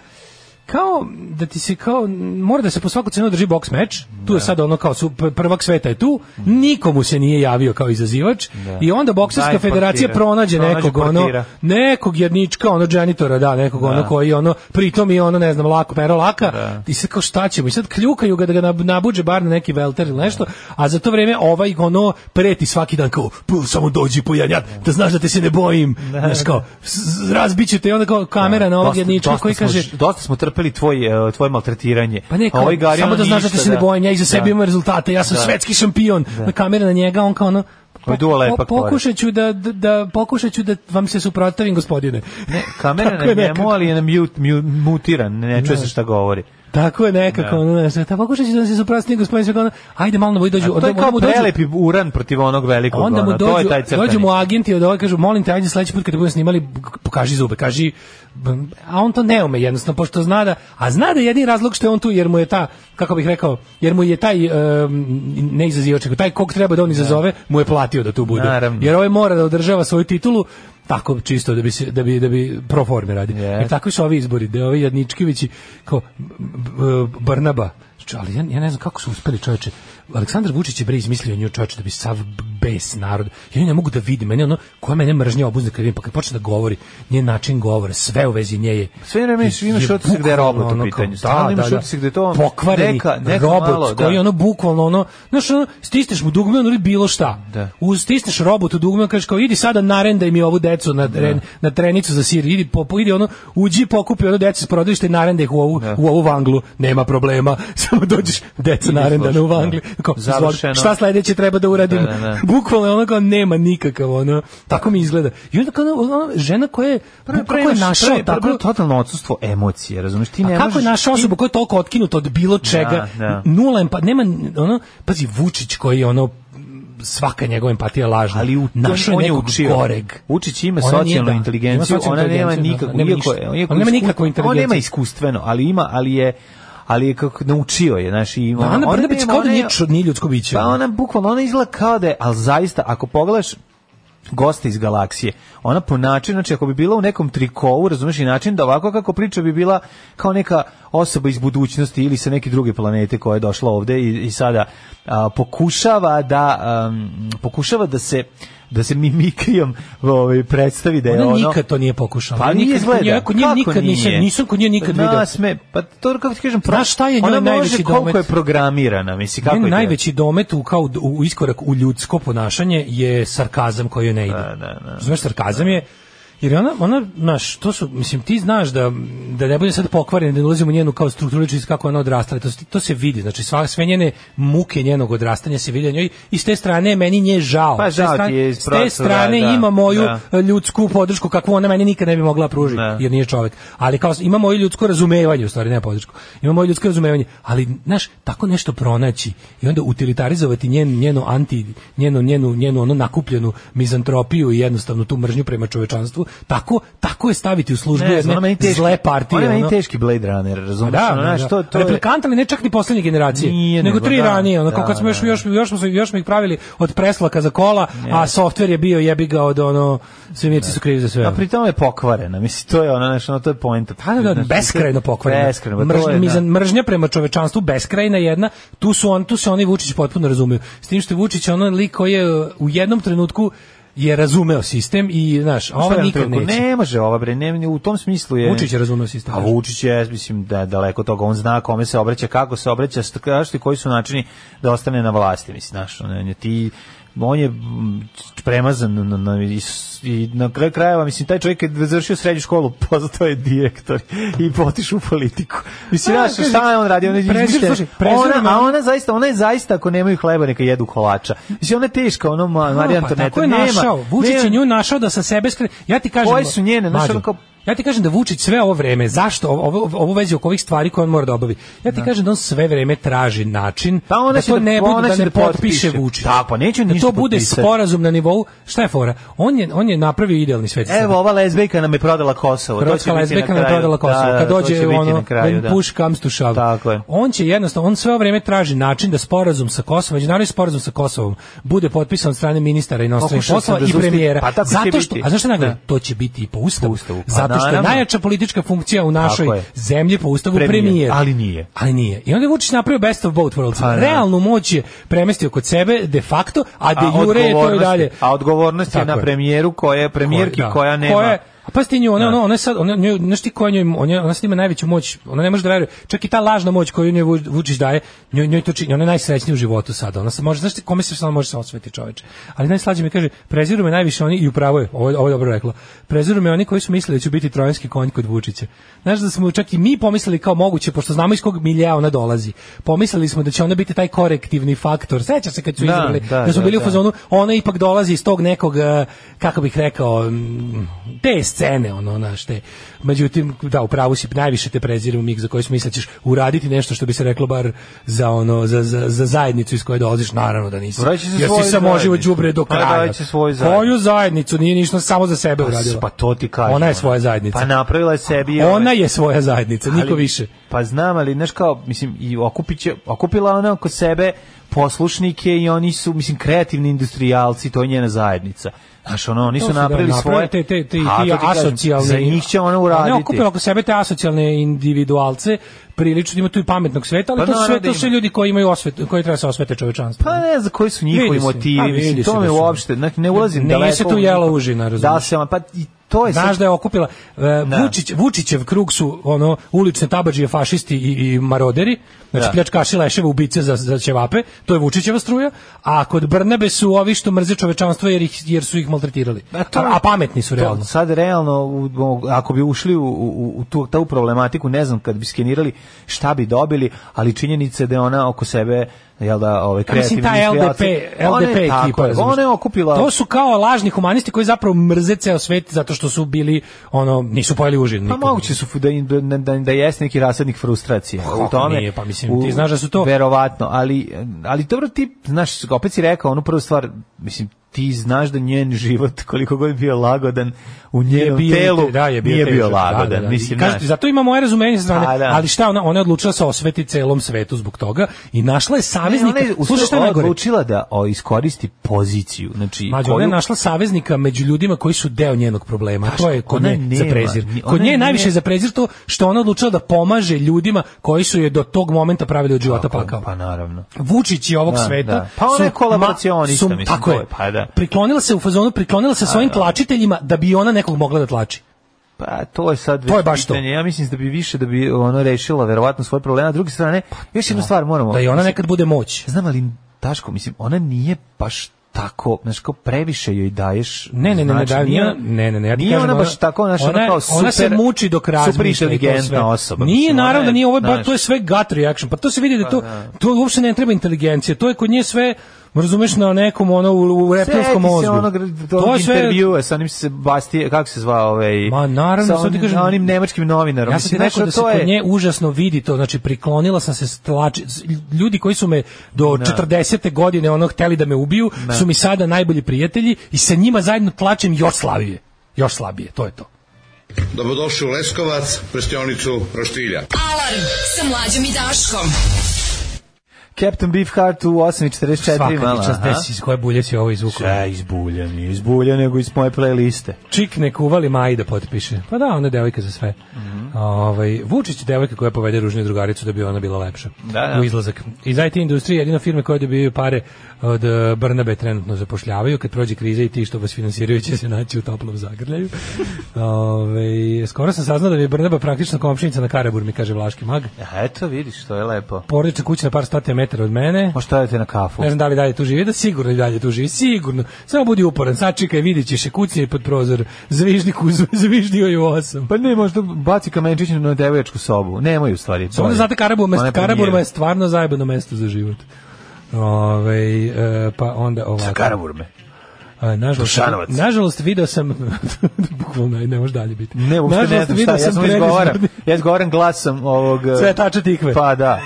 S7: kao da ti se kao mora da se po svaku cenu drži boks meč. Tu je sad ono kao su pr- prvak sveta je tu,
S6: Mhm.
S7: nikomu se nije javio kao izazivač i onda bokserska
S6: Daj,
S7: federacija
S6: portira.
S7: pronađe
S6: Pronađe
S7: nekog ono
S6: portira.
S7: nekog jednička, ono džanitora, da, nekog ono koji ono pritom i ono ne znam lako pero laka i sad kao šta ćemo i sad kljukaju ga da ga nab- nabuđe bar na neki velter ili nešto, a za to vreme ovaj ono preti svaki dan kao "Pu, samo dođi pojanjat, da znaš da te se ne bojim. Znaš kao "S- razbiću te i onda kao kamera na ovog
S6: Dosta-
S7: jednička
S6: dosta
S7: koji
S6: smo-
S7: kaže
S6: dosta smo trpeli tvoj, e, tvoje maltretiranje.
S7: pa ne,
S6: A
S7: kao,
S6: ovaj Gari,
S7: samo
S6: ono
S7: da znaš da
S6: ništa,
S7: ti se ne bojim, ja iza sebe
S6: Da.
S7: imam rezultate, ja sam
S6: Da. Ovaj
S7: svetski šampion. Na kamera na njega, on kao ono,
S6: Koji duo lepak
S7: pokušat ću da, da, da, pokušat ću da vam se suprotavim, gospodine.
S6: Ne, kamera
S7: Tako je
S6: na njemu,
S7: nekako.
S6: ali je na mute, mute, mutiran, ne čuje se šta govori.
S7: Tako je nekako, ono, znaš, ta pokušat ću da vam se suprotavim, gospodine, sve kao ono, ajde malo na boji dođu.
S6: A to
S7: onda
S6: je
S7: mu-
S6: kao
S7: onda mu dođu-
S6: prelepi uran protiv onog velikog.
S7: Onda mu
S6: ono, to je
S7: dođu,
S6: taj crtani.
S7: dođu mu agenti od ovaj, kažu, molim te, ajde sledeći put kada budemo snimali, pokaži zube, kaži, a on to ne ume jednostavno, pošto zna da, a zna da je jedini razlog što je on tu, jer mu je ta, kako bih rekao, jer mu je taj, um, ne izazivač, nego taj kog treba da on izazove, mu je platio da tu bude.
S6: Naravno.
S7: Jer ovaj mora da održava svoju titulu, tako čisto da bi se da bi da bi pro forme radi.
S6: Yes.
S7: Jer takvi su ovi izbori, da ovi Jadničkivići kao b- b- Barnaba. Čo, Ali ja, ja ne znam kako su uspeli čoveče. Aleksandar Vučić je bre izmislio nju čoveče da bi sav bes narod. Ja nju ne mogu da vidim, meni ono koja mene mržnja obuzne kad vidim, pa kad počne da govori, njen način govora, sve u vezi nje je.
S6: Sve vreme imaš- imaš
S7: je
S6: utisak da je
S7: bukvalno
S6: robot u
S7: ono kao-
S6: pitanju. Stalno imaš utisak da je to
S7: pokvareni
S6: neka- neka
S7: robot
S6: malo, da.
S7: koji ono bukvalno ono, znaš ono, stisneš mu dugme, ono ili bilo šta.
S6: Da.
S7: Uz stisneš robotu dugme, kažeš kao idi sada narendaj mi ovu decu na, tren, na trenicu za sir, idi, po, po- idi ono, uđi pokupi ono decu s prodališta i narendaj ih u ovu, u ovu vanglu, nema problema, samo dođeš, deca narendana u
S6: slušaj,
S7: vangli, kao, izvoli,
S6: Završeno.
S7: šta sledeće treba da uradim,
S6: Da, da, da.
S7: bukvalno je ono kao nema nikakav, ono, tako mi izgleda. I onda kao ono, ono, žena koja je, kako je
S6: imaš-
S7: našao
S6: prvo je-
S7: tako,
S6: prvo je totalno odsustvo emocije, razumeš? Ti ne
S7: a kako je
S6: možeš-
S7: naša osoba koja je toliko otkinuta od bilo čega?
S6: Da, da.
S7: Nula empa, nema ono, pazi Vučić koji je ono svaka njegova empatija je lažna.
S6: ali u,
S7: našao
S6: on je
S7: nekog
S6: učio.
S7: goreg.
S6: Učić ima
S7: Ona nije,
S6: socijalnu
S7: da, ima
S6: inteligenciju,
S7: socijalnu
S6: ona nema
S7: inteligenciju,
S6: nikakvu,
S7: nema
S6: iako
S7: ništa.
S6: je- iako
S7: On nema
S6: isku-
S7: nikakvu
S6: On nema
S7: inteligenciju.
S6: iskustveno, ali ima, ali je ali je kako naučio je, znači ima.
S7: Da, Pa Ana
S6: ona
S7: Brnabić
S6: nema-
S7: kao da
S6: ona
S7: nije,
S6: je-
S7: čo- nije ljudsko biće. ono.
S6: Pa ona bukvalno, ona izgleda kao da je, ali zaista, ako pogledaš goste iz galaksije. Ona po načinu, znači ako bi bila u nekom trikovu, razumeš i način da ovako kako priča bi bila kao neka osoba iz budućnosti ili sa neke druge planete koja je došla ovde i, i sada a, pokušava da am, pokušava da se da se mimikrijom ovaj, predstavi da je
S7: Ona
S6: ono...
S7: nikad to nije pokušala.
S6: Pa
S7: Ona
S6: nije
S7: nikad-
S6: izgleda.
S7: ja kod nje
S6: Kako
S7: nikad
S6: nije?
S7: nisam- nisam kod nje nikad
S6: Pa
S7: video.
S6: Nasme, pa to kako ti kažem, pro-
S7: Znaš šta je njoj
S6: ona može
S7: najveći
S6: koliko
S7: domet?
S6: je programirana, misli kako
S7: Njen
S6: je
S7: najveći domet u, kao, u iskorak u ljudsko ponašanje je sarkazam koji joj ne ide. Da, sarkazam je Jer je ona, ona, znaš, to su, mislim, ti znaš da, da ne budem sad pokvaren, da ne ulazim u njenu kao strukturu ličnosti, kako je ona odrastala, to, se- to se vidi, znači sva, sve njene muke njenog odrastanja se vidi na njoj i s te strane je meni nje žao.
S6: Pa
S7: S te
S6: žao ti
S7: strane-
S6: je iz
S7: S te
S6: procura,
S7: strane
S6: da,
S7: ima moju
S6: da.
S7: e, ljudsku podršku kakvu ona meni nikad ne bi mogla pružiti, jer nije čovjek. Ali kao ima moje ljudsko razumevanje, u stvari ne podršku. Ima moje ljudsko razumevanje, ali znaš, tako nešto pronaći i onda utilitarizovati njen njeno anti njeno njenu njenu ono nakupljenu mizantropiju i jednostavno tu mržnju prema čovečanstvu, tako tako je staviti u službu
S6: Ne,
S7: jedne
S6: ona meni teški-
S7: zle partije.
S6: ona meni
S7: ono.
S6: teški Blade Runner, razumeš?
S7: Pa Da,
S6: Ono,
S7: da,
S6: znaš, to-
S7: da.
S6: to je-
S7: Replikant, ali ne čak ni poslednje generacije,
S6: Nije,
S7: nego
S6: nego
S7: tri
S6: da,
S7: ranije, ono, kao
S6: da,
S7: kad smo još,
S6: da.
S7: još, još, smo, još smo ih pravili od preslaka za kola, a softver je bio jebi ga od ono, svemirci su krivi za sve. ono.
S6: A pri tome je pokvarena, misli, to je ona, znaš, ono, to je poenta.
S7: Da, da, da,
S6: Znaš,
S7: beskrajno pokvarena.
S6: Beskrajno, pa to
S7: Mržnja,
S6: je, da.
S7: mizan- mržnja prema čovečanstvu beskrajna jedna. Tu su on, tu se oni Vučić potpuno razumeju. S tim što je Vučić ono lik koji je uh, u jednom trenutku je razumeo sistem i znaš, a
S6: Šta
S7: ova
S6: je
S7: nikad
S6: na trku?
S7: neće.
S6: ovaj Ne može ova bre, ne, u tom smislu je.
S7: Vučić je razumeo sistem.
S6: A Vučić je, mislim, da daleko od toga, on zna kome se obraća, kako se obraća, strašni koji su načini da ostane na vlasti, mislim, znaš, on je ti on je mm, premazan na, na, i s- i na kraju krajeva, mislim, taj čovjek je završio srednju školu, postao je direktor i potišu u politiku. Mislim,
S7: A,
S6: znaš,
S7: kaže,
S6: šta je on radio? On je
S7: prezir,
S6: izmišljen.
S7: slušaj, prezir
S6: ona,
S7: ima-
S6: a ona zaista, ona je zaista, ako nemaju hleba, neka jedu kolača. Mislim, ona je teška, ono, Ma- Marija
S7: A, pa
S6: Antoneta,
S7: tako je
S6: nema-
S7: našao. Vučić
S6: nema-
S7: je nju našao da sa sebe skre... Ja ti kažem...
S6: Koje su njene, znaš,
S7: Mlađo,
S6: ono kao-
S7: Ja ti kažem da Vučić sve ovo vreme, zašto ovo, ovo, ovo vezi oko ovih stvari koje on mora da obavi, ja ti kažem da on sve vreme traži način
S6: Pa ona
S7: da
S6: će
S7: to
S6: da-
S7: ne
S6: ona
S7: bude, da
S6: će
S7: ne
S6: da potpiše.
S7: potpiše Vučić.
S6: Da, pa neće
S7: da
S6: ništa
S7: to bude
S6: potpisati.
S7: sporazum na nivou, šta je fora? On je, on je napravio idealni svet. za sebe.
S6: Evo, ova lezbejka nam je prodala Kosovo. to će
S7: Hrvatska
S6: biti
S7: lezbejka nam je
S6: kraju.
S7: prodala Kosovo.
S6: Da, da,
S7: Kad
S6: to
S7: dođe
S6: će biti
S7: ono,
S6: na kraju,
S7: when
S6: da.
S7: push comes to shove.
S6: Tako je.
S7: On će jednostavno, on sve ovo vreme traži način da sporazum sa Kosovom, međunarodni sporazum sa Kosovom, bude potpisan od strane ministara inostranih
S6: Pokušao sam
S7: poslova
S6: da
S7: i
S6: zaustavim-
S7: premijera.
S6: Pa tako će
S7: zato što,
S6: biti.
S7: a zašto je najgore?
S6: Da.
S7: To će biti i po ustavu.
S6: ustavu, pa
S7: zato što je
S6: naravno.
S7: najjača politička funkcija u našoj
S6: Tako je.
S7: zemlji po ustavu
S6: Premijer,
S7: premijer.
S6: ali nije.
S7: Ali nije. I onda je Vučić napravio best of both worlds.
S6: Pa da.
S7: Realnu moć je premestio kod sebe de facto, a de jure je to i
S6: odgovornost-
S7: dalje.
S6: A odgovornost je
S7: Tako
S6: na
S7: je.
S6: premijeru koja je premijerki
S7: Koja- da.
S6: koja nema.
S7: Koja je- a pa stinju, ona, ona, ona sad, ona, njoj, znaš ti koja njoj, ona, ona sad ima najveću moć, ona ne može da veruje, čak i ta lažna moć koju njoj Vu- Vučić daje, njoj, njoj to čini, ona je najsrećnija u životu sada, ona se može, znaš ti kome se samo može se osvetiti čoveče, ali najslađe mi kaže, preziru me najviše oni, i upravo je, ovo, je- ovo je dobro rekla, preziru me oni koji su mislili da ću biti trojanski konj kod Vučića, znaš da smo čak i mi pomislili kao moguće, pošto znamo iz kog milija ona dolazi, pomislili smo da će ona biti taj korektivni faktor, seća se kad su
S6: Da,
S7: izabrali,
S6: da,
S7: da, su
S6: da,
S7: bili u
S6: da.
S7: fazonu, ono, ona ipak dolazi iz tog nekog, eh, kako bih rekao, mm, te scene, ono, znaš, te. Međutim, da, u pravu si, najviše te prezirem mig za koji smisla ćeš uraditi nešto što bi se reklo bar za, ono, za, za, za zajednicu iz koje dolaziš, naravno da nisi.
S6: Vratit će se
S7: Jer
S6: svoju
S7: si samo živo
S6: zajednicu.
S7: đubre do
S6: Pa
S7: kraja.
S6: vratit će svoju
S7: Koju
S6: zajednicu.
S7: zajednicu? Nije ništa samo za sebe uradila.
S6: Pa to ti kažem.
S7: Ona je svoja zajednica.
S6: Pa napravila je sebi.
S7: Ona je svoja zajednica, niko
S6: Ali-
S7: više.
S6: Pa znam, ali znaš kao, mislim, i okupit će, okupila ona oko sebe poslušnike i oni su, mislim, kreativni industrijalci, to je njena zajednica. Znaš, ono, oni
S7: To
S6: su
S7: da,
S6: napravili svoje...
S7: Te, te, te,
S6: A,
S7: ti
S6: to ti kažem,
S7: asocijalni...
S6: Za njih će ona uraditi.
S7: Ne okupila oko sebe te asocijalne individualce, prilično ima tu i pametnog sveta, ali
S6: Pa
S7: to su sve,
S6: naravno da
S7: to su sve
S6: ima.
S7: ljudi koji imaju osvet, koji treba se osvete čovečanstvu.
S6: Pa ne znam koji su njihovi
S7: Vidi se. A,
S6: motivi,
S7: vidi
S6: mislim,
S7: se
S6: to
S7: da
S6: me
S7: su.
S6: uopšte, ne, ne ulazim
S7: Nije
S6: daleko.
S7: se tu
S6: u-
S7: jela užina, razumiješ?
S6: Da se, on- pa i to je
S7: Znaš
S6: sad-
S7: da je okupila e, Vučić, Vučićev krug su ono ulične tabađije, fašisti i, i maroderi, znači
S6: Da.
S7: pljačkaši leševa ubice za, za ćevape, to je Vučićeva struja, a kod Brnabe su ovi što mrze čovečanstvo jer, ih, jer su ih maltretirali. A,
S6: to-
S7: a pametni su realno.
S6: To, sad realno, u- u- ako bi ušli u, u, u tu, tu problematiku, ne znam kad bi skenirali šta bi dobili, ali činjenica je da je ona oko sebe jel da, ove,
S7: Ja mislim
S6: kreativni
S7: ta LDP,
S6: Ona je,
S7: LDP
S6: tako
S7: ekipa.
S6: je,
S7: razumeš?
S6: Ona je okupila...
S7: To su kao lažni humanisti koji zapravo mrze ceo svet zato što su bili ono nisu pojeli užinu.
S6: Pa moguće su da, im- da, da, da jeste neki rasadnik frustracije
S7: Kako
S6: u tome.
S7: nije, pa mislim, ti znaš da su to-
S6: Verovatno, ali, ali dobro ti, znaš, opet si rekao, onu prvu stvar, mislim, ti znaš da njen život, koliko god bio lagodan, u njenom
S7: bio
S6: telu
S7: te- da, je bio
S6: nije bio
S7: težak,
S6: lagodan.
S7: da, da, da.
S6: Mislim,
S7: I kažem
S6: znaš.
S7: ti, zato ima moje razumenje sa strane,
S6: Pa, da.
S7: ali šta ona, ona je odlučila se osveti celom svetu zbog toga i našla je saveznika.
S6: Ne, ona je u
S7: Slušaj šta je
S6: stvari
S7: najgore?
S6: odlučila da o, iskoristi poziciju. Znači,
S7: Mađo, ona je našla saveznika među ljudima koji su deo njenog problema.
S6: Znaš,
S7: to je kod
S6: Pa ona
S7: nje
S6: nema,
S7: za prezir.
S6: ni-
S7: Kod
S6: ona
S7: nje je najviše
S6: nije-
S7: za prezir to što ona odlučila da pomaže ljudima koji su je do tog momenta pravili od života pakao.
S6: Pa naravno.
S7: Vučić i ovog
S6: Da,
S7: sveta
S6: da. Pa ona
S7: su
S6: je kolaboracionista,
S7: ma-
S6: mislim,
S7: tako
S6: to
S7: je.
S6: je, pa da. da.
S7: Priklonila se u fazonu, priklonila se svojim tlačiteljima da bi ona nekog mogla da tlači.
S6: Pa to je sad
S7: To je baš to.
S6: pitanje. Ja mislim da bi više da bi ono rešila verovatno svoje probleme. A s druge strane, još jednu stvar moramo.
S7: Pa Da i ona
S6: mislim,
S7: nekad bude moć.
S6: Znam ali Taško, mislim, ona nije baš tako, znaš, kao previše joj daješ.
S7: Ne, ne, ne, ne,
S6: znači,
S7: da,
S6: nije-
S7: nije, ne, ne, ne, ja ti
S6: nije
S7: kažem,
S6: ona baš tako, znaš, ona kao
S7: ona se
S6: super-
S7: muči dok
S6: super
S7: razmišlja i to
S6: inteligentna
S7: sve.
S6: osoba,
S7: Nije,
S6: mislim, ona
S7: naravno,
S6: je,
S7: da nije, ovo je, ba,
S6: znaš.
S7: to je sve gut reaction, pa to se vidi da to,
S6: da.
S7: to uopšte ne treba inteligencija, to je kod nje sve, razumeš, na nekom, ono, u, u reptilskom
S6: Sjeti
S7: mozgu.
S6: Se onog,
S7: to je sve,
S6: intervjua sa onim Sebastije, kako se zvao ovaj...
S7: Ma naravno,
S6: sa
S7: sad ti
S6: onim,
S7: kažem-
S6: na onim nemačkim novinarom.
S7: Ja sam ti
S6: Mislim,
S7: rekao da
S6: znaš,
S7: se
S6: to
S7: kod
S6: je-
S7: nje užasno vidi to, znači priklonila sam se stlači, ljudi koji su me do
S6: Da.
S7: 40. godine ono hteli da me ubiju,
S6: Da.
S7: su mi sada najbolji prijatelji i sa njima zajedno tlačem još slabije. Još slabije, to je to.
S12: Dobrodošli u Leskovac, prštionicu Roštilja.
S5: Alarm sa mlađom i Daškom.
S6: Captain Beefheart u 8.44.
S7: Svaka ti čast,
S6: aha.
S7: gde si, iz koje bulje si ovo izvukao?
S6: Šta iz bulja, nije iz bulja, nego iz moje playliste.
S7: Čik nek uvali Maji da potpiše. Pa da, ona je devojka za sve.
S6: Mhm.
S7: Ovaj, Vučić je devojka koja povede ružnju drugaricu da bi ona bila lepša
S6: Da, da.
S7: u izlazak. Iz IT industrije jedino firme koje dobijaju pare od eh, Brnabe trenutno zapošljavaju. Kad prođe kriza i ti što vas finansiraju će se naći u toplom zagrljaju. Ovaj, skoro sam saznao da mi je Brnaba praktično komšinica na Karabur, mi kaže Vlaški mag.
S6: Aha, E, eto, vidiš, to je lepo.
S7: Porodična kuća na par stotina metara od mene.
S6: Možda stavite na kafu.
S7: Ne znam da li dalje tu živi, da sigurno i dalje tu živi, sigurno. Samo budi uporan, sačekaj, vidit ćeš je kucija je pod prozor, zviždi kuzu, zviždio je u osam.
S6: Pa ne, možda baci kamenčić na devojačku sobu. Nemoj u stvari.
S7: Samo da
S6: bolje.
S7: znate, Karaburma
S6: Ona je
S7: je, Karaburma
S6: premijer.
S7: je stvarno zajebano mesto za život. Ove, e, pa onda ovako.
S6: Sa Karaburme.
S7: A, nažalost,
S6: Dušanovac.
S7: nažalost video sam bukvalno ne može dalje biti.
S6: Ne, uopšte ne znam šta,
S7: video
S6: ja sam
S7: predizborni-
S6: izgovaram. Ja izgovaram glasom ovog... eh,
S7: Cvetača tikve.
S6: Pa da.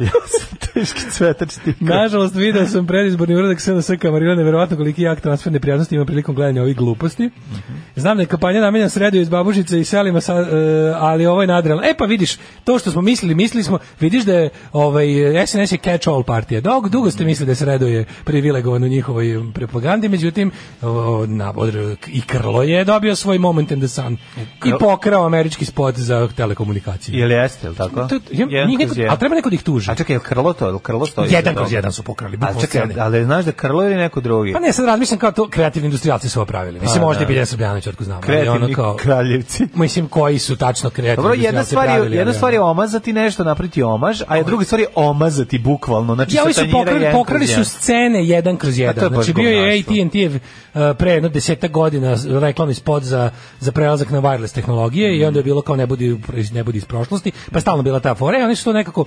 S6: Ja sam teški cvetač tikve.
S7: Nažalost, video sam predizborni uradak SNS kamarila, neverovatno koliki jak transfer neprijatnosti ima prilikom gledanja ovih gluposti. Znam da je kampanja namenjena sredu iz Babušice i selima, sa, e, ali ovo je nadrealno. E pa vidiš, to što smo mislili, mislili smo, vidiš da je ovaj, SNS je catch-all partija. Dog, dugo ste mislili da sredo je privilegovan u njihovoj propagandi, međutim, o, na, od- i Krlo je dobio svoj moment in the sun i pokrao američki spot za telekomunikacije.
S6: Jel jeste, jel tako?
S7: To- ja-
S6: Jedan
S7: njih
S6: kroz
S7: neko-
S6: jedan.
S7: a treba neko da ih tuži.
S6: A čekaj, jel krlo to? Jel krlo stoji?
S7: Jedan
S6: za to?
S7: kroz jedan su pokrali,
S6: A
S7: bukvalno
S6: čekaj,
S7: scene.
S6: ali znaš da je krlo ili neko drugi?
S7: Pa ne, sad razmišljam kao to kreativni industrijalci su opravili. Mislim,
S6: A,
S7: možda je
S6: Pa da.
S7: Biljan Srbljanović, otko znam. ali
S6: Kreativni
S7: ono kao,
S6: kraljevci.
S7: Mislim, koji su tačno kreativni
S6: Dobro, jedna
S7: industrijalci
S6: stvar je,
S7: pravili,
S6: jedna
S7: ali
S6: stvar
S7: ono.
S6: je omazati nešto, napraviti omaž, a druga stvar je omazati bukvalno, znači
S7: Ja, ovi su
S6: satanjira
S7: pokrali,
S6: jedan
S7: pokrali
S6: kroz
S7: su
S6: jedan.
S7: scene jedan kroz
S6: to je
S7: jedan.
S6: baš
S7: Znači, bio je
S6: govnarstvo.
S7: AT&T uh, pre jedno deseta godina reklamni spot za, za prelazak na wireless tehnologije i onda je bilo kao ne budi, ne budi iz prošlosti, pa stalno bila ta fora i oni su to nekako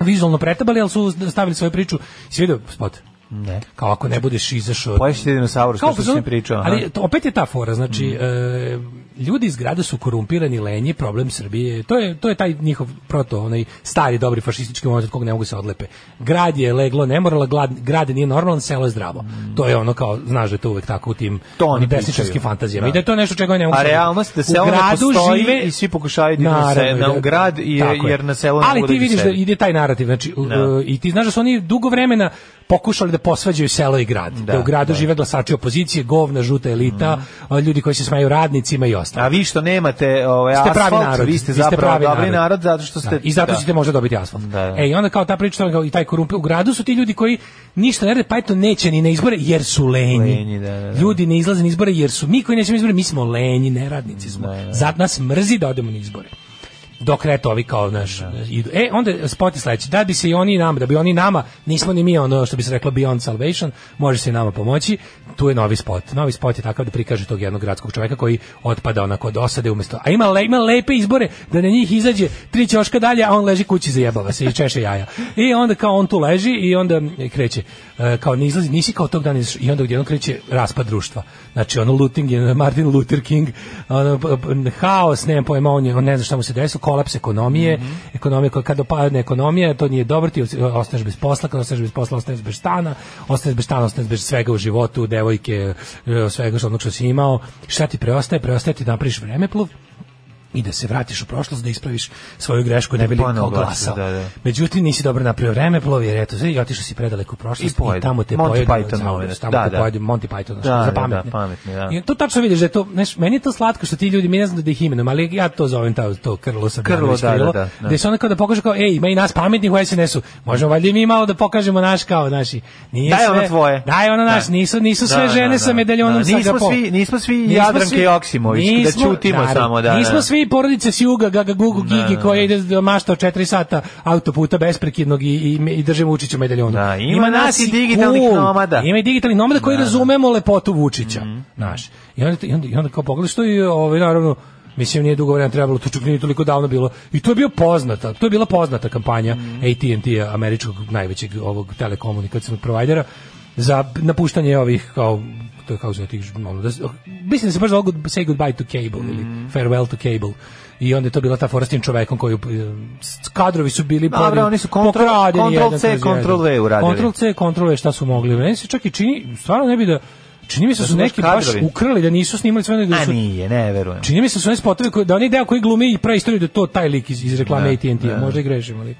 S7: vizualno pretabali, ali su stavili svoju priču. Si vidio spot?
S6: Ne. Pa
S7: Kao ako ne budeš izašao...
S6: Poješite dinosaurus, kao što
S7: fazonu-
S6: sam pričao. aha.
S7: Ali to opet je ta fora, znači
S6: Mm.
S7: e, ljudi iz grada su korumpirani, lenji, problem Srbije. To je to je taj njihov proto onaj stari dobri fašistički moment od kog ne mogu se odlepe. Grad je leglo, ne morala glad, grad nije normalan, selo je zdravo. To je ono kao znaš da je to uvek tako u tim
S6: Mm. To oni
S7: desničarskim
S6: pričaju.
S7: fantazijama.
S6: Da.
S7: I da je to nešto čega oni ne mogu.
S6: A
S7: se odlepe.
S6: realnost da
S7: U
S6: selo ne
S7: gradu
S6: postoji i svi pokušavaju da idu na se-
S7: Naravno,
S6: na-
S7: da-
S6: u grad i-
S7: tako je.
S6: jer na selo ne
S7: Ali
S6: mogu da
S7: ti
S6: idu
S7: vidiš da
S6: sebi.
S7: ide taj narativ, znači u-
S6: Da.
S7: e, i ti znaš da su oni dugo vremena pokušali da posvađaju selo i grad, da, u gradu žive glasači opozicije, govna, žuta elita,
S6: Mhm.
S7: a, ljudi koji se smeju radnicima i ostalo.
S6: A vi što nemate ovaj,
S7: Ste
S6: asfalt,
S7: pravi narod.
S6: vi ste zapravo
S7: pravi
S6: dobri narod. zato što ste...
S7: Da, I zato
S6: da.
S7: ćete možda dobiti asfalt.
S6: Da, da.
S7: E, i onda kao ta priča kao i taj korumpi u gradu su ti ljudi koji ništa ne rade, pa eto neće ni na izbore jer su lenji.
S6: Lenji, da, da, da.
S7: Ljudi ne izlaze na izbore jer su mi koji nećemo na izbore, mi smo lenji, neradnici smo. Zato nas mrzi da odemo na izbore. Dok eto ovi kao naš idu. E onda spot je sledeći. Da bi se i oni nama, da bi oni nama, nismo ni mi ono što bi se reklo Beyond Salvation, može se i nama pomoći. Tu je novi spot. Novi spot je takav da prikaže tog jednog gradskog čoveka koji otpada onako od osade umesto. A ima, le, ima lepe izbore da na njih izađe tri ćoška dalje, a on leži kući zajebava se i češe jaja. I onda kao on tu leži i onda kreće e, kao ne izlazi, nisi kao tog dana izašao. i onda odjednom kreće raspad društva. Znači ono looting je Martin Luther King, ono, p- p- haos, nemam pojma, on, je, on ne zna šta mu se desilo, kolaps ekonomije,
S6: Mhm.
S7: ekonomija koja kad opadne ekonomija, to nije dobro, ti ostaneš bez posla, kad ostaneš bez posla, ostaneš bez stana, ostaneš bez stana, ostaneš bez svega u životu, devojke, e, svega što onog što si imao, šta ti preostaje, preostaje ti da napraviš vremeplov, i da se vratiš u prošlost da ispraviš svoju grešku
S6: Da
S7: ne bi li
S6: E, ponovo
S7: kao
S6: glasao,
S7: glasao.
S6: da, da.
S7: Međutim nisi dobro napravio remeplov jer eto sve i otišao si predaleko u prošlost
S6: I
S7: i,
S6: pojede.
S7: tamo te
S6: Monty
S7: pojede
S6: Python
S7: zauvek,
S6: moment,
S7: tamo
S6: da,
S7: te
S6: da.
S7: pojede Monty Python znaš,
S6: Da,
S7: za
S6: da, da,
S7: pametne.
S6: pametni, da.
S7: I to tačno vidiš da je to, znaš, meni je to slatko što ti ljudi, mi ne znam da ih imenom, ali ja to zovem ta, to krlo sa
S6: Krlo,
S7: Danović
S6: da, da,
S7: krilo,
S6: da, da.
S7: gde se onda kao da pokaže kao, ej, ima i nas pametnih u SNS-u, možemo valjda i mi malo da pokažemo naš kao, naši, nije
S6: Daj
S7: sve,
S6: ono tvoje.
S7: Daj ono naš,
S6: Da.
S7: nisu, nisu sve
S6: Da,
S7: žene
S6: da,
S7: sa
S6: da.
S7: medaljonom
S6: Da,
S7: sa
S6: nismo
S7: Gapom.
S6: svi- nismo svi
S7: Nismo
S6: Jadranke
S7: svi-
S6: Joksimović, da ćutimo
S7: naravno,
S6: samo, da,
S7: Nismo
S6: da.
S7: svi porodice s juga, Gaga Gugu,
S6: Da,
S7: Gigi,
S6: da,
S7: koja ide da mašta od 4 sata autoputa besprekidnog i, i, i drže Vučića u medaljonu.
S6: ima nas i digitalnih
S7: cool.
S6: nomada.
S7: Ima i digitalnih nomada koji razumemo lepotu Vučića.
S6: Mhm.
S7: Znaš. I onda, i onda, i onda kao pogledaš to i ovaj, naravno, Mislim, nije dugo vremena trebalo, to čak nije toliko davno bilo. I to je bio poznata, to je bila poznata kampanja
S6: Mhm.
S7: AT&T, američkog najvećeg ovog telekomunikacijnog provajdera, za napuštanje ovih, kao, to je kao za tih, ono, da, se- mislim da se baš zvao good, Say Goodbye to Cable
S6: Mhm.
S7: ili Farewell to Cable. I onda je to bila ta fora s tim čovekom koji, eh, s- kadrovi su bili
S6: Dobro,
S7: podi-
S6: oni su kontrol-
S7: pokradeni
S6: kontrol
S7: jedan
S6: C,
S7: kroz jedan.
S6: kontrol V uradili.
S7: Kontrol C, kontrol V šta su mogli. Meni se čak i čini, stvarno ne bi da, čini mi se
S6: Da
S7: su
S6: su baš
S7: neki baš
S6: kadrovi.
S7: ukrali da nisu snimali sve nego da
S6: A
S7: su
S6: nije, ne verujem.
S7: Čini mi se da su oni spotovi koji, da oni deo koji glumi i praistoriju da je to taj lik iz, iz reklame
S6: Da,
S7: AT&T,
S6: da.
S7: možda i grešimo, ali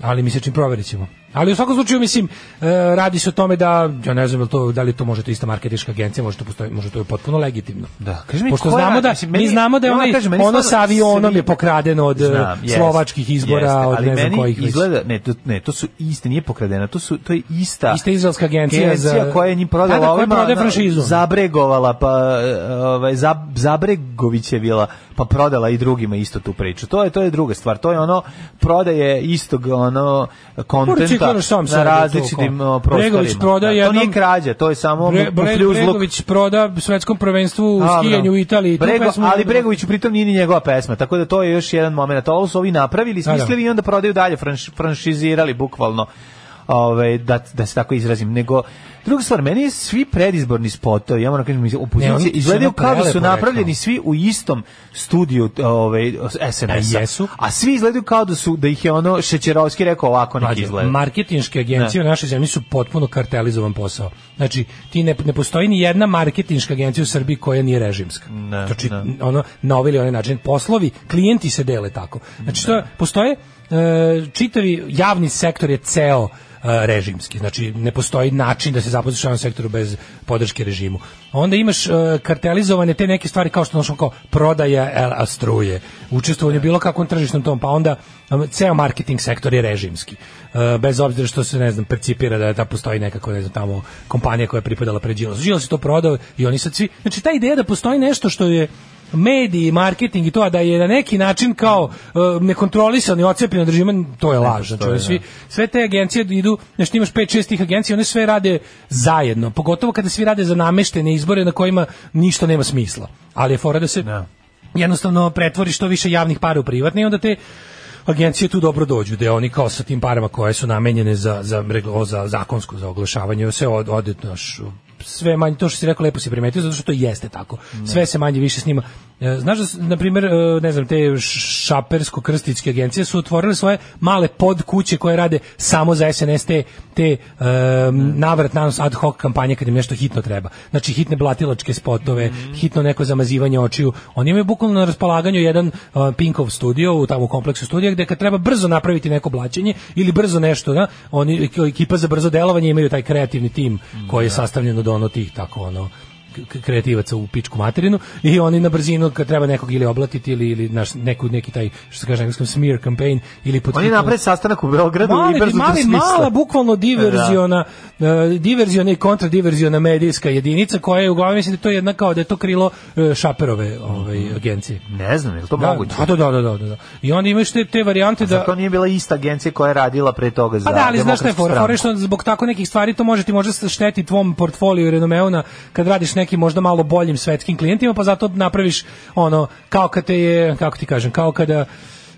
S7: ali mi se čini proverit ćemo. Ali u svakom slučaju mislim e, radi se o tome da ja ne znam je li to da li to može to ista marketinška agencija, može to postoji, može to je potpuno legitimno.
S6: Da, kaži mi,
S7: Pošto
S6: koja-
S7: znamo da
S6: mislim,
S7: mi
S6: meni-
S7: znamo da je
S6: ja moram
S7: onaj,
S6: kažem, meni
S7: ono
S6: stvarno
S7: sa avionom
S6: svi-
S7: je pokradeno od e,
S6: Znam, jest,
S7: slovačkih izbora,
S6: jeste,
S7: od
S6: ali
S7: ne znam
S6: meni
S7: kojih već.
S6: izgleda, ne, to, ne, to su iste, nije pokradena, to su to je ista.
S7: Ista izraelska agencija za-
S6: koja je njim
S7: Da, da,
S6: prodala
S7: koja
S6: ovima,
S7: prodaje
S6: ono,
S7: franšizu.
S6: zabregovala pa e, ovaj za, Zabregović je bila pa prodala i drugima isto tu priču. To je to je druga stvar. To je ono prodaje istog ono kontenta
S7: Recikliraš sam
S6: na
S7: sebe,
S6: različitim
S7: to kao.
S6: o, prostorima.
S7: Bregović proda
S6: Da, To
S7: jednom-
S6: nije krađa, to je samo
S7: Bre, Bre,
S6: kljuzluk.
S7: Bregović proda svetskom prvenstvu u
S6: Dobro.
S7: skijanju u Italiji. tu
S6: Brego,
S7: pesmu-
S6: ali Bregoviću pritom nije ni njegova pesma, tako da to je još jedan moment. Ovo su ovi napravili,
S7: da.
S6: smislili i onda prodaju dalje, franš, franšizirali bukvalno. Ove, da, da se tako izrazim, nego druga stvar, meni je svi predizborni spotovi, ja moram kažem, iz
S7: Ne, oni
S6: opozicije,
S7: su
S6: izgledaju
S7: ono
S6: kao da su
S7: prelepo
S6: napravljeni
S7: rekao.
S6: svi u istom studiju ovaj, ove, SNS-a.
S7: A E, jesu.
S6: A svi izgledaju kao da su, da ih je ono Šećerovski rekao ovako nek
S7: Mlađe,
S6: izgleda.
S7: Marketinške agencije
S6: Ne.
S7: u našoj zemlji su potpuno kartelizovan posao. Znači, ti ne, ne postoji ni jedna marketinška agencija u Srbiji koja nije režimska.
S6: Ne,
S7: znači,
S6: ne.
S7: ono, na ovaj ili onaj način. Poslovi, klijenti se dele tako. Znači, to, je- postoje e, čitavi javni sektor je ceo e, režimski. Znači, ne postoji način da se zaposliš u javnom sektoru bez podrške režimu. Onda imaš e, kartelizovane te neke stvari kao što našao kao prodaja e, struje, učestvovanje u bilo kakvom tržišnom tom, pa onda um, ceo marketing sektor je režimski. E, bez obzira što se, ne znam, percipira da, da postoji nekako, ne znam, tamo kompanija koja je pripadala pred Đilas. Đilas je to prodao i oni sad svi... Znači, ta ideja da postoji nešto što je mediji, marketing i to, a da je na neki način kao uh, nekontrolisan i ocepljen od režima, to je laž. Znači, oni svi, sve te agencije idu, znači ti imaš 5-6 tih agencija, one sve rade zajedno, pogotovo kada svi rade za nameštene izbore na kojima ništa nema smisla. Ali je fora da se jednostavno pretvori što više javnih para u privatne i onda te agencije tu dobro dođu, da oni kao sa tim parama koje su namenjene za, za, reglo- za zakonsko, za oglašavanje, se od, ode, znaš, sve manje, to što si rekao lepo si primetio, zato što to jeste tako. Sve se manje više snima. E, Znaš da, su, na primjer, e, ne znam, te šapersko-krstičke agencije su otvorile svoje male pod kuće koje rade samo za SNS te, te um, navrat nanos ad hoc kampanje kad im nešto hitno treba. Znači hitne blatilačke spotove,
S6: Mhm.
S7: hitno neko zamazivanje očiju. Oni imaju bukvalno na raspolaganju jedan uh, Pinkov studio u tamo kompleksu studija gde kad treba brzo napraviti neko blaćenje ili brzo nešto, da, oni ekipa za brzo delovanje imaju taj kreativni tim koji je sastavljen od ono tih tako ono k- kreativaca u pičku materinu i oni na brzinu kad treba nekog ili oblatiti ili ili naš neku neki taj što se kaže na engleskom smear campaign ili pod
S6: Oni
S7: hitno-
S6: naprave sastanak u Beogradu
S7: Mali,
S6: i brzo to
S7: mali,
S6: smisle.
S7: mala bukvalno diverziona, e, diverziona i kontradiverziona medijska jedinica koja je uglavnom mislim da je to jedna kao da je to krilo e, šaperove ovaj, agencije.
S6: Ne znam, je li to
S7: Da,
S6: moguće?
S7: da, da, da, da, da. I onda imaš te, te varijante da...
S6: Zar to nije bila ista agencija koja je radila pre toga za
S7: Pa da, ali znaš šta je
S6: Demokratsku
S7: fora?
S6: stranku?
S7: Fora je što zbog tako nekih stvari to može ti možda šteti tvom portfoliju i renomeu na kad radiš nekim možda malo boljim svetskim klijentima, pa zato napraviš ono, kao kad te je, kako ti kažem, kao kada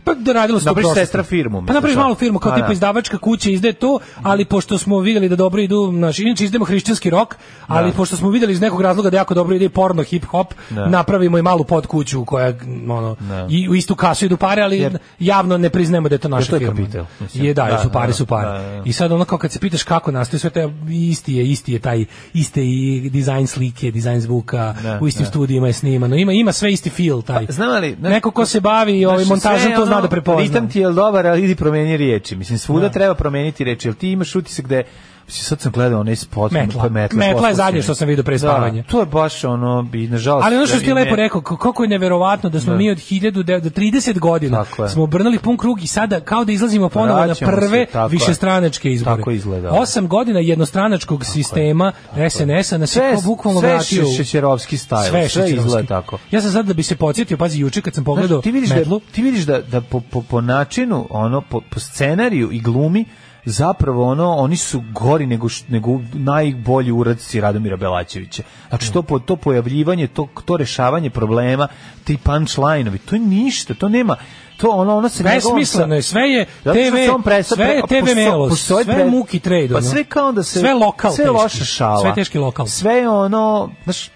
S7: pa da radilo se to
S6: Napraviš
S7: prošlosti.
S6: sestra firmu,
S7: Pa napraviš
S6: misliš,
S7: malu firmu, kao
S6: a?
S7: tipa
S6: Pa, da.
S7: izdavačka kuća izde to, ali pošto smo videli da dobro idu, naš, inače izdemo hrišćanski rok, ali
S6: Da.
S7: pošto smo videli iz nekog razloga da jako dobro ide i porno, hip hop,
S6: Da.
S7: napravimo i malu podkuću koja m, ono
S6: Da.
S7: i u istu kasu idu pare, ali
S6: Jer-
S7: javno ne priznajemo da je to naša
S6: to je
S7: firma.
S6: kapital, mislim.
S7: Je da, jer
S6: Da,
S7: su pare
S6: da,
S7: su pare.
S6: da, da, da.
S7: I sad ono kao kad se pitaš kako nastaje sve te isti je, isti je taj iste i dizajn slike, dizajn zvuka,
S6: Da,
S7: u istim
S6: da.
S7: studijima je snimano. Ima ima sve isti feel taj.
S6: Znam ali, znaš,
S7: Neko ko se bavi ovaj
S6: znaš,
S7: montažom
S6: sve
S7: to zna
S6: ono,
S7: da prepozna.
S6: Ritam ti je dobar, ali idi promeni riječi. Mislim, svuda treba promeniti riječi, jer ti imaš utisak da je Mislim, sad sam gledao onaj spot,
S7: Metla.
S6: pa metla.
S7: Metla je
S6: poslušaj
S7: zadnje
S6: me.
S7: što sam vidio pre
S6: Da,
S7: spavanja.
S6: to je baš ono, i nažalost...
S7: Ali ono što
S6: da
S7: ti
S6: i
S7: lepo
S6: ne-
S7: rekao, k- koliko je neverovatno da smo
S6: Da.
S7: mi od 1900 do 30 godina
S6: Tako je.
S7: smo obrnuli pun krug i sada kao da izlazimo ponovo na
S6: Vraćamo se,
S7: prve
S6: tako je.
S7: višestranačke izbore.
S6: Tako izgleda.
S7: Osam godina jednostranačkog sistema SNS-a nas je
S6: Sve,
S7: to bukvalno
S6: sve
S7: vratio. u-
S6: šećerovski style, sve,
S7: šećerovski.
S6: izgleda tako.
S7: Ja sam sad da bi se podsjetio, pazi, juče kad sam pogledao
S6: Znaš, ti vidiš
S7: metlu,
S6: da ti vidiš da da po, po, po načinu ono po, po scenariju i glumi zapravo ono oni su gori nego š- nego najbolji uradci Radomira Belačevića. Znači to po, to pojavljivanje, to to rešavanje problema, ti punchline-ovi, to je ništa, to nema to ono ono se njegovom-
S7: Besmisleno je, sve je
S6: Zato što
S7: TV
S6: se on presa-
S7: sve je
S6: pre-
S7: TV
S6: posto-
S7: Melos,
S6: postoje
S7: sve
S6: pre-
S7: Muki Trade,
S6: Pa
S7: ono.
S6: sve kao da se...
S7: Sve lokal
S6: Sve
S7: teški.
S6: loša šala.
S7: Sve teški lokal.
S6: Sve je ono, znaš,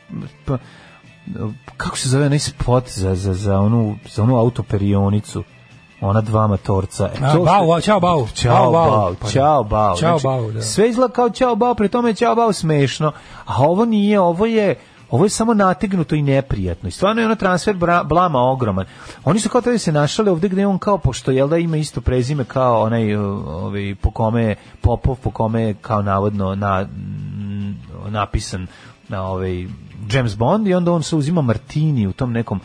S6: pa, kako se zove onaj spot za, za, za, onu, za onu autoperionicu? ona dva matorca. E,
S7: A,
S6: to
S7: bau,
S6: što-
S7: a, ćao, bau. Bau,
S6: Ćao
S7: bau.
S6: bau,
S7: Pa da.
S6: ćao bau.
S7: Ćao,
S6: Znači,
S7: bau, da.
S6: Sve izgleda kao ćao bau, pri tome je ćao bau smešno, a ovo nije, ovo je Ovo je samo nategnuto i neprijatno. I stvarno je ono transfer bra- blama ogroman. Oni su kao tada se našali ovde gde je on kao, pošto jel da ima isto prezime kao onaj uh, ovaj, po kome je Popov, po kome je kao navodno na, mm, napisan na ovaj James Bond i onda on se uzima Martini u tom nekom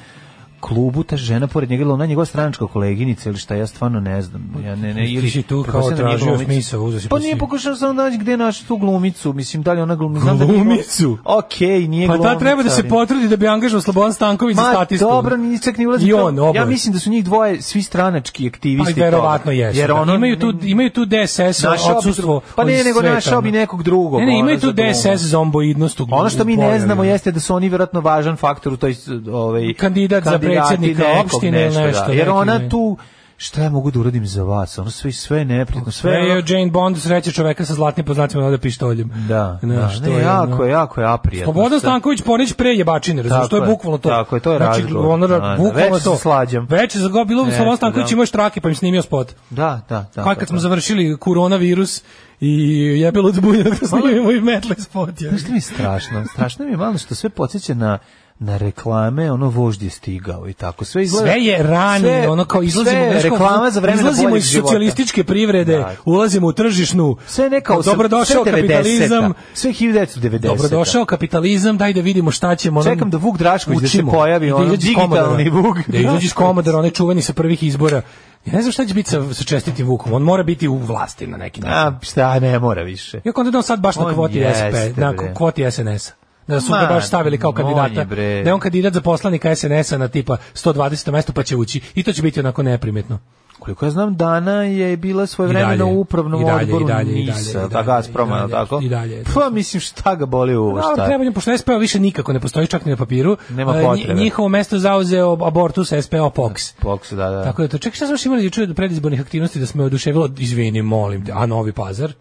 S6: klubu ta žena pored njega ili ona je njegova stranačka koleginica ili šta ja stvarno ne znam ja ne ne
S7: Ti
S6: ili
S7: si tu kao
S6: pretpostavljam da nije
S7: tražio
S6: glumica.
S7: smisao, uzeo si
S6: pa
S7: pa si-
S6: nije pokušao sam da nađe gde naš tu glumicu mislim da li ona glumi znam da nije
S7: Glumicu?
S6: okej nije
S7: pa
S6: glumica
S7: ta treba da se
S6: ali-
S7: potrudi da bi angažovao Slobodan Stanković za
S6: Ma,
S7: statistu.
S6: dobro, ni čak ni ulazi.
S7: I on, oboje.
S6: ja mislim da su njih dvoje svi stranački
S7: Pa
S6: aktivisti.
S7: verovatno
S6: toga.
S7: jesu.
S6: Jer
S7: da.
S6: ono,
S7: imaju tu imaju tu DSS
S6: Našao bi
S7: odsustvo.
S6: dru- pa ne,
S7: od
S6: nego
S7: sveta,
S6: našao bi
S7: ono.
S6: nekog drugog,
S7: Ne, ne,
S6: ono,
S7: imaju tu
S6: za glumu.
S7: DSS zomboidnost. u-
S6: Ono što mi
S7: u
S6: ne
S7: pojavima.
S6: znamo jeste da su oni vjerojatno važan faktor u toj ovaj
S7: Kandidat za
S6: kandidati
S7: predsjednika
S6: nekog,
S7: opštine ili
S6: da.
S7: nešto,
S6: Jer
S7: neki,
S6: ona
S7: ne.
S6: tu šta ja mogu da uradim za vas? Ono sve sve je neprijatno, sve
S7: Sve
S6: je
S7: je
S6: ono-
S7: Jane Bond sreće čoveka sa zlatnim poznacima da pištoljem.
S6: da, da,
S7: Znaš,
S6: ne,
S7: to je
S6: jako
S7: ono-
S6: je jako je aprijatno.
S7: Slobodan
S6: Sve-
S7: Stanković Ponić pre jebačine, razumiješ,
S6: Tako
S7: to je
S6: je,
S7: bukvalno to.
S6: tako je, to je razgovor.
S7: Ono,
S6: Da, da,
S7: bukvalno
S6: već se
S7: to.
S6: slađam.
S7: Već za gobi
S6: Nešto,
S7: Slobodan Stanković
S6: da.
S7: imao je štrake, pa im snimio spot.
S6: Da, da, da.
S7: Pa
S6: da,
S7: kad smo
S6: da.
S7: završili koronavirus i jebelo od bunja da snimimo i metle spot. je.
S6: Znaš šta mi je strašno? Strašno mi je malo što sve podsjeća na na reklame, ono vožd je stigao i tako. Sve izgleda...
S7: Sve je rani,
S6: sve-
S7: ono kao izlazimo,
S6: sve je
S7: znaš, kao,
S6: reklama za vremena
S7: izlazimo
S6: boljeg
S7: iz
S6: života.
S7: socijalističke privrede,
S6: Da.
S7: ulazimo u tržišnu.
S6: Sve je neka... osam-
S7: dobrodošao
S6: sve 90-ta,
S7: kapitalizam.
S6: Sve 1990.
S7: Dobrodošao kapitalizam, daj da vidimo šta ćemo. ono-
S6: Čekam da Vuk Drašković da se
S7: Učimo.
S6: pojavi,
S7: I da
S6: ono,
S7: izađe iz
S6: digitalni
S7: Komodora.
S6: Vuk
S7: Da izađe iz Komodora, onaj čuveni sa prvih izbora. Ja ne znam šta će biti sa, sa čestitim Vukom, on mora biti u vlasti na neki način.
S6: A, šta, ne mora više.
S7: Iako onda da on sad baš na
S6: On
S7: kvoti
S6: jeste,
S7: SP, na
S6: bre.
S7: kvoti SNS. Da su
S6: Ma,
S7: ga baš stavili kao
S6: on je,
S7: kandidata.
S6: bre.
S7: Da je on kandidat za poslanika SNS-a na tipa 120. mesto pa će ući. I to će biti onako neprimetno.
S6: Koliko ja znam, Dana je bila svoje
S7: I
S6: vreme na
S7: dalje.
S6: upravnom
S7: I dalje,
S6: odboru
S7: i dalje, i dalje, i
S6: NIS-a,
S7: dalje,
S6: da Gazproma,
S7: i
S6: je
S7: dalje,
S6: li tako?
S7: i dalje.
S6: Pa mislim šta ga boli ovo,
S7: Da,
S6: šta?
S7: treba njemu, pošto SPO više nikako ne postoji, čak ni na papiru.
S6: Nema
S7: A, nji-
S6: potrebe.
S7: Njihovo mesto zauzeo abortus SPO POX.
S6: Boks, da, da.
S7: Tako da to, čekaj, šta smo još imali juče od predizbornih aktivnosti da smo oduševilo, izvini, molim te, a Novi Pazar?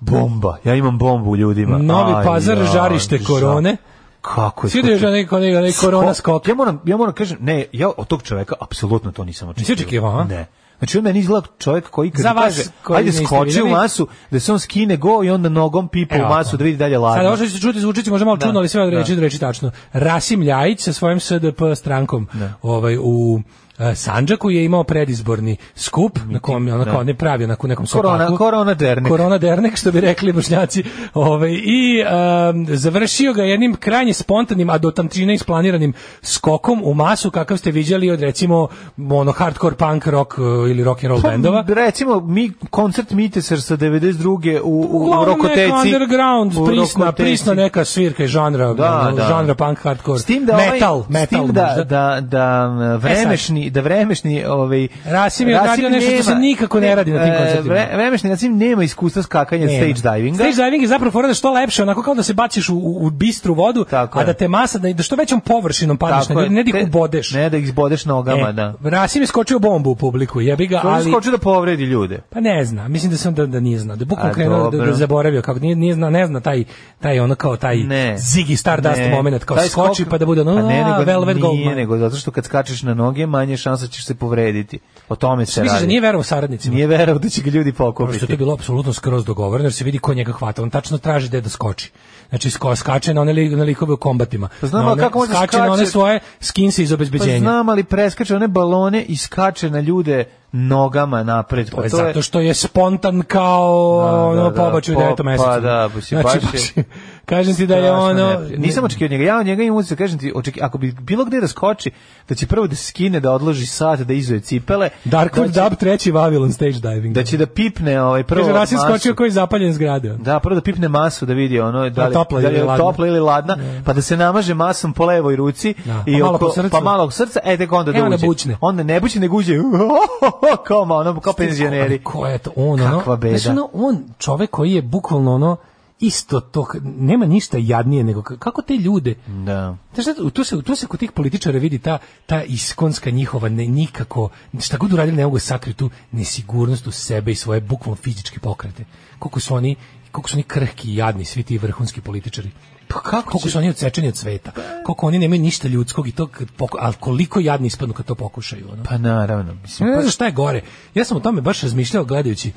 S6: Bomba, ja imam bombu u ljudima.
S7: Novi
S6: Aj,
S7: Pazar,
S6: ja,
S7: žarište
S6: ža-
S7: korone.
S6: Kako je
S7: Svi da je
S6: skučen.
S7: onaj- onaj- onaj korona skok.
S6: Ja moram, ja moram kažem, ne, ja od tog čoveka apsolutno to nisam očekivao.
S7: Nisi očekivao, a?
S6: Ne. Znači on meni izgleda čovjek koji kad
S7: Za vas
S6: kaže,
S7: koji
S6: ajde
S7: niste
S6: skoči u
S7: videli.
S6: masu, da se on skine go i onda nogom pipa
S7: Evo
S6: u masu
S7: ovako.
S6: da vidi dalje ladno.
S7: Sada ovo što ćete čuti zvučiće možda malo
S6: Da,
S7: čudno, ali sve od reči
S6: da.
S7: do reči tačno. Rasim Ljajić sa svojim SDP strankom ovaj, u e, Sandžaku je imao predizborni skup na kom je onako
S6: da.
S7: on je pravi onako u nekom
S6: Korona-
S7: sokaku.
S6: korona dernek.
S7: Korona dernek što bi rekli bošnjaci. Ovaj i em, završio ga jednim krajnje spontanim a do tamčine isplaniranim skokom u masu kakav ste viđali od recimo ono hardcore punk rock e, ili rock and roll bendova.
S6: Pa, recimo, mi, koncert Miteser sa 92. u, u, u
S7: Uglavnom
S6: Rokoteci.
S7: neka underground,
S6: U
S7: prisna,
S6: Rokoteci.
S7: prisna neka svirka i žanra,
S6: Da,
S7: ono,
S6: da.
S7: žanra punk hardcore.
S6: S tim da
S7: metal,
S6: ovaj, s
S7: metal
S6: tim da,
S7: možda. E
S6: da, da, um, vremešni, vremešni, da vremešni, ovaj
S7: Rasim je odradio nešto što se nikako ne radi na tim
S6: e,
S7: koncertima.
S6: vre- Vremešni Rasim nema iskustva skakanja
S7: Nema.
S6: stage divinga.
S7: Stage diving je zapravo fora da što lepše, onako kao da se baciš u, u u bistru vodu, a da te masa, da, da što većom površinom padneš
S6: Tako
S7: na
S6: je.
S7: ljudi, ne da
S6: Te-
S7: ih ubodeš.
S6: Ne da ih zbodeš nogama,
S7: E,
S6: da.
S7: Rasim je skočio bombu u publiku, jebi ga,
S6: Ali
S7: ali...
S6: skoči da povredi ljude.
S7: Pa ne zna, mislim da se on da, da nije znao, da je bukvalno
S6: A,
S7: krenuo da, da
S6: dobro.
S7: je zaboravio, kako nije, nije zna, ne zna taj, taj ono kao taj
S6: Ne.
S7: Ziggy Stardust
S6: Ne.
S7: moment, kao
S6: Taj skok-
S7: skoči pa da bude ono,
S6: A ne, nego,
S7: a, Velvet
S6: nije,
S7: Goldmine.
S6: nego zato što kad skačeš na noge, manje je šansa ćeš se povrediti. O tome se
S7: Misliš
S6: radi.
S7: da nije verovao saradnicima?
S6: Nije verovao da će ga ljudi pokupiti.
S7: Ono Što je to bilo apsolutno skroz dogovoreno, jer se vidi ko njega hvata. On tačno traži gde da skoči. Znači, sko, skače na one, li, na likove u kombatima.
S6: Pa znam,
S7: na
S6: a
S7: one-
S6: kako može
S7: skače na one
S6: skače-
S7: svoje skinse iz obezbeđenja.
S6: Pa znam, ali preskače one balone i skače na ljude nogama napred. Pa
S7: To je Pa zato što je spontan kao
S6: Da, da,
S7: ono
S6: da,
S7: pobačaj u
S6: po-
S7: devetom
S6: pa
S7: mesecu.
S6: da, pa si
S7: znači,
S6: baš je-
S7: baš je- kažem ti da je
S6: Strašno
S7: ono...
S6: neprijatno. Nisam očekio od njega. Ja od njega imam utisak, kažem ti, oček, ako bi bilo gde da skoči, da će prvo da se skine, da odloži sat, da izuje cipele.
S7: Darkwood
S6: da će,
S7: Dub treći Vavilon stage diving.
S6: da će da pipne ovaj prvo
S7: Kaže, Rasim
S6: masu.
S7: skočio koji zapaljen zgrade.
S6: Da, prvo da pipne masu da vidi ono da
S7: Da,
S6: li,
S7: topla
S6: da li
S7: ili
S6: je
S7: ladna.
S6: topla ili ladna, pa da se namaže masom po levoj ruci
S7: Da,
S6: i
S7: pa malo
S6: oko-
S7: po srcu.
S6: pa malo oko srca, e tek onda
S7: E,
S6: da
S7: onda
S6: uđe.
S7: bućne.
S6: Onda ne buće, nego uđe. kao ono, kao penzioneri.
S7: Ko, ko je to? On, ono,
S6: Kakva beda.
S7: Znaš, ono, on čovek koji je bukvalno ono, isto to, nema ništa jadnije nego ka- kako te ljude
S6: da.
S7: Znaš šta, tu se, tu se kod tih političara vidi ta, ta iskonska njihova ne, nikako, šta god uradili ne mogu da sakriju tu nesigurnost u sebe i svoje bukvalno fizičke pokrete. Koliko su oni koliko su oni krhki i jadni, svi ti vrhunski političari. Pa kako Pa- koliko su oni odsečeni od sveta. Koliko oni nemaju ništa ljudskog i to kad poku- ali koliko jadni ispadnu kad to pokušaju. Ono.
S6: Pa naravno, mislim.
S7: Ne
S6: pa-
S7: znam šta je gore. Ja sam o tome baš razmišljao gledajući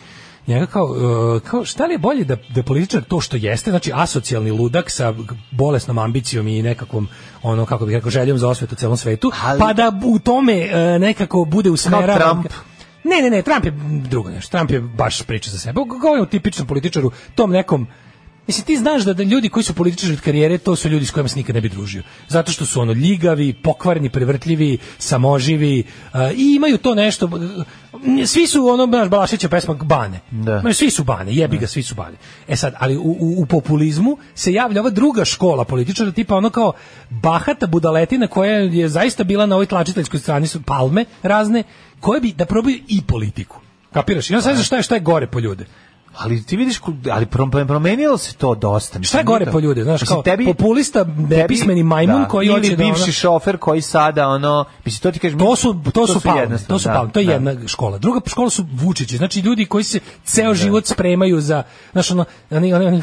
S7: njega kao, e, kao šta li je bolje da, da političar to što jeste, znači asocijalni ludak sa bolesnom ambicijom i nekakvom ono kako bih rekao željom za osvetu celom svetu, pa da u tome e, nekako bude usmeravan.
S6: Trump.
S7: Ne, ne, ne, Trump je drugo nešto. Trump je baš priča za sebe. Govorim o tipičnom političaru, tom nekom Mislim, ti znaš da, da ljudi koji su političari od karijere, to su ljudi s kojima se nikad ne bi družio. Zato što su ono ljigavi, pokvareni, prevrtljivi, samoživi a, i imaju to nešto... Svi su, ono, znaš, Balašića pesma bane.
S6: Da.
S7: Ma, Svi su bane, jebi ga, svi su bane. E sad, ali u, u, u populizmu se javlja ova druga škola političara, tipa ono kao bahata budaletina koja je zaista bila na ovoj tlačiteljskoj strani su palme razne, koje bi da probaju i politiku. Kapiraš? Ja sad šta je, šta je gore po ljude.
S6: Ali ti vidiš, ku- ali prom- promenilo se to dosta.
S7: Šta je
S6: mislim,
S7: gore
S6: nije
S7: po
S6: to-
S7: ljude, znaš,
S6: Mislim,
S7: kao populista, nepismeni majmun
S6: da,
S7: koji
S6: ili
S7: hoće da ono-
S6: bivši šofer koji sada ono, mislim to ti kažeš,
S7: To su to su palme,
S6: jednostavno,
S7: to su
S6: da,
S7: palme, to je
S6: da.
S7: jedna škola. Druga škola su Vučići, znači ljudi koji se ceo život spremaju za, znaš ono, oni oni oni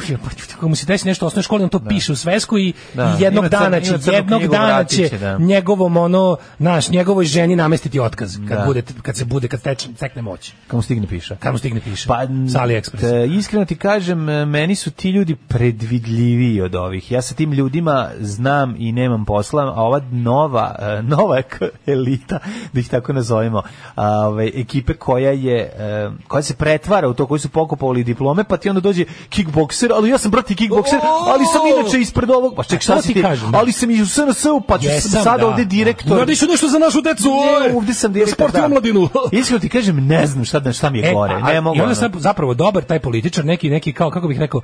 S7: kako mu se desi nešto u osnovnoj školi, on to piše u svesku i,
S6: Da.
S7: i jednog
S6: Ima crn-
S7: dana
S6: ima
S7: će
S6: crnu
S7: jednog
S6: knjigu,
S7: dana
S6: vratit
S7: će
S6: će, da.
S7: njegovom ono, naš njegovoj ženi namestiti otkaz kad
S6: Da.
S7: bude kad se bude kad teče, tekne moć.
S6: Kad mu stigne piša.
S7: Kad mu stigne piše.
S6: Pa,
S7: sa AliExpressa.
S6: Da, iskreno ti kažem, e, meni su ti ljudi predvidljiviji od ovih. Ja sa tim ljudima znam i nemam posla, a ova nova, eh, nova k- elita, da ih tako nazovemo, a, ovaj, ekipe koja je, eh, koja se pretvara u to, koji su pokupovali diplome, pa ti onda dođe kickbokser, ali ja sam brati kickbokser, ali sam inače ispred ovog, pa ček,
S7: A
S6: šta
S7: to
S6: si
S7: Oh! ti
S6: ti,
S7: kažem, da.
S6: ali sam i u SNS-u, pa ću
S7: Jesam,
S6: sad
S7: da.
S6: ovde direktor.
S7: Uradiš nešto za našu decu.
S6: Ne,
S7: oj!
S6: ovde sam direktor.
S7: Sport i
S6: da.
S7: omladinu.
S6: Iskreno ti kažem, ne znam šta, da- šta mi je
S7: E,
S6: gore.
S7: a-
S6: ne
S7: a-
S6: mogu.
S7: I onda
S6: ono.
S7: sam zapravo dobar taj političar, neki, neki kao, kako bih rekao,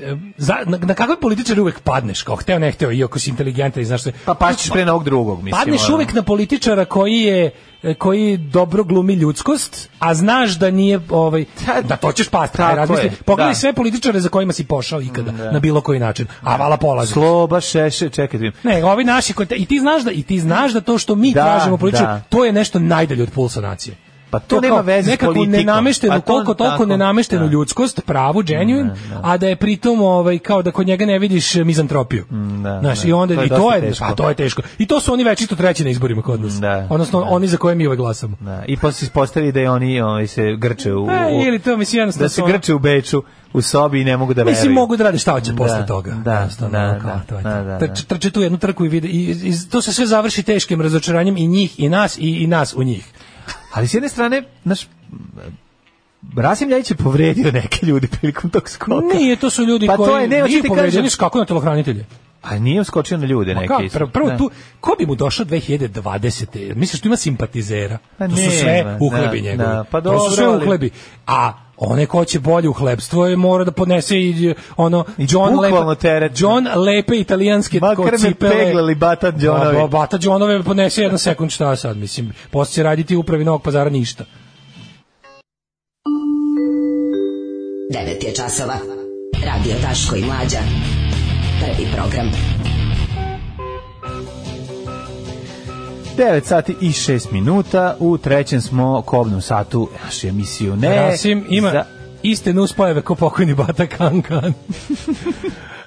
S7: e, za, na, na kakve političare uvek padneš, kao hteo ne hteo, iako si inteligentan i znaš sve.
S6: Pa pašćeš pre na ovog drugog, mislim.
S7: Padneš
S6: ono.
S7: uvek na političara koji je e, koji dobro glumi ljudskost, a znaš da nije ovaj da to ćeš pasti,
S6: Tako
S7: aj razmisli.
S6: je,
S7: Pogledaj
S6: da. Mm,
S7: sve političare za kojima si pošao ikada na bilo koji način. A vala polazi.
S6: Sloba šeše, čekaj da vidim.
S7: Ne, ovi naši koji te- i ti znaš da i ti znaš da to što mi
S6: Da,
S7: tražimo politički,
S6: da.
S7: to je nešto najdalje od pulsa nacije.
S6: Pa to nema
S7: kao
S6: veze s
S7: nekakvu
S6: politikom.
S7: nenameštenu,
S6: Pa to
S7: koliko toliko
S6: tako,
S7: nenameštenu
S6: da.
S7: ljudskost, pravu, genuine, a da je pritom ovaj, kao da kod njega ne vidiš eh, mizantropiju.
S6: Mm, da,
S7: Znaš,
S6: da.
S7: i onda,
S6: To je
S7: i to
S6: dosta
S7: je,
S6: teško.
S7: pa to je teško. I to su oni već isto treći na izborima kod nas.
S6: Da,
S7: Odnosno, oni za koje mi uvek glasamo.
S6: Da, I posle se ispostavi da je oni ovaj, se grče u...
S7: E,
S6: u-
S7: ili to, mislim, jednostavno
S6: da se
S7: su ono-
S6: grče u Beču, u sobi i ne mogu da veruju.
S7: Mislim, mogu da radi šta hoće
S6: Da,
S7: posle toga.
S6: da,
S7: Jednostavno,
S6: da,
S7: ono, kao,
S6: da,
S7: to je
S6: da,
S7: to.
S6: da,
S7: Trče- Trče tu jednu trku i vide, i, i, to se sve završi teškim razočaranjem i njih i nas i, i nas u njih.
S6: Ali s jedne strane, znaš, Rasim Ljajić je povredio neke ljude prilikom tog skoka.
S7: Nije, to su ljudi
S6: Pa to
S7: koji
S6: je, ne, hoću
S7: nije
S6: ti
S7: povređeni
S6: kažem-
S7: skako na telohranitelje.
S6: A nije skočio na ljude
S7: Ma
S6: neke.
S7: kao,
S6: isto.
S7: prvo, prvo
S6: Da.
S7: tu, ko bi mu došao 2020. Misliš, tu ima simpatizera.
S6: Pa
S7: to su
S6: nema,
S7: sve uhlebi
S6: da,
S7: njegovi.
S6: da, pa
S7: to
S6: dobro,
S7: su sve
S6: ali-
S7: uhlebi. A One ko će bolje u hlebstvo je mora da podnese i ono
S6: I
S7: John
S6: bukvalno
S7: Lepe,
S6: teret.
S7: John Lepe italijanske
S6: Makar
S7: ko
S6: me
S7: cipele.
S6: peglali Bata Đonovi.
S7: Ba, ba, Bata Džonove podnese jedan sekund šta sad, mislim. Posle će raditi u upravi Novog pazara ništa.
S13: 9 je časova. Radio Daško i Mlađa. Prvi program.
S6: 9 sati i 6 minuta, u trećem smo kobnom satu našu emisiju. Ne,
S7: Rasim ima
S6: za-
S7: iste nuspojeve ko pokojni Bata Kankan.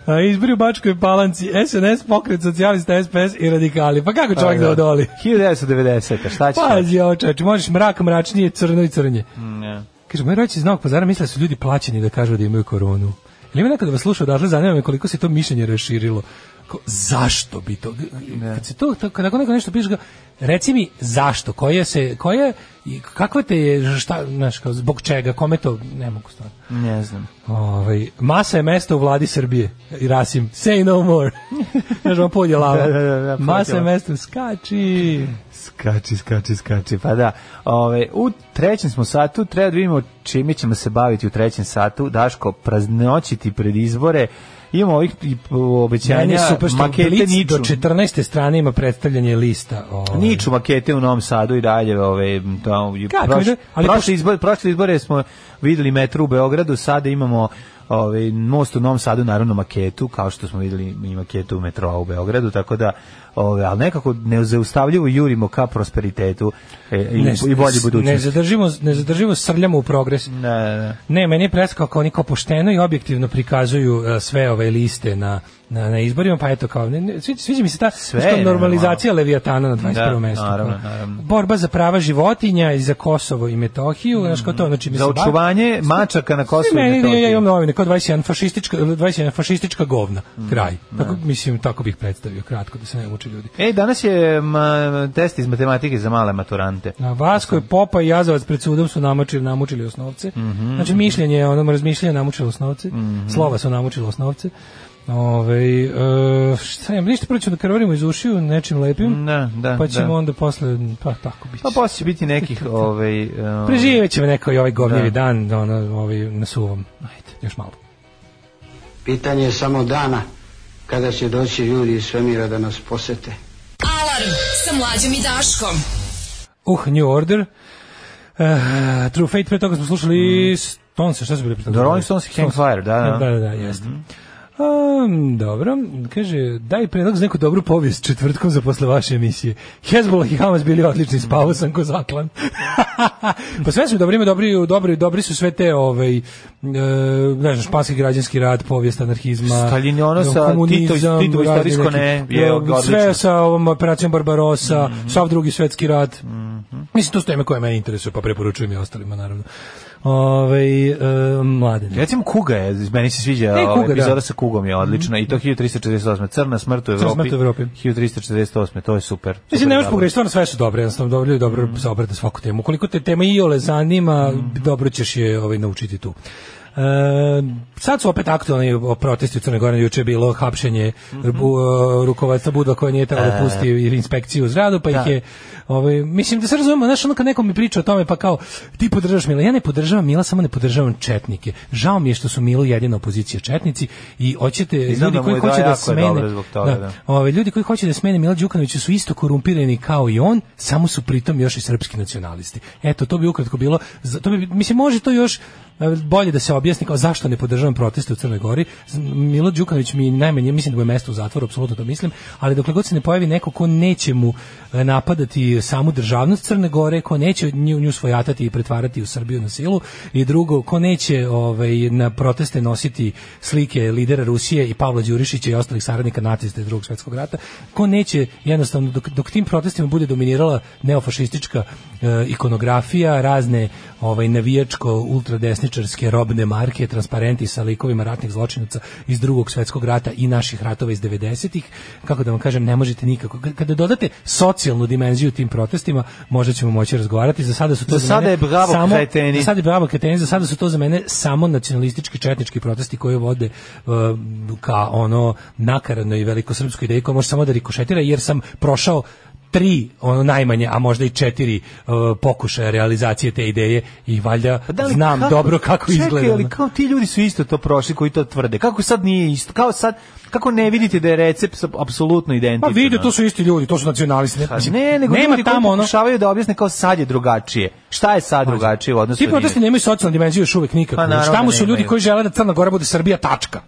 S7: A izbri u Bačkoj palanci SNS, pokret socijalista, SPS i radikali. Pa kako čovjek da odoli?
S6: 1990. Šta će?
S7: Pazi, ovo čoveče, možeš mrak, mračnije, crno i crnje.
S6: Ne.
S7: Kaže, moj rođac iz Novog pazara misle da su ljudi plaćeni da kažu da imaju koronu. Ili ima neko da vas sluša odatle, zanima me koliko se to mišljenje raširilo. Kao, zašto bi to? Kad se to, to kad ako neko nešto piše, ga, reci mi zašto, koje se, koje, i kakva te je, šta, znaš, kao, zbog čega, kome to, ne mogu stvarno.
S6: Ne znam.
S7: Ovaj, masa je mesta u vladi Srbije. I Rasim, say no more. Znaš, on polje lava.
S6: Da, da, da, da,
S7: masa je
S6: podjela.
S7: mesta, skači.
S6: Skači, skači, skači. Pa da, ove, u trećem smo satu, treba da vidimo čime ćemo se baviti u trećem satu. Daško, praznoćiti pred izbore. Imamo ovih i, o,
S7: Meni
S6: obećanja,
S7: je super što
S6: makete
S7: Blic
S6: niču.
S7: do 14. strane ima predstavljanje lista. Ovaj.
S6: Niču makete u Novom Sadu i dalje, ove, tamo, i
S7: Kako
S6: proš,
S7: ide? Ali
S6: prošle,
S7: pošto-
S6: izbore, prošle izbore smo videli metru u Beogradu, sada imamo ove, most u Novom Sadu, naravno maketu, kao što smo videli i maketu metroa u Beogradu, tako da, ove, ali nekako nezaustavljivo jurimo ka prosperitetu e, i, i bolje
S7: Ne
S6: budućnosti.
S7: zadržimo, ne zadržimo srljamo u progres.
S6: Ne, ne.
S7: Ne, meni je preskao kako oni kao pošteno i objektivno prikazuju e, sve ove liste na, na, na izborima, pa eto kao, ne, ne, sviđa, sviđa mi se ta što
S6: je
S7: normalizacija Leviatana na 21.
S6: Da,
S7: mestu.
S6: naravno,
S7: kao.
S6: naravno.
S7: Borba za prava životinja i za Kosovo i Metohiju, znaš kao to, znači mi
S6: Mm, Za
S7: se bavi-
S6: očuvanje mačaka na Kosovu i
S7: Ne, ne, ja
S6: Metohiji.
S7: imam novine, kao 21 fašistička, 21 fašistička govna,
S6: Mm,
S7: kraj. Tako, mislim, tako bih predstavio, kratko, da se ne muče ljudi.
S6: E, danas je ma, test iz matematike za male maturante.
S7: Na Vaskoj Popa i Jazavac pred sudom su namučili, namučili osnovce.
S6: Mhm.
S7: Znači mišljenje, je ono razmišljanje namučilo osnovce. Slova su namučilo osnovce. Ove, e, šta je, ništa prvo ćemo da krvarimo iz ušiju nečim lepim,
S6: Da, da,
S7: pa ćemo
S6: da.
S7: onda posle, pa tako biti.
S6: Pa poslije će biti nekih... Ovaj, um,
S7: Preživjet ćemo neko i ovaj govnjevi
S6: Da.
S7: dan ono, ovaj, na suvom. Ajde, još malo.
S14: Pitanje je samo dana kada će doći ljudi iz svemira da nas posete.
S9: Alarm sa mlađom i Daškom.
S7: Uh, New Order. E, True Fate, pre toga smo slušali Stones, šta su bili pre toga?
S6: Mhm. The Rolling Stones i Hang Fire, da, da.
S7: Da, da, da, jeste. Um, dobro, kaže, daj predlog za neku dobru povijest četvrtkom za posle vaše emisije. Hezbollah i Hamas bili odlični, spavao sam ko zaklan. pa sve su dobri, ima dobri, dobri, dobri su sve te, ovaj, e, ne znam, španski građanski rad, povijest anarhizma,
S6: Staljin je ono sa
S7: komunizam,
S6: Tito- Titovo
S7: razni
S6: istorijsko
S7: neki-
S6: ne, je odlično. Mhm.
S7: Sve sa ovom operacijom Barbarosa, sav drugi svetski rat. Mislim, to su teme koje mene interesuju, pa preporučujem i ostalima, naravno. Ove, e, mladene.
S6: Recimo Kuga je, meni se sviđa
S7: E,
S6: ova
S7: Kuga, da. Mhm.
S6: epizoda sa Kugom je odlična i to 1348. Crna smrt u Evropi.
S7: smrt u Evropi.
S6: 1348. To je super.
S7: Mislim,
S6: Super
S7: ne možeš
S6: zabava.
S7: pogrešiti, stvarno sve su dobre, jednostavno dobro ljudi dobro se obrata svaku temu. Koliko te tema iole zanima, dobro ćeš je ovaj, naučiti tu. E, sad su opet aktualni o- protesti u Crnoj Gori, juče je bilo hapšenje bu- rukovodstva Budva koja nije trebalo da pusti inspekciju u zradu, pa ih je ovaj, mislim da se razumemo, znaš ono kad neko mi priča o tome pa kao ti podržavaš Mila, ja ne podržavam Mila, samo ne podržavam četnike. Žao mi je što su Milu jedina opozicija četnici i hoćete
S6: znam
S7: ljudi
S6: da mu
S7: koji
S6: je da,
S7: hoće da
S6: jako je
S7: smene
S6: dobro zbog toga, da.
S7: Ove, ljudi koji hoće da smene Mila Đukanovića su isto korumpirani kao i on, samo su pritom još i srpski nacionalisti. Eto, to bi ukratko bilo, za- to bi, mislim, može to još e, bolje da se objasni kao zašto ne podržavam proteste u Crnoj Gori. Z- Milo Đukanović mi je najmanje, mislim da mu je mesto u zatvoru, apsolutno to mislim, ali dokle god se ne pojavi neko ko neće mu e, napadati samu državnost Crne Gore, ko neće nju, nju svojatati i pretvarati u Srbiju na silu i drugo, ko neće ovaj, na proteste nositi slike lidera Rusije i Pavla Đurišića i ostalih saradnika nacista iz drugog svetskog rata, ko neće jednostavno dok, dok tim protestima bude dominirala neofašistička e, ikonografija, razne ovaj navijačko ultradesničarske robne marke, transparenti sa likovima ratnih zločinaca iz drugog svetskog rata i naših ratova iz 90-ih, kako da vam kažem, ne možete nikako. K- Kada dodate socijalnu dimenziju tim protestima, možda ćemo moći razgovarati. Za sada su to
S6: Za sada
S7: mene
S6: je bravo
S7: samo-
S6: kreteni.
S7: za sada je bravo kreteni, za sada su to za mene samo nacionalistički četnički protesti koji vode uh, ka ono nakaradnoj velikosrpskoj ideji koja može samo da rikošetira jer sam prošao tri, ono najmanje, a možda i četiri uh, pokušaja realizacije te ideje i valjda
S6: Pa Da li
S7: znam
S6: kako-
S7: dobro kako
S6: Čekaj,
S7: izgleda.
S6: ali
S7: ono.
S6: kao ti ljudi su isto to prošli koji to tvrde. Kako sad nije isto? Kao sad, kako ne vidite da je recept sa- apsolutno
S7: Pa
S6: identičan?
S7: vide,
S6: ono?
S7: to su isti ljudi, to su nacionalisti. Ne,
S6: Pa
S7: mislim,
S6: ne, nego
S7: nema
S6: ljudi koji
S7: tamo ono.
S6: pokušavaju da objasne kao sad je drugačije. Šta je sad drugačije u odnosu
S7: Ti
S6: na
S7: protesti nemaju socijalnu dimenziju još uvek nikako.
S6: Pa
S7: Pa,
S6: naravno
S7: tamo
S6: da
S7: su ljudi
S6: nemaju.
S7: koji žele da Crna Gora bude Srbija tačka.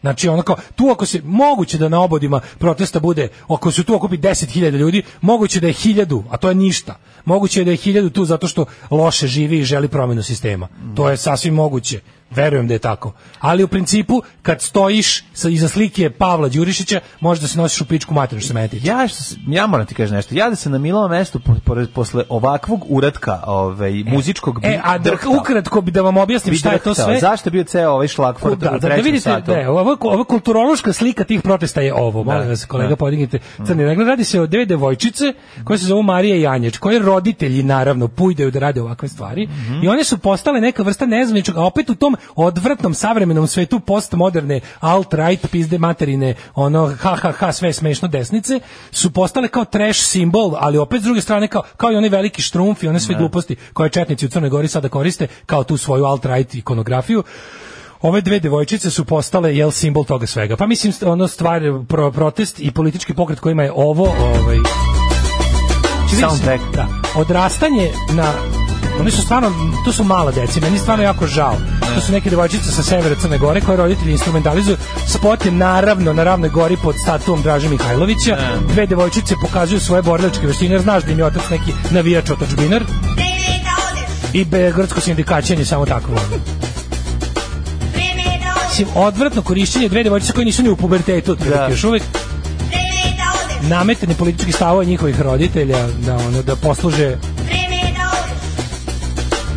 S7: Znači ono kao, tu ako se moguće da na obodima protesta bude, ako su tu okupi 10.000 ljudi, moguće da je 1000, a to je ništa. Moguće je da je 1000 tu zato što loše živi i želi promenu sistema. To je sasvim moguće. Verujem da je tako. Ali u principu, kad stojiš sa, iza slike Pavla Đurišića, možeš da se nosiš u pičku materinu što se mene tiče.
S6: Ja, s- ja moram ti kažem nešto. Ja da sam na milom mestu po- pored- posle ovakvog uratka ovaj, muzičkog bi
S7: E, a da,
S6: drhtao.
S7: ukratko bi da vam objasnim
S6: Bi
S7: šta je to
S6: drhtao.
S7: sve.
S6: Zašto je bio ceo ovaj šlagfort
S7: da,
S6: u
S7: da, da
S6: trećem
S7: vidite,
S6: satu?
S7: da, ova, ova kulturološka slika tih protesta je ovo, molim vas, kolega,
S6: da. Mm.
S7: podignite crni regle. Radi se o dve devojčice koje se zovu Marija i Janjeć, koje roditelji, naravno, pujdeju da rade ovakve stvari.
S6: Mhm.
S7: I one su postale neka vrsta nezvaničnog, a opet u tom odvratnom savremenom svetu postmoderne, alt-right, pizde materine, ono, ha, ha, ha, sve je smešno desnice, su postale kao trash simbol, ali opet s druge strane kao, kao i oni veliki štrumf i one sve gluposti koje četnici u Crnoj Gori sada koriste kao tu svoju alt-right ikonografiju ove dve devojčice su postale jel simbol toga svega. Pa mislim st- ono stvar pro, protest i politički pokret kojima je ovo ovaj
S6: Soundtrack.
S7: Da. Odrastanje na Oni su stvarno, to su mala deca, meni je stvarno jako žao. To su neke devojčice sa severa Crne Gore koje roditelji instrumentalizuju. Spot je naravno na Ravnoj Gori pod statuom Draže Mihajlovića. Dve devojčice pokazuju svoje borilačke veštine, jer znaš da im je otac neki navijač otačbinar. I beogradsko sindikaćenje samo tako. ono. Mislim, odvratno korišćenje dve devojčice koje nisu ni u pubertetu, otprilike, još uvek nametanje političkih stavova njihovih roditelja da ono da posluže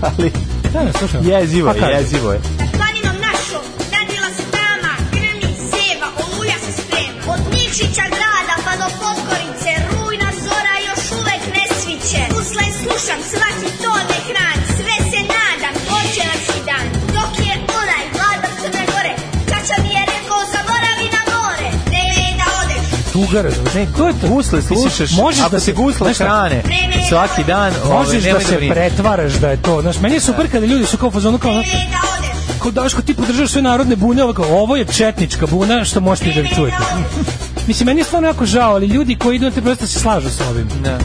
S6: Ali,
S7: da, ne, slušam.
S6: jezivo
S7: Pa
S6: je,
S7: kaže.
S6: jezivo je.
S15: Planinom našom, dadila se tama, grmi seva, oluja se sprema. Od Nikšića grada pa do Podgorice, rujna zora još uvek ne sviće. Uslen slušam, svaki to ne hran, sve se nadam, hoće nas i dan. Dok je onaj vladar Crne Gore, Čača mi je rekao, zaboravi na more. Ne je da odeš,
S7: Tuga, razumeš? Ne, to je to.
S6: Gusle slušaš,
S7: Mislim, možeš
S6: ako
S7: da
S6: se gusle
S7: znaš šta?
S6: hrane svaki dan, ove,
S7: Možeš da
S6: nemoj
S7: se
S6: brineš.
S7: pretvaraš da je to. Znaš, meni je super kada ljudi su kao u fazonu kao... ono, Kao Daško, ti podržaš sve narodne bune, ovako, ovo je četnička buna, što možete da vi čujete. Mislim, meni je stvarno jako žao, ali ljudi koji idu na te prosto se slažu sa ovim.
S6: Da.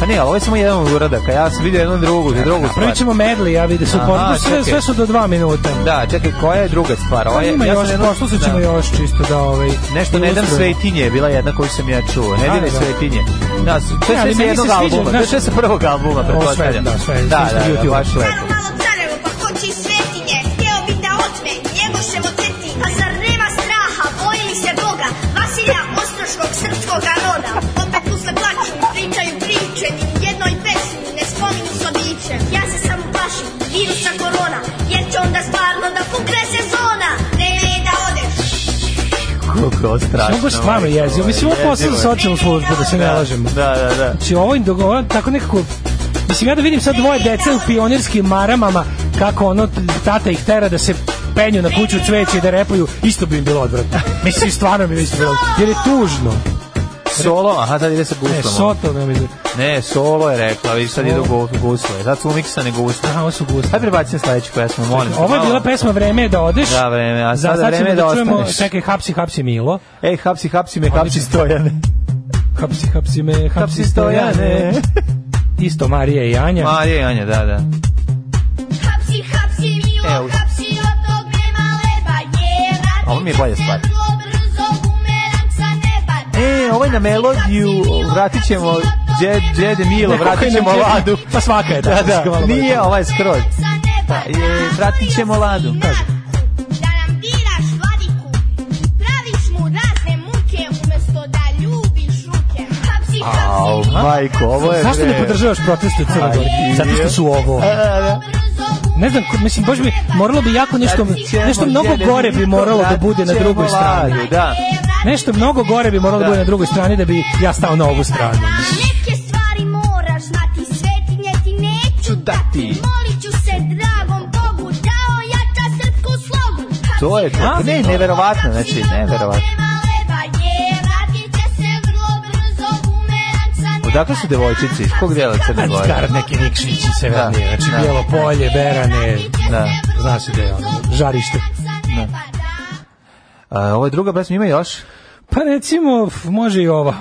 S6: Pa ne, ali ovo je samo jedan od uradaka. Ja sam vidio jednu drugu, drugu stvar.
S7: Prvi ćemo medli, ja vidim, su
S6: Aha,
S7: potpuno, sve,
S6: čekaj.
S7: sve su do dva minuta.
S6: Da, čekaj, koja je druga stvar? Ovo je,
S7: Pa Ima
S6: ja sam
S7: još,
S6: jednu-
S7: poslušat ćemo
S6: da.
S7: još čisto da ovaj...
S6: Nešto ne dam
S7: ilustrujemo.
S6: svetinje je bila jedna koju sam ja čuo. Ne
S7: Da,
S6: dam
S7: da.
S6: svetinje. Da, s- to
S7: Ne,
S6: je sve
S7: ali
S6: sa
S7: meni
S6: jednog
S7: se sviđa,
S6: albuma. To je
S7: znaš-
S6: sve sa prvog albuma,
S7: Ovo sve,
S6: pretpostavljam.
S7: da, sve,
S6: Da,
S7: sve sa
S6: da, da,
S7: YouTube-a.
S6: baš lepo.
S15: malo carevo, pa hoće i svetinje. Hteo bi da otme, njegoševo teti. Pa zar nema straha, bojili se Boga, Vasilja Ostroškog srpskog roda. Opet tu se plaću, pričaju priče, ni u jednoj pesmi ne spominju s odličem. Ja se samo plašim, virusa korona, jer će onda stvarno da pukne sezona. Vreme je da odeš.
S6: Kako strašno.
S7: Ovo je stvarno
S6: majko,
S7: jezivo. Mislim, ovo je posao za
S6: Ovaj, jezivo je.
S7: socijalnu službu, da se ne
S6: Da,
S7: lažemo.
S6: Da, da, da.
S7: Znači, ovo im dogovara tako nekako... Mislim, ja da vidim sad dvoje dece u pionirskim maramama, kako ono, tata ih tera da se penju na kuću cveće i da repuju, isto bi im bilo odvratno. Mislim, stvarno bi im isto bilo odvratno. Jer je tužno.
S6: Solo, aha, sad ide sa guslom.
S7: Ne, soto nam je...
S6: Ne, solo je rekla, vidiš, sad idu gu- gusle. Sad su umiksane gusle.
S7: Aha, ovo su gusle.
S6: Hajde prebacim sledeću pesmu, molim. te,
S7: Ovo je
S6: malo.
S7: bila pesma Vreme je da odeš.
S6: Da, vreme, a
S7: Za-
S6: sada
S7: sad ćemo
S6: vreme je da
S7: čujemo-
S6: ostaneš.
S7: Čekaj, hapsi, hapsi Milo.
S6: Ej, hapsi, hapsi me, hapsi stojane.
S7: Hapsi, hapsi me, hapsi
S6: Hapsi
S7: stojane.
S6: stojane.
S7: Isto Marija i Anja.
S6: Marija i Anja, da, da.
S15: Hapsi, hapsi, milo,
S6: Evo.
S15: hapsi, od tog nema leba, jer
S6: Ovo mi je bolja stvar.
S15: vrlo brzo bumerang sa neba.
S6: E, ovo je na melodiju, vratit ćemo Dje- Djede Milo,
S7: Ne, koliko je
S6: vratit
S7: na
S6: ćemo
S7: Djede-
S6: Ladu.
S7: Pa svaka je, da.
S6: Da,
S7: mislim,
S6: da,
S7: malo bolje.
S6: nije ovaj je skroz. Pa, je, vratit ćemo Ladu.
S15: Da nam diraš vladiku, praviš mu razne muke, umesto da ljubiš ruke. Hapsi,
S6: Au,
S15: hapsi, milo,
S6: majko, ovo je... Pa
S7: Zašto ne podržavaš proteste u Crnoj Gori?
S6: Aj,
S7: Zato što su ovo.
S6: E,
S7: Ne znam, ko- mislim, baš bi, moralo bi jako nešto, nešto mnogo gore bi moralo da bude na drugoj strani.
S6: Da.
S7: Nešto mnogo gore bi moralo da bude na drugoj strani da bi ja stao na ovu stranu.
S15: Neke stvari moraš znati, svetinje ti neću dati. Molit ću se dragom Bogu da ojača srpsku slogu.
S6: To je to. Ne, neverovatno, znači, neverovatno.
S15: Nema leba, je, vratit će se vrlo brzo, bumerang sa
S6: odakle su devojčice? Iz kog dela Crne Gore?
S7: Znači, Garad neki Nikšić i severnije.
S6: Da,
S7: Znači,
S6: da.
S7: bijelo polje, berane,
S6: Da.
S7: znaš gde je ono, žarište.
S6: Da. A, ovo je druga pesma, ima još?
S7: Pa recimo, f- može i ova.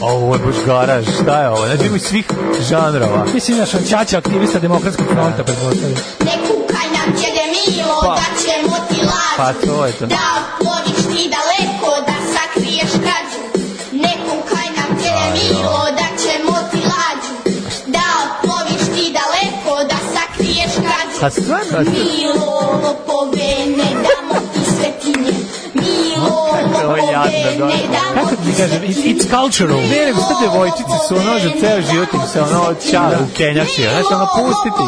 S6: Ovo je baš garaž, šta je ovo? Znači ima iz svih žanrova.
S7: Mislim, znaš, on Ćaća, aktivista demokratskog fronta, pretpostavljam.
S15: Ne kukaj nam djede milo,
S6: Pa.
S15: da ćemo ti lažu.
S6: Pa to je to.
S15: Da otvoriš ti daleko, da sakriješ krađu. Ne kukaj nam djede
S6: Pa,
S15: milo, da ćemo ti lađu. Da otvoriš ti daleko, da sakriješ krađu.
S6: Pa stvarno?
S15: Milo, lopove, ne damo ti svetinje. Milo, lopove, ne damo
S7: Kako ti kažem, it's, it's cultural.
S6: Ne, nego sve devojčice su ono, že ceo život im se ono čar u Kenjaši, znaš, ono pustiti.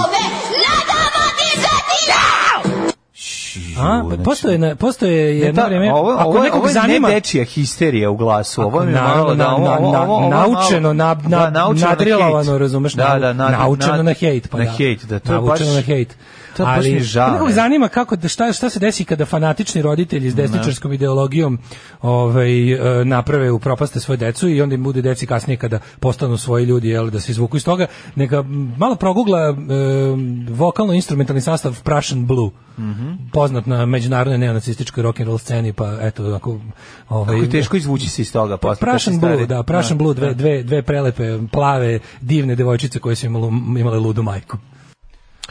S7: A, pa postoje, na, postoje jedno
S6: znači- E, Ta-
S7: vreme,
S6: ovo,
S7: ako
S6: ovo,
S7: nekog
S6: ovo je
S7: zanima...
S6: ne dečija histerija u glasu. Ovo je
S7: Na-
S6: malo da...
S7: na-
S6: Ovo,
S7: na-
S6: ovo, ovo,
S7: na-
S6: ovo, je malo-
S7: naučeno, na- na-
S6: da, naučeno
S7: nadrilovano,
S6: hejt.
S7: razumeš,
S6: Da,
S7: nau-
S6: da, na,
S7: naučeno na hejt, pa
S6: na
S7: da.
S6: hejt, da, to je baš...
S7: Naučeno na hejt.
S6: To je baš mi žao,
S7: nekog
S6: ne.
S7: zanima kako, da šta, šta se desi kada fanatični roditelji s desničarskom ideologijom ovaj, e, naprave u propaste svoje decu i onda im bude deci kasnije kada postanu svoji ljudi jel, da se izvuku iz toga. Neka m, malo progugla e, vokalno-instrumentalni sastav Prussian Blue.
S6: Mhm.
S7: poznat na međunarodnoj neonacističkoj rock'n'roll sceni, pa eto, onako... Ovaj,
S6: Kako je teško izvući se iz toga. posle, kad si
S7: Prašan
S6: stari.
S7: Blue, da, Prašan Blue, dve, dve, dve prelepe, plave, divne devojčice koje su imale, imale ludu majku.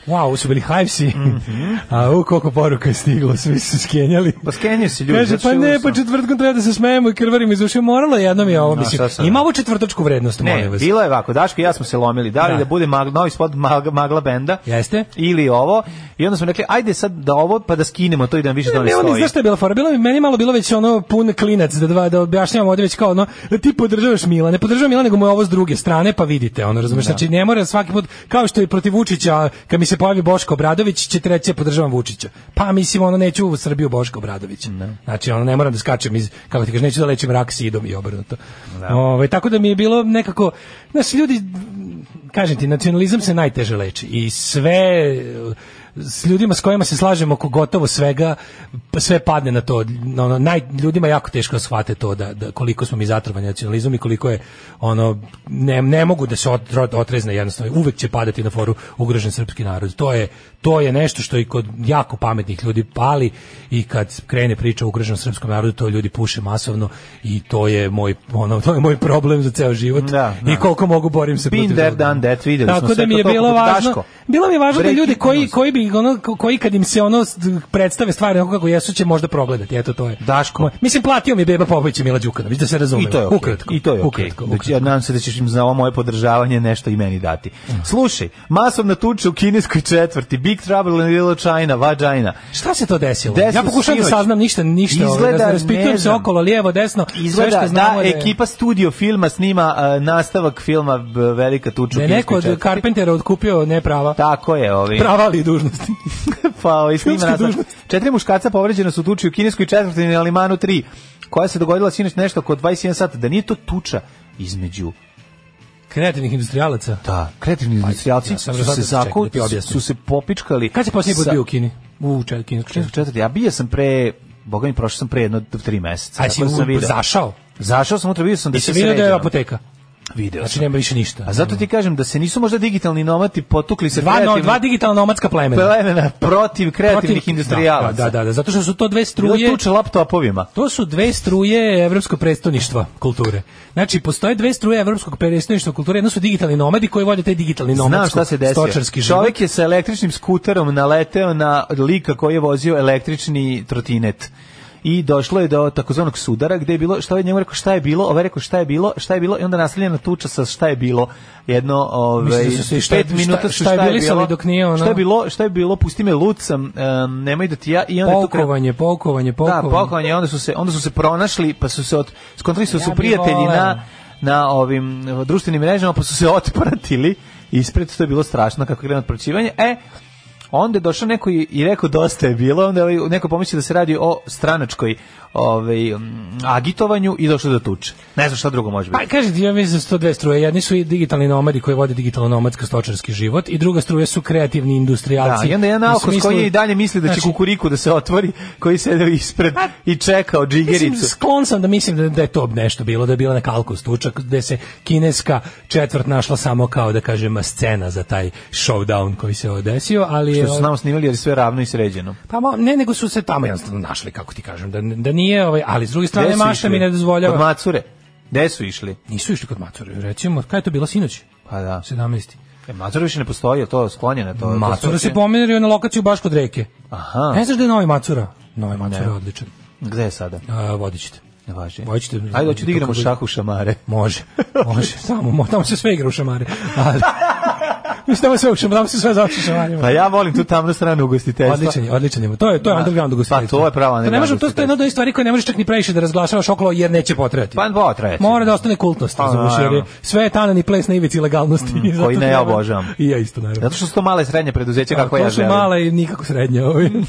S7: Wow, ovo su bili hajvsi. A u koliko poruka je stiglo, svi su skenjali.
S6: Mhm. Pa skenjaju se ljudi.
S7: Kaže,
S6: zato
S7: pa
S6: što
S7: ne,
S6: su-
S7: pa četvrtkom treba da se smejemo i krvarimo iz ušiju. Moralo je jednom je ovo,
S6: No,
S7: mislim.
S6: šta sad?
S7: Ima ovo četvrtočku vrednost,
S6: Ne,
S7: molim vas.
S6: bilo je ovako, Daško i ja smo se lomili, da li
S7: Da.
S6: da, bude mag, novi spot mag, magla benda
S7: Jeste?
S6: ili ovo, i onda smo rekli, ajde sad da ovo, pa da skinemo to i da nam više to ne
S7: Ne, ono,
S6: stoji.
S7: znaš šta je bila fora? Bilo mi meni malo bilo već ono pun klinac da dva da objašnjavam ovde već kao ono ti podržavaš Mila, ne podržavam Mila nego mu je ovo s druge strane pa vidite, ono razumeš, znači ne mora svaki put kao što je protiv Vučića kad mi se pojavi Boško Obradović će ti reći ja podržavam Vučića. Pa mislim ono neću u Srbiju Boško Obradovića. Znači ono ne moram da skačem iz kako ti kažeš neću da lećem rak sidom i obrnuto. Ovaj, tako da mi je bilo nekako znaš ljudi kažem ti nacionalizam se najteže leči i sve s ljudima s kojima se slažemo oko gotovo svega pa sve padne na to na ono, naj, ljudima je jako teško da shvate to da, da koliko smo mi zatrovani nacionalizmom i koliko je ono ne, ne mogu da se ot- otrezne jednostavno uvek će padati na foru ugrožen srpski narod to je to je nešto što i kod jako pametnih ljudi pali i kad krene priča o ugroženom srpskom narodu to ljudi puše masovno i to je moj ono to je moj problem za ceo život
S6: Da, da.
S7: i koliko mogu borim se
S6: Been
S7: protiv
S6: there,
S7: toga.
S6: done that, videli smo
S7: Tako
S6: sve
S7: da mi je
S6: to, to
S7: bilo
S6: poput
S7: važno
S6: Daško.
S7: bilo mi je važno da
S6: Breaking
S7: ljudi koji
S6: news.
S7: koji bi ono koji kad im se ono s- predstave stvari onako kako jesu će možda progledati. Eto to je.
S6: Daško.
S7: Moj- mislim platio mi je Beba Popović i Mila Đukanović da se razume.
S6: I to je okej.
S7: Ukratko.
S6: I to je okej.
S7: Ukratko.
S6: Da će- ja nadam se da ćeš im za ovo moje podržavanje nešto i meni dati.
S7: Mm.
S6: Slušaj, masovna tuča u kineskoj četvrti, Big Trouble in Little China, Vagina.
S7: Šta se to desilo?
S6: Desilo
S7: ja pokušavam da
S6: sinoć.
S7: saznam ništa, ništa. ovaj,
S6: Izgleda,
S7: raz-
S6: ne
S7: raspitujem se
S6: znam.
S7: okolo, lijevo, desno. sve
S6: Izgleda
S7: što
S6: da
S7: znamo je-
S6: ekipa studio filma snima e, nastavak filma b, Velika tuča
S7: da
S6: u
S7: je neko
S6: kineskoj
S7: od
S6: četvrti.
S7: Carpentera otkupio ne prava.
S6: Tako je, ovi.
S7: Prava ali i dužnosti.
S6: pa ovaj snima
S7: Filmska
S6: nastavak.
S7: dužnost.
S6: Četiri muškarca povređena su u tuči u kineskoj četvrti na Limanu 3, koja se dogodila sinoć nešto oko 21 sata, da nije to tuča između
S7: Kreativnih industrijalaca.
S6: Da, kreativni industrijalci
S7: Pa, ja sam
S6: su se
S7: razočaran, čekaj,
S6: zaku,
S7: da ti objasnim.
S6: su se popičkali.
S7: Kad si posljednji put
S6: sa-
S7: bio u Kini? U Čel- kineskoj
S6: Četvrti,
S7: četvrti.
S6: četvrti. Ja bio sam pre, boga mi prošao sam pre jedno tri meseca.
S7: A si
S6: Tako da sam
S7: u-
S6: video.
S7: zašao?
S6: Zašao sam, utra vidio sam da
S7: Jesi
S6: se
S7: vidio da je
S6: sređeno.
S7: apoteka?
S6: Video
S7: Znači
S6: sam.
S7: nema više ništa.
S6: A zato ti kažem da se nisu možda digitalni nomati potukli sa
S7: dva, no,
S6: kreativnim
S7: dva digitalna nomadska plemena.
S6: plemena protiv kreativnih
S7: Protiv-
S6: industrijalaca.
S7: Da, da, da, da, zato što su to dve
S6: Bilo
S7: struje.
S6: tuče laptopovima.
S7: To su dve struje evropskog predstavništva kulture. Znači, postoje dve struje evropskog predstavništva kulture. Jedno su digitalni nomadi koji vode taj digitalni
S6: Znam
S7: nomadsko
S6: šta se desilo.
S7: stočarski život.
S6: Čovjek je sa električnim skuterom naleteo na lika koji je vozio električni trotinet. I došlo je do takozvanog sudara gdje je bilo, što je njemu rekao šta je bilo, ovaj je rekao šta je bilo, šta je bilo i onda nastavljena tuča sa šta je bilo. Jedno, ovaj,
S7: Mislim da su se i šta-
S6: pet
S7: šta-
S6: minuta su
S7: šta je
S6: šta je
S7: bilisali
S6: bilo,
S7: dok nije ono-
S6: šta je bilo, šta je bilo, pusti me lucam, em, nemoj da ti ja, i onda je tu kre-
S7: Poukovanje, poukovanje, poukovanje.
S6: da, pokovanje, onda su se onda su se pronašli, pa su se od skontrali su,
S7: Ja
S6: su
S7: bih
S6: prijatelji
S7: voleo.
S6: na na ovim eh, društvenim mrežama, pa su se otpratili ispred, to je bilo strašno kako je krenuo otpraćivanje. E, Onda je došao neko i, i rekao dosta je bilo, onda je ovaj neko pomislio da se radi o stranačkoj ovaj, mm, agitovanju i došao do tuče. Ne znam šta drugo može biti.
S7: Pa kaže ti, ja mislim su to dve struje. Jedni su i digitalni nomadi koji vode digitalno nomadsko stočarski život i druga struje su kreativni industrijalci.
S6: Da, i onda jedan
S7: Pa, U
S6: naokos
S7: smislu-
S6: koji i dalje misli da će
S7: Znači, Pa,
S6: kukuriku da se otvori, koji sede ispred i čekao
S7: Mislim,
S6: džigericu.
S7: sklon sam da mislim da, da je to nešto bilo, da je bila neka alkos tuča gde se kineska četvrt našla samo kao, da kažem, scena za taj showdown koji se odesio, ali... je-
S6: Što su nam snimali jer je sve ravno i sređeno.
S7: Pa ma- ne, nego su se tamo jednostavno našli, kako ti kažem, da, da nije, ovaj, ali s druge
S6: Gde
S7: strane
S6: su
S7: mašta mi
S6: išli?
S7: ne dozvoljava.
S6: Kod Macure. Gde su išli?
S7: Nisu išli kod Macure, recimo, kada je to bilo sinoć?
S6: Pa da.
S7: 17.
S6: E, Macura više ne postoji, je to sklonjeno. To, to
S7: Macura
S6: sve-
S7: se pomerio na lokaciju baš kod reke.
S6: Aha.
S7: Ne znaš da je novi Macura? Novi Macura
S6: Ne.
S7: je odličan.
S6: Gde je sada?
S7: A, vodit ćete.
S6: Ne važi.
S7: Vodit ćete.
S6: Ajde, hoću da igramo
S7: Kako-
S6: šah u šamare.
S7: Može, može, tamo, mo- tamo se sve igra u šamari. Ali, mislim, tamo se, u šam- tamo se sve završi šamarima.
S6: Pa ja volim tu tamnu stranu ugostiteljstva.
S7: Odličan je, odličan je. To je, to je
S6: Da.
S7: underground ugostiteljstvo.
S6: Pa to je pravo
S7: To ne
S6: underground
S7: možemo, to je jedna od onih stvari koje ne možeš čak ni previše da razglašavaš okolo jer neće potrajati.
S6: Pa potraje.
S7: Mora da ostane kultnost,
S6: Pa,
S7: razumiješ, jer je
S6: naravno.
S7: sve je tanani ples na ivici legalnosti. Mm,
S6: koji ne ja obožavam.
S7: I ja isto, naravno.
S6: Zato što su to male i srednje preduzeće kako
S7: A, Pa, to
S6: ja
S7: su
S6: želim.
S7: male i nikako srednje ovi.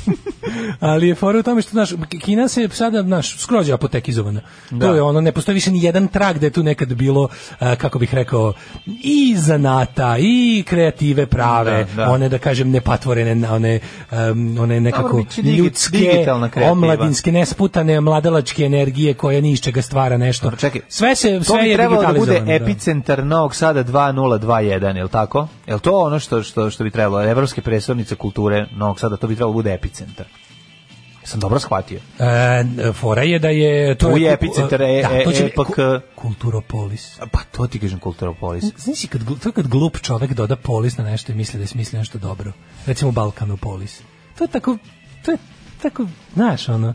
S7: Ali je fora u tome što, znaš, Kina se sada, znaš, skroz je apotekizovana.
S6: Da.
S7: To je ono, ne postoji više ni jedan trag da je tu nekad bilo, eh, kako bih rekao, i zanata, i kreative prave,
S6: Da, da.
S7: one, da kažem, nepatvorene, na- one, em, one nekako
S6: Dobro, bit će digi-
S7: ljudske,
S6: digitalna kreativa.
S7: omladinske, nesputane, mladalačke energije koja ni iz čega stvara nešto.
S6: Čekaj,
S7: Sve se,
S6: to
S7: sve
S6: bi
S7: je
S6: trebalo da bude
S7: digitalizovano, da.
S6: epicentar Novog Sada 2021, je li tako? Je li to ono što, što, što bi trebalo? Evropske presornice kulture Novog Sada, to bi trebalo da bude epicentar. Sam dobro shvatio.
S7: E, fora je da je... To
S6: Tu je
S7: ku-
S6: epicentar
S7: e,
S6: e,
S7: da,
S6: e,
S7: to će biti
S6: epak...
S7: ku- Kulturopolis.
S6: Pa to ti kažem Kulturopolis.
S7: Znaš si kad, glu- to je kad glup čovek doda polis na nešto i misli da je smislio nešto dobro. Recimo Balkanopolis. To je tako, to je tako, znaš, ono...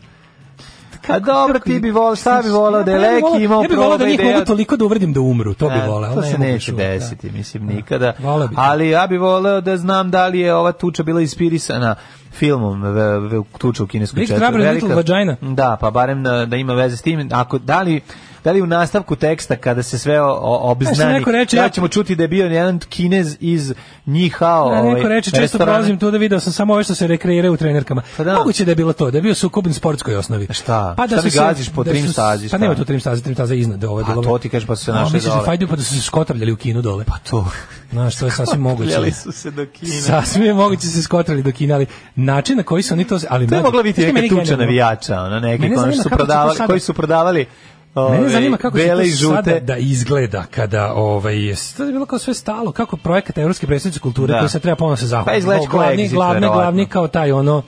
S6: A dobro, ti bi volao, šta bi volao da je
S7: Ja bih
S6: Leki
S7: volao-
S6: imao
S7: Ja bih volao da
S6: problem
S7: njih
S6: da ja-
S7: mogu toliko da uvredim da umru, to bi
S6: E,
S7: volao.
S6: To
S7: ali
S6: se
S7: ne mogu
S6: neće
S7: čuvati, da.
S6: desiti, mislim, nikada.
S7: voleo bih.
S6: Ali ja bi voleo da znam da li je ova tuča bila inspirisana filmom ve, ve, tuča u kineskoj
S7: Big
S6: četvrti.
S7: Trouble in Little Vagina.
S6: Da, pa barem da, da ima veze s tim. Ako, da li da li u nastavku teksta kada se sve o- o-
S7: Znaš,
S6: obznani,
S7: neko reče,
S6: da
S7: ja-
S6: ćemo čuti da je bio jedan kinez iz Njihao.
S7: Da, neko
S6: ovaj,
S7: reče, često
S6: restorana.
S7: prolazim tu da video sam samo ove što se rekreiraju u trenerkama.
S6: Pa da.
S7: Moguće da je bilo to, da je bio sukob na sportskoj osnovi.
S6: Šta?
S7: Pa da
S6: Šta
S7: su
S6: mi
S7: se-
S6: gaziš po
S7: da
S6: trim
S7: su se-
S6: stazi,
S7: Pa
S6: šta?
S7: nema tu trim stazi, trim staza je iznad ove
S6: A
S7: delove.
S6: to ti kažeš pa su se
S7: A,
S6: našli
S7: misliš da
S6: dole.
S7: fajduju pa da su se skotrljali u kinu dole.
S6: Pa to.
S7: Znaš, to je sasvim moguće.
S6: Kljeli su se do Kine.
S7: Sasvim je moguće se skotrali do Kine, ali način na koji su oni to... Ali
S6: To je
S7: mlađe,
S6: mogla biti
S7: znaš šta je
S6: neka
S7: meni
S6: tuča
S7: genijalno?
S6: navijača, ono neki
S7: Mene
S6: koji
S7: zanima
S6: su
S7: kako će to
S6: prodavali,
S7: sada-
S6: koji su prodavali
S7: ono. Mene
S6: ovaj,
S7: zanima kako će
S6: bele i
S7: to sada
S6: žute.
S7: da izgleda kada ovaj je sad je bilo kao sve stalo kako projekat evropske predstavnice kulture
S6: Da.
S7: koji se treba ponovo se zahvaliti.
S6: Pa izgledaće kao
S7: glavni,
S6: Exit,
S7: glavni,
S6: verovatno.
S7: glavni kao taj ono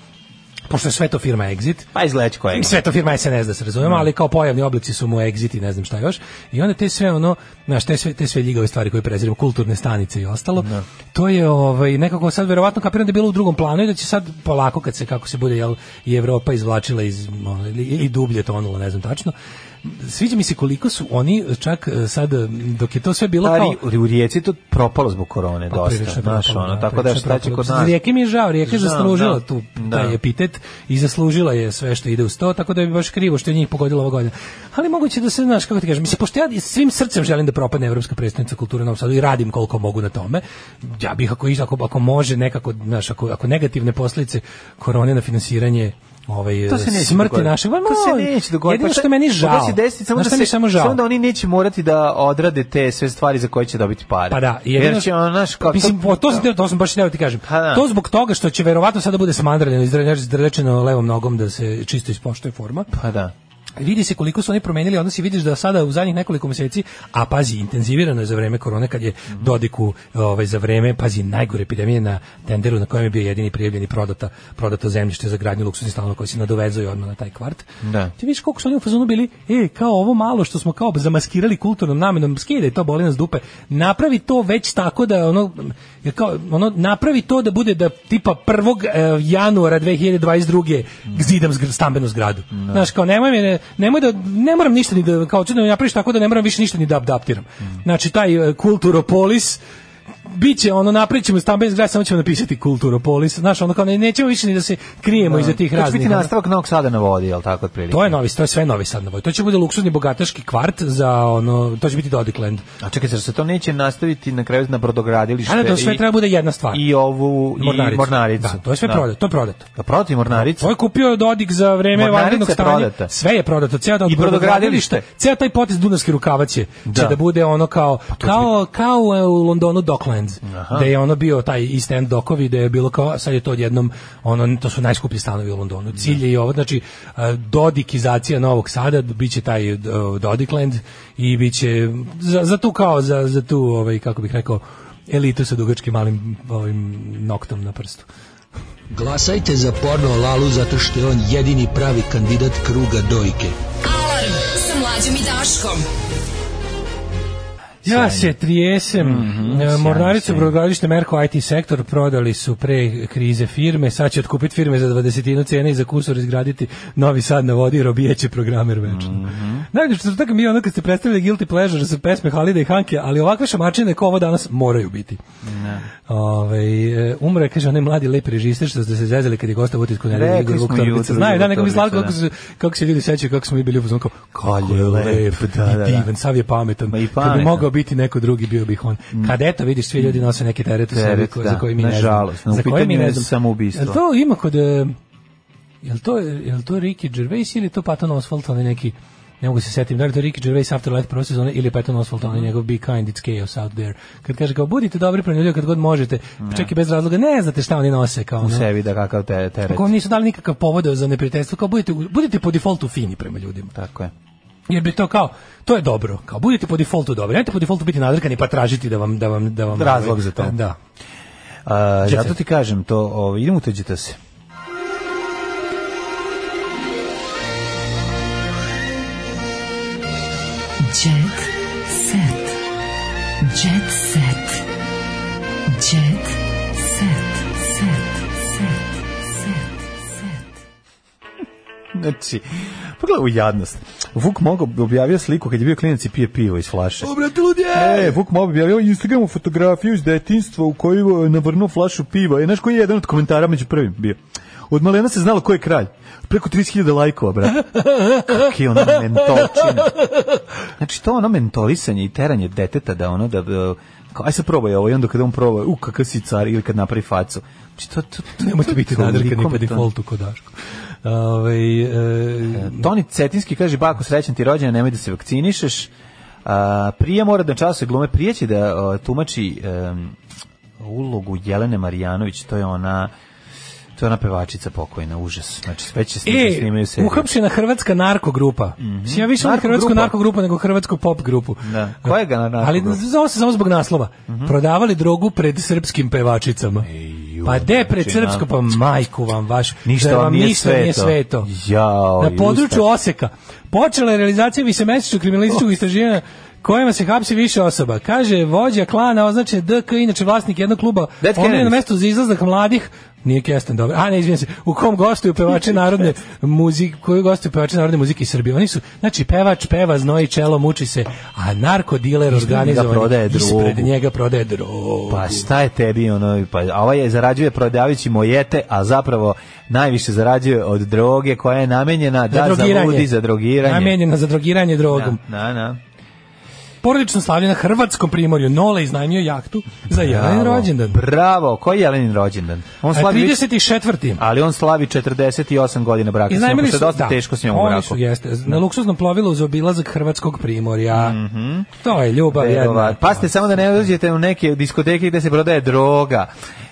S7: pošto je sve to firma Exit,
S6: Pa izgledaće koje.
S7: sve to firma SNS da se razumemo, ali kao pojavni oblici su mu exit i ne znam šta još. I onda te sve ono, znaš, te sve te sve ljigave stvari koje preziremo, kulturne stanice i ostalo. To je ovaj nekako sad verovatno kapiram da je bilo u drugom planu i da će sad polako kad se kako se bude jel i Evropa izvlačila iz ono, ili, ili dublje tonula, ne znam tačno. Sviđa mi se koliko su oni čak eh, sad eh, dok je to sve bilo kao
S6: Stari, u Rijeci je to propalo zbog korone
S7: pa
S6: dosta,
S7: prilično
S6: znaš,
S7: propalo,
S6: ono,
S7: da,
S6: tako da
S7: prilično
S6: šta će
S7: propalo.
S6: kod nas.
S7: Rijeke mi je žao, Rijeka je
S6: Znam,
S7: zaslužila
S6: da.
S7: tu
S6: Da.
S7: taj epitet i zaslužila je sve što ide uz to, tako da je baš krivo što je njih pogodila ova godina. Ali moguće da se, znaš, kako ti kažem, mislim, pošto ja svim srcem želim da propadne Evropska predstavnica kulture u Novom Sadu i radim koliko mogu na tome, ja bih ako, iz- ako, ako može nekako, znaš, ako, ako negativne posljedice korone na finansiranje ovaj
S6: To se neće
S7: smrti
S6: dogoditi.
S7: našeg, ma,
S6: to se
S7: moj,
S6: neće dogoditi.
S7: Jedino
S6: Pa
S7: što
S6: šta-
S7: je meni
S6: pa to
S7: žao.
S6: će desiti samo
S7: Znaš
S6: da
S7: šta
S6: se
S7: mi je samo žao.
S6: Samo da oni neće morati da odrade te sve stvari za koje će dobiti pare.
S7: Pa da, jedino
S6: jer će
S7: što-
S6: ono naš kao
S7: mislim to, to, sam, teo- to sam baš htio ti kažem.
S6: Pa da.
S7: To zbog toga što će verovatno sada bude smandraljeno izdrljač izdrlečeno levom nogom da se čisto ispoštuje forma.
S6: Pa da.
S7: Vidi se koliko su oni promenili, onda si vidiš da sada u zadnjih nekoliko mjeseci, a pazi, intenzivirano je za vreme korone kad je Dodiku ovaj za vreme, pazi, najgore epidemije na tenderu na kojem je bio jedini prijavljeni prodata, prodato zemljište za gradnju luksuznih stanova koji se nadovezuje odmah na taj kvart.
S6: Da.
S7: Ti vidiš koliko su oni u fazonu bili, e, kao ovo malo što smo kao zamaskirali kulturnom namenom, skidaj to, boli nas dupe, napravi to već tako da ono, je kao, ono napravi to da bude da tipa 1. e, januara 2022. zidam zgr- stambenu zgradu. Znaš, kao nemoj, me, ne, nemoj da, ne moram ništa ni
S6: Mm.
S7: da, kao čudno napraviš tako da ne moram više ništa ni da adaptiram. Znači, taj e, kulturopolis biće ono napričamo stambeni zgrad samo ćemo napisati kulturopolis znaš ono kao ne, nećemo više ni da se krijemo iza tih
S6: To će
S7: raznih
S6: biti
S7: ono.
S6: nastavak Novog Sada na vodi, jel tako otprilike?
S7: to je novi to je sve novi sad na Vojvodini. to će bude luksuzni bogataški kvart za ono to će biti Dodikland
S6: A čekaj, zar se to neće nastaviti na kraju na brodogradilište?
S7: A ne, to sve
S6: i-
S7: treba bude jedna stvar.
S6: I ovu, i mornaricu.
S7: Da, to je sve prodato, to je prodato.
S6: Da prodato i mornaricu?
S7: To je kupio Dodik za vreme
S6: Mornarica
S7: vanrednog
S6: je
S7: stanja.
S6: prodata.
S7: Sve je prodato, ceo da
S6: I brodogradilište.
S7: Ceo taj potez Dunavski rukavac je,
S6: Da.
S7: će da bude ono kao
S6: će
S7: kao kao e, u Londonu Docklands.
S6: Aha.
S7: Da je ono bio taj East End dokovi, da je bilo kao sad je to odjednom ono to su najskuplji stanovi u Londonu. Cilj je i ovo, znači eh, Dodikizacija Novog Sada biće taj eh, Dodikland i biće za, za tu kao za za tu ovaj kako bih rekao elitu sa dugačkim malim ovim noktom na prstu.
S16: Glasajte za porno Lalu zato što je on jedini pravi kandidat kruga dojke.
S9: Alarm sa mlađom i Daškom.
S7: Ja se trijesem. E, Mornaricu,
S6: Mhm, sjajno.
S7: brodogradilište Merko IT sektor prodali su pre krize firme, sad će otkupiti firme za dvadesetinu cene i za kursor izgraditi novi sad na vodi i robijeće programer večno. Mm
S6: Mhm.
S7: -hmm. Najbolje što tako mi je ono kad ste predstavili Guilty Pleasure sa pesme Halida i Hanke, ali ovakve šamarčine kao ovo danas moraju biti. Ovaj, e, umre, kaže, onaj mladi lepi režister što ste se zezali kad je gostao u utisku nedelje
S6: Rekli
S7: Igor
S6: smo
S7: Vuk
S6: jutro,
S7: Torbica. Znaju, da,
S6: Igor
S7: neko mi slatko kako,
S6: Torbica,
S7: se- kako se ljudi sećaju kako smo mi bili u fazonu kao, kako je lep,
S6: da, da, da.
S7: i divan, sav je pametan.
S6: i
S7: Kad bi
S6: pametan.
S7: mogao biti neko drugi, bio bih on. Kad eto, vidiš, svi ljudi nose neke terete u sebi
S6: Teret,
S7: ko-
S6: da,
S7: za koje mi ne znamo.
S6: nažalost, no, u
S7: za koje
S6: pitanju
S7: mi ne
S6: je
S7: znamo.
S6: samoubistvo.
S7: Jel to ima kod... e, Jel to, jel to Ricky Gervais ili je to Patton Oswalt, onaj neki ne mogu se setim, da li je to Ricky Gervais Afterlife prve sezone ili je Patton Oswalt,
S6: Mm.
S7: onaj njegov Be Kind, It's Chaos Out There. Kad kaže kao, budite dobri prema ljudima kad god možete, pa čak i bez razloga, ne znate šta oni nose. Kao,
S6: U
S7: ono.
S6: sebi da kakav te, teret.
S7: Ako vam nisu dali nikakav povod za neprijateljstvo, kao budite, budite po defaultu fini prema ljudima.
S6: Tako je.
S7: Jer bi to kao, to je dobro, kao budite po defaultu dobri, nemojte po defaultu biti nadrkani pa tražiti da vam, da vam, da vam... ovaj,
S6: Razlog za to.
S7: Da.
S6: A,
S7: Jet
S6: zato
S7: set.
S6: ti kažem to, ovaj idemo u tuđite se.
S9: Jet set. Jet set. Jet set. Set. Set. Set.
S6: Znači, pogledaj u jadnost. Vuk Mogo bi objavio sliku kad je bio klinac i pije pivo iz flaše.
S7: Obrate ludje!
S6: E, Vuk Mogo bi objavio Instagramu fotografiju iz detinstva u kojoj je navrnuo flašu piva. E, znaš koji je jedan od komentara među prvim bio? Od malena se znalo ko je kralj. Preko 30.000 lajkova, brate. Kak je ono mentolčina. Znači, to ono mentolisanje i teranje deteta da ono da... da kao, aj sad probaj ovo i onda kada on proba, u kakav si car ili kad napravi facu. Znači, to, to, to,
S7: Nemojte biti
S6: toliko
S7: nadrkani po
S6: me to-
S7: defaultu kod Daško. Ove, e,
S6: Toni Cetinski kaže, bako, srećan ti rođena, nemoj da se vakcinišeš. A, prije mora da času glume, prije će da a, tumači em, ulogu Jelene Marjanović, to je ona to je ona pevačica pokojna, užas. Znači, sve će snimati,
S7: E,
S6: snimaju seriju.
S7: uhapšena hrvatska narkogrupa. Mm Ja više volim
S6: Narko
S7: hrvatsku
S6: grupa.
S7: narkogrupu nego hrvatsku pop grupu.
S6: Da. Kojega na narko Mhm.
S7: Ali
S6: grupu?
S7: znao se samo zbog naslova. Prodavali drogu pred srpskim pevačicama. pa de pred
S6: znači,
S7: srpsko, pa majku vam vaš.
S6: Ništa
S7: da
S6: vam nije
S7: ništa nije
S6: sveto.
S7: sveto.
S6: Jao,
S7: Na području
S6: Justak.
S7: Oseka počela je realizacija višemesečnog
S6: Oh.
S7: kriminalističkog istraživanja kojima se hapsi više osoba. Kaže, vođa klana označen DK, inače vlasnik jednog kluba,
S6: Dead
S7: on je
S6: Kennedys.
S7: na mesto za izlazak mladih, nije Kestan dobro, a ne, izvijem se, u kom gostuju pevači narodne muzike, koji gostuju pevači narodne muzike iz Srbije. Oni su, znači, pevač peva, znoji čelo, muči se, a narkodiler
S6: Ispred njega
S7: organizovan
S6: prodaje
S7: ispred
S6: drogu.
S7: njega prodaje drogu.
S6: Pa šta je tebi ono, pa a ovaj je zarađuje prodavajući mojete, a zapravo najviše zarađuje od droge koja je namenjena
S7: Za
S6: da za
S7: drogiranje.
S6: ludi, za drogiranje.
S7: Namenjena za drogiranje
S6: Da,
S7: drogom.
S6: da, da.
S7: Porodično slavlje na hrvatskom primorju. Nole iznajmio jahtu za jedan
S6: Bravo.
S7: rođendan.
S6: Bravo, koji je Jelenin rođendan? On
S7: A
S6: slavi već-
S7: 34.
S6: ali on slavi 48 godina braka. s njom,
S7: Iznajmili
S6: pošto je
S7: su,
S6: dosta
S7: da,
S6: teško s njom u
S7: oni
S6: braku.
S7: su, jeste, na luksuznom plovilu za obilazak hrvatskog primorja. To je ljubav jedna.
S6: Mhm. Verovatno. Pa Pazite samo da ne dođete u neke diskoteke gde se prodaje droga.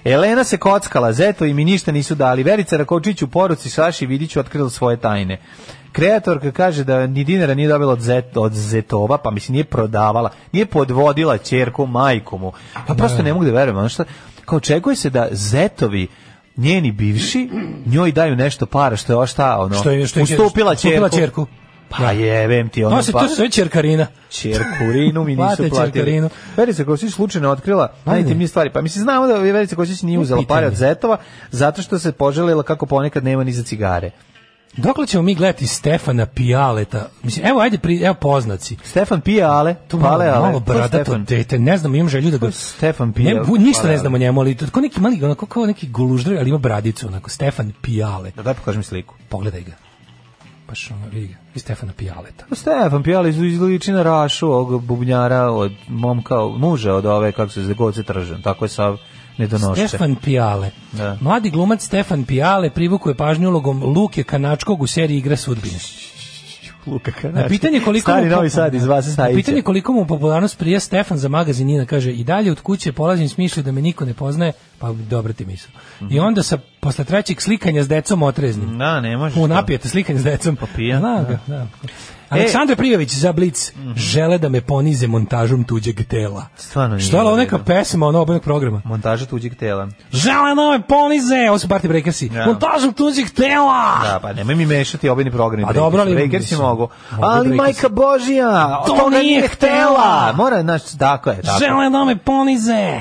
S6: Elena se kockala, Zeto i mi ništa nisu dali. Verica Rakočić u poruci Saši Vidiću otkrila svoje tajne. Kreatorka kaže da ni dinara nije dobila od, Zet, od Zetova, pa mislim nije prodavala, nije podvodila ćerku majku mu. Pa prosto ne mogu da verujem. Ono šta, kao očekuje se da Zetovi njeni bivši njoj daju nešto para što je ovo šta ono
S7: Što je- što je-
S6: ustupila
S7: ustupila
S6: ćerku.
S7: ćerku.
S6: pa jebem ti ono
S7: To se
S6: pa
S7: to se zove čerkarina.
S6: Čerkurinu mi
S7: Plate
S6: nisu platili.
S7: Čerkurinu.
S6: Verica Kosić slučajno otkrila najintimnije stvari. Pa mislim, znamo da Verica Kosić nije uzela
S7: pitanje.
S6: pare od zetova zato što se poželila kako ponekad nema ni za cigare.
S7: Dokle ćemo mi gledati Stefana Pijaleta? Mislim, evo, ajde, pri, evo poznaci.
S6: Stefan Pijale,
S7: to
S6: Pale,
S7: malo,
S6: ale.
S7: malo
S6: Ko je
S7: bradato
S6: Stefan?
S7: dete, ne znam, imam želju da ga...
S6: Stefan
S7: Ne,
S6: Pijale.
S7: bu- ništa
S6: Pale,
S7: ne znam o njemu, ali to- kao neki mali, onako kao neki guluždar, ali ima bradicu, onako, Stefan Pijale.
S6: Da, daj pokaži mi sliku.
S7: Pogledaj ga. Baš ono, vidi ga, i Stefana Pijaleta.
S6: Pa Stefan Pijale iz- izliči na Rašu, ovog bubnjara od momka, muža od ove, kako se zove, Goce Tržan. Tako je sav nedonošće.
S7: Stefan Pijale.
S6: Da.
S7: Mladi glumac Stefan Pijale privukuje pažnju ulogom Luke Kanačkog u seriji Igra sudbine.
S6: Luka Kanački.
S7: Na pitanje koliko
S6: Stari
S7: mu
S6: Novi Sad iz vas
S7: Na
S6: Sajića.
S7: pitanje koliko mu popularnost prije Stefan za magazin Nina kaže i dalje od kuće polazim s mišlju da me niko ne poznaje, pa dobro ti misao. I
S6: Mhm.
S7: onda sa posle trećeg slikanja s decom otreznim.
S6: Da, ne možeš.
S7: U
S6: to.
S7: napijete slikanje s decom.
S6: Popija.
S7: Znam ga, da.
S6: E.
S7: Aleksandar Prijović za Blic
S6: Mhm.
S7: žele da me ponize montažom tuđeg tela.
S6: Stvarno nije
S7: Što je ovo
S6: dobro.
S7: neka pesma ono obanog programa?
S6: Montaža tuđeg tela.
S7: Žele da me ponize, ovo su Party Breakersi.
S6: Da.
S7: Montažom tuđeg tela!
S6: Da, pa nemoj mi mešati obini programi.
S7: A Pa dobro, ali-
S6: Breaker si mogu.
S7: Mogu
S6: Ali
S7: Breakersi.
S6: majka Božija,
S7: To
S6: toga
S7: nije
S6: nije htela.
S7: htela.
S6: Mora, znaš, tako je, tako. Mhm.
S7: Žele da me ponize!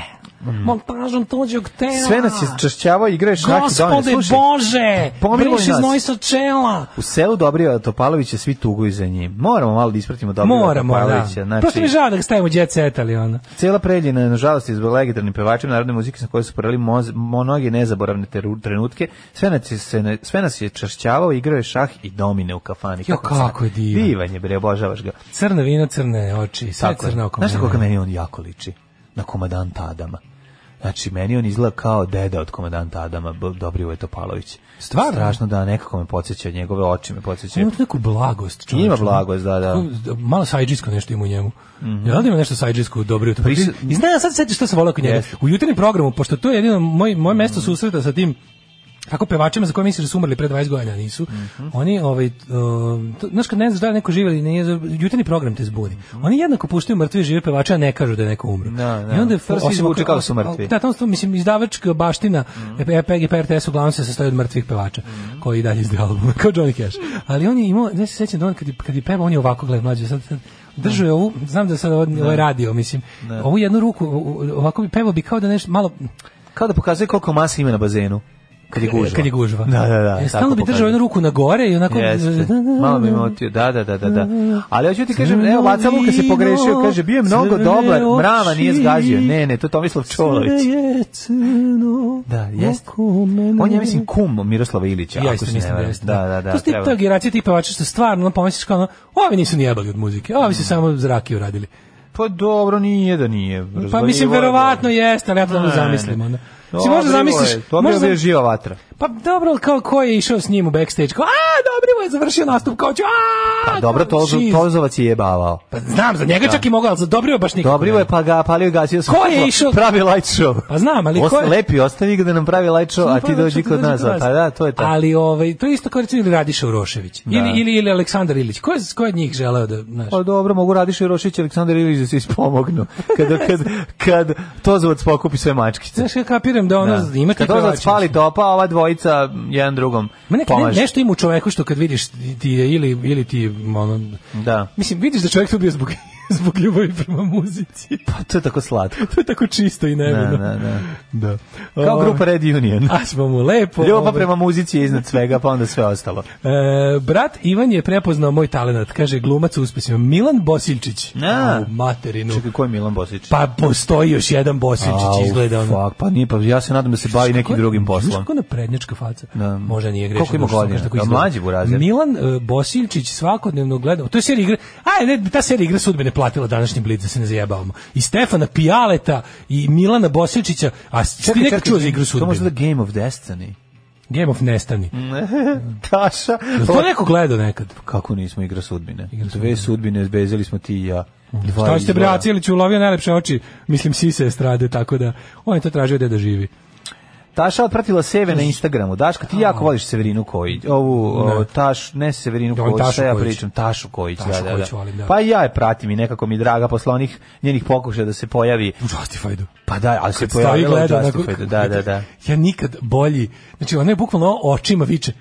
S7: Montažom tuđeg tela!
S6: Sve nas je čašćavao igre šah i donje.
S7: Gospode
S6: Slušaj,
S7: Bože,
S6: pomiluj
S7: briši
S6: nas.
S7: znoj sa čela.
S6: U selu Dobrija Topalovića svi tuguju za njim. Moramo malo da ispratimo Dobrija
S7: Moramo, da.
S6: Topalovića. Znači,
S7: Prosto mi je žao da ga stavimo jet set, ali ono.
S6: Cijela preljina je, nažalost, je zbog legendarnim pevačima narodne muzike sa kojoj su porali moz- mnoge nezaboravne teru- trenutke. Sve nas je, se ne- sve nas je čašćavao, igrao je šah i domine u kafani.
S7: Jo, kako je
S6: sad?
S7: divan.
S6: Divan je, bre, obožavaš ga.
S7: Crno vino, crne oči, sve
S6: Tako je.
S7: crno oko
S6: Znaš
S7: mene.
S6: kako meni on jako liči? Na komadanta Adama. Znači, meni on izgleda kao deda od komadanta Adama, B- Dobrivoje Topalović.
S7: Stvarno?
S6: Strašno da, nekako me podsjeća, njegove oči me podsjećaju.
S7: Ima tu neku blagost. čovječe.
S6: Ima blagost, da, Mhm. da.
S7: Kako- Malo sajđisko nešto ima u njemu. Ja da ima nešto sajđisko dobro. jutro.
S6: Pris-
S7: I znam, sad setiš što sam volao kod njega.
S6: Jeste.
S7: U jutarnjem programu, pošto to je jedino moj, moje mesto susreta sa tim kako pevačima za koje misliš da su umrli pre 20 godina a nisu.
S6: Mhm.
S7: Oni ovaj uh, to- znaš kad ne znaš da li neko živi ili nije, jutarnji program te zbuni. Oni jednako puštaju mrtve i žive pevače, a ne kažu da je neko umro.
S6: Mhm. Da, da.
S7: I onda je
S6: To se izvuče kao da su mrtvi. Mhm.
S7: Da, tamo su, mislim izdavačka baština EPG pa RTS uglavnom se sastoji od mrtvih pevača koji i dalje izdaju albume kao Johnny Cash. Ali on je imao, ne se sećam da on kad je, kad je pevao, on je ovako gledao mlađe sad, sad držao je ovu, znam da sad ovo, ovo je radio, mislim. Ovu jednu ruku o- o- ovako bi pevao bi kao da nešto malo
S6: Kao da pokazuje koliko masa ima na bazenu. Kad je gužva.
S7: kad je gužva.
S6: Da, da, da.
S7: E,
S6: tako
S7: stalno bi
S6: pokazuje.
S7: držao jednu ruku na gore i onako
S6: Jeste. Malo bi motio, da, da, da, da, da. Ali hoću ti kažem, evo, Vaca Luka se pogrešio, kaže, bio je mnogo dobar, mrava nije zgazio. Ne, ne, to je Tomislav Čolović. Da, jest. On je, mislim, kum Miroslava Ilića,
S7: Ja
S6: ako
S7: isto
S6: se ne
S7: mislim da
S6: varam.
S7: jeste.
S6: Da, da, da.
S7: To su tip
S6: treba.
S7: ta generacija tipa vača što stvarno ono, pomisliš kao ono, ovi nisu ni jebali od muzike, ovi
S6: Mm.
S7: su samo zraki uradili.
S6: Pa dobro, nije da nije.
S7: Pa
S6: razvaljivo je,
S7: mislim,
S6: dobro.
S7: verovatno jeste, ali ja to
S6: Ne,
S7: ne
S6: ne.
S7: zamislim. Onda. Si
S6: Dobro
S7: možda zamisliš,
S6: je, Dobro
S7: možda,
S6: je živa vatra.
S7: pa dobro, ali kao ko je išao s njim u backstage, kao, a, Dobrivo je završio nastup, kao ću, a,
S6: Pa dobro, Tozo-
S7: šiz.
S6: Tozovac je jebavao.
S7: Pa znam, za njega
S6: Da.
S7: čak i mogao, ali za Dobrivo baš nikako.
S6: Dobrivo je pa ga palio i gasio
S7: Ko je išao-
S6: Pravi light show.
S7: Pa znam, ali ko
S6: Osta,
S7: je...
S6: lepi, ostavi ga da nam pravi light show, a ti
S7: Pa,
S6: dođi
S7: znači,
S6: kod nas. Pa da, to je tako.
S7: Ali ovaj, to je isto kao recimo ili Radiša Urošević, ili, ili, ili Aleksandar Ilić. Ko je, ko je od njih želeo da, znaš?
S6: Pa dobro, mogu Radiš i Rošić i Aleksandar Ilić da se ispomognu. Kada, kad, kad Tozovac pokupi sve mačkice.
S7: Znaš, ja kapiram da ono,
S6: Da.
S7: ima ti
S6: Kad Tozovac
S7: pevači,
S6: fali topa, a ova dvojica jedan drugom
S7: Ma nek, ne,
S6: pomaže.
S7: nešto ima u čoveku što kad vidiš ti je ili, ili ti je, ono,
S6: Da.
S7: mislim vidiš da čovjek to bio zbog, zbog ljubavi prema muzici.
S6: Pa to je tako slatko.
S7: to je tako čisto i
S6: Da,
S7: nevino.
S6: da, da.
S7: da.
S6: Kao
S7: Ovaj,
S6: grupa Red Union.
S7: A smo mu lepo.
S6: Ljubav pa
S7: ovaj.
S6: prema muzici je iznad svega, pa onda sve ostalo.
S7: E, brat Ivan je prepoznao moj talenat, kaže glumac u uspesima. Milan Bosiljčić.
S6: Na.
S7: Au, materinu.
S6: Čekaj, ko je Milan Bosić?
S7: Pa postoji još jedan Bosiljčić,
S6: Au,
S7: izgleda ono.
S6: fuck, pa nije, pa ja se nadam da se bavi nekim drugim poslom.
S7: Kako na prednjačka faca.
S6: Da.
S7: Možda nije grešno.
S6: Koliko ima godina? A mlađi bu razred?
S7: Milan e, Bosiljčić svakodnevno gleda. To je serija igre. A ne, ta serija igre sudbene platila današnji blic da se ne zajebavamo. I Stefana Pijaleta i Milana Bosiljčića, a čekaj, ti nekad čuo za igru
S6: To možda da Mm.
S7: sudbene.
S6: Game of Destiny.
S7: Game of Nestani.
S6: Taša.
S7: Jel to neko gledao nekad?
S6: Kako nismo igra sudbine? Dve sudbine zbezili smo ti i ja. Dva
S7: Šta ste bre,
S6: izvora.
S7: Acilić ulovio najlepše oči, mislim sise estrade, tako da on je to tražio gde da živi.
S6: Taša otpratila Seve na Instagramu. Daška, ti jako voliš Severinu Kojić. Ovu,
S7: Ne.
S6: o, Taš, ne Severinu
S7: Ja volim
S6: Kojić,
S7: Tašu
S6: šta ja
S7: Kojić.
S6: pričam? Tašu Kojić,
S7: Tašu
S6: da, da,
S7: Kojić
S6: da.
S7: volim, da.
S6: Pa i ja je pratim i nekako mi je draga posle onih njenih pokušaja da se pojavi.
S7: U Justified-u.
S6: Pa da, ali se
S7: Kad stavi
S6: pojavila u
S7: gleda onako-
S6: Justified-u, da, da, da.
S7: Ja nikad bolji, znači ona je bukvalno očima viče,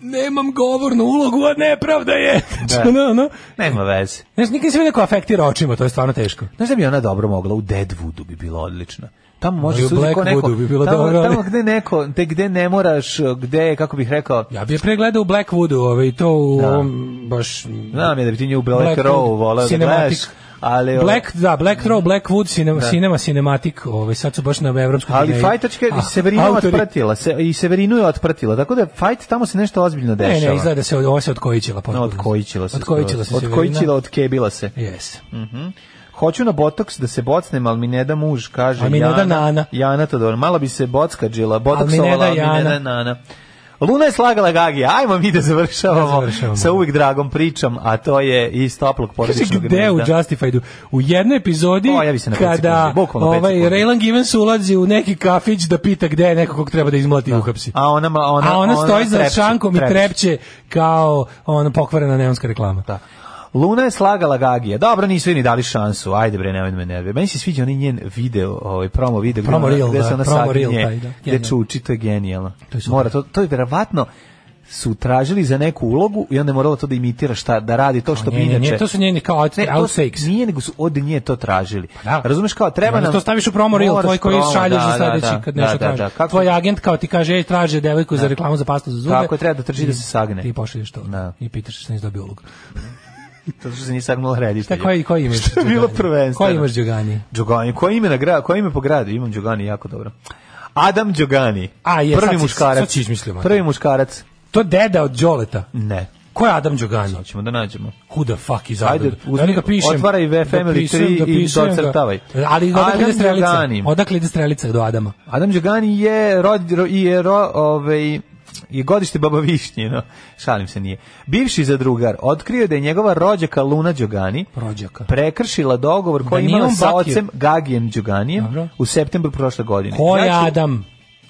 S7: nemam govornu ulogu, a nepravda je. Znači, ono, ono,
S6: Nema veze.
S7: Znaš, nikad se neko afektira očima, to je stvarno teško.
S6: Znaš da bi ona dobro mogla? U Deadwoodu bi bila odlična. Tamo
S7: Ali
S6: može
S7: u
S6: sudi ko neko.
S7: Blackwoodu bi bilo
S6: tamo,
S7: dobro, ali-
S6: tamo gde neko, te gde ne moraš, gde, kako bih rekao,
S7: Ja bih je pregledao u Blackwoodu, ovaj, to u
S6: Da.
S7: ovom, baš...
S6: Znam ja da bi ti nju u Black
S7: Blackwood
S6: Row volao da
S7: cinematic.
S6: gledaš, ali... ovaj- ovo-
S7: Black, da, Black Row, Blackwood, cinema,
S6: Da.
S7: cinema cinematik, ovaj, sad su baš na evropskom...
S6: Ali
S7: turneji.
S6: fajtačka
S7: A,
S6: i Severinu je
S7: Ah, autori-
S6: otpratila, se, i Severinu je otpratila, tako da fajt tamo se nešto ozbiljno dešava.
S7: Ne, ne, izgleda da se od, ovo se odkojićila. potpuno.
S6: Otkojićila se.
S7: Otkojićila se Severina.
S6: Otkojićila, otkebila se.
S7: Yes.
S6: Mhm. Hoću na botoks da se bocnem, ali mi ne da muž, kaže
S7: Ali mi ne da
S6: Jana.
S7: Nana.
S6: Jana to dobro. Malo bi se bocka džila, botoksovala,
S7: ne da
S6: ali mi ne
S7: Jana.
S6: da Nana. Luna je slagala Gagi, ajmo mi da završavamo,
S7: Da završavamo.
S6: sa uvijek dragom pričam, a to je iz toplog
S7: Kaže,
S6: porodičnog
S7: gde u Justifiedu? U jednoj epizodi
S6: O, ja bi se na pet
S7: kada
S6: sekundi, bukvalno pet
S7: ovaj,
S6: sekundi.
S7: Raylan Givens ulazi u neki kafić da pita gde je neko kog treba da izmlati i uhapsi.
S6: A ona, ma- ona,
S7: A ona stoji za
S6: trepće,
S7: šankom i
S6: trepće.
S7: trepće kao ona pokvarena neonska reklama.
S6: Da. Luna je slagala Gagija. Dobro, nisu joj ni dali šansu. Ajde bre, nemoj me nervira. Meni se sviđa onaj njen video, ovaj promo video gde,
S7: Promo
S6: ona-
S7: reel,
S6: gde se
S7: da,
S6: ona
S7: promo reel
S6: saginje,
S7: taj, da.
S6: gde
S7: Genijalno.
S6: čuči, to je genijalno. To je Mora to to je verovatno su tražili za neku ulogu i onda je morala to da imitira šta da radi to što
S7: Nje,
S6: bi
S7: nje,
S6: inače.
S7: nje, to su njeni kao out,
S6: Ne, to su-
S7: outtakes. Pa
S6: Nije nego su od nje to tražili.
S7: da.
S6: Razumeš kao
S7: I
S6: treba
S7: onda
S6: nam
S7: to staviš u promo reel
S6: Moraš
S7: tvoj koji
S6: promo,
S7: šalješ
S6: da,
S7: za sledeći
S6: da, da,
S7: kad nešto
S6: da, da,
S7: traži.
S6: da. Kako-
S7: Tvoj agent kao ti kaže ej traže devojku za reklamu za pastu za zube.
S6: Tako je, treba da trči
S7: I
S6: da se sagne.
S7: Ti pošalješ to.
S6: Da.
S7: I pitaš što nisi dobio ulogu.
S6: To što se nije sagnula reditelja.
S7: Šta, koji- koji imaš
S6: Što je
S7: Đugani?
S6: bilo prvenstveno?
S7: Koji imaš Đugani?
S6: Đugani. Koje ime, na gra, koje ime po gradu? Imam Đugani jako dobro. Adam Đugani.
S7: A, je, sad
S6: Prvi
S7: si-
S6: muškarac.
S7: sad si izmislio, mate.
S6: Prvi muškarac.
S7: To deda od Đoleta.
S6: Ne.
S7: Ko je Adam Đogani?
S6: Sad ćemo da nađemo.
S7: Who the fuck is
S6: Ajde,
S7: Adam?
S6: uzmi-
S7: Ajde, ga pišem.
S6: otvaraj V Family 3 i
S7: dopisujem ga.
S6: docrtavaj.
S7: Ali odakle
S6: Adam
S7: ide strelica?
S6: Đogani.
S7: Odakle ide strelica do Adama?
S6: Adam Đugani je rod, ro, i je ro, ovaj, je godište baba Višnje, no. Šalim se, nije. Bivši zadrugar otkrio je da je njegova rođaka Luna Đugani
S7: Rođaka.
S6: prekršila dogovor koji
S7: Da
S6: je
S7: nije
S6: imala
S7: on
S6: sa
S7: Bakir.
S6: ocem Gagijem Đuganijem
S7: Dobro.
S6: u septembru prošle godine.
S7: Ko je
S6: Ja ću-
S7: Adam?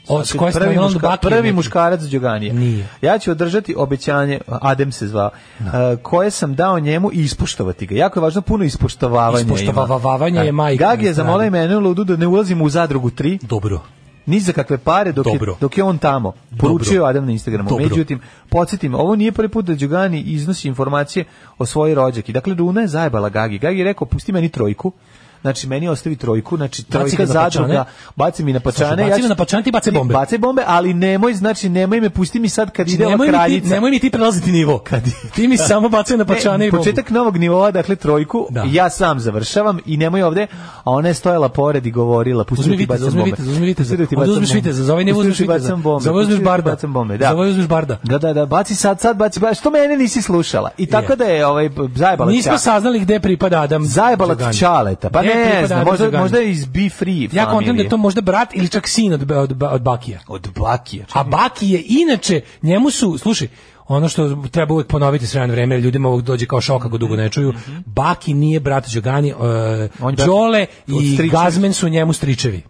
S7: Od s koje
S6: Znači, prvi,
S7: strane on
S6: muška-
S7: Bakir?
S6: prvi
S7: neki?
S6: muškarac Đoganije.
S7: Nije.
S6: Ja ću održati obećanje, Adem se zvao, e, koje sam dao njemu i ispoštovati ga. Jako je važno puno ispoštovavanja. ima.
S7: Ispoštovavavanje je majka
S6: Gag je
S7: na strani.
S6: zamolao i mene ludu da ne ulazimo u zadrugu 3.
S7: Dobro. Znači,
S6: Ni za kakve pare dok je,
S7: Dobro.
S6: dok je on tamo. Poručio
S7: Dobro.
S6: Adem na Instagramu.
S7: Dobro.
S6: Međutim, podsjetim, ovo nije prvi put da Đugani iznosi informacije o svojoj rođaki. Dakle, Luna je zajebala Gagi. Gagi je rekao, pusti meni trojku. Znači, meni ostavi trojku, znači
S7: Baci
S6: trojka
S7: ga na pačane.
S6: zadruga, baci mi na pačane.
S7: Slušaj,
S6: ja
S7: baci
S6: ću-
S7: me na pačane, ti bacaj bombe. Znači,
S6: Bace bombe, ali nemoj, znači, nemoj me, pusti mi sad kad ide ova
S7: nemoj, mi ti,
S6: kraljica.
S7: nemoj mi ti prelaziti nivo. ti mi samo bacaj na pačane
S6: Ne,
S7: i bombu.
S6: E, početak novog nivoa, dakle trojku,
S7: Da.
S6: ja sam završavam i nemoj ovde, a ona je stojala pored i govorila, pusti
S7: Uzmi
S6: da ti
S7: viteza,
S6: bacam
S7: uzmi
S6: bombe.
S7: viteza, uzmi viteza.
S6: Pusti da ti
S7: Onda
S6: bacam
S7: uzmeš
S6: bombe.
S7: viteza, za ovaj ne
S6: Pusti da
S7: uzmeš
S6: ti
S7: viteza.
S6: bacam bombe,
S7: Za ovaj
S6: pusti da
S7: uzmeš
S6: ti
S7: barda.
S6: bacam bombe, da.
S7: Za ovaj uzmeš barda.
S6: Da, da, da, baci sad, sad baci, baci, što mene nisi slušala. I tako
S7: Je.
S6: da je ovaj zajebala
S7: Nismo E,
S6: ća-
S7: saznali gde pripada Adam.
S6: Zajebala
S7: Đogani.
S6: ti čaleta. Pa
S7: Gde
S6: ne
S7: pripada
S6: znam,
S7: Adam
S6: možda,
S7: Đogani?
S6: možda je iz Be Free
S7: Ja kontam da
S6: familije.
S7: je to možda brat ili čak sin od, od, od Bakija.
S6: Od Bakija.
S7: A Baki je inače, njemu su, slušaj, ono što treba uvek ponoviti s vremena vreme, jer ljudima ovog dođe kao šok ako dugo ne čuju, Baki nije brat Đogani,
S6: Mhm. On je
S7: uh,
S6: brat
S7: Đole
S6: od
S7: i
S6: stričevi.
S7: Gazmen su njemu stričevi.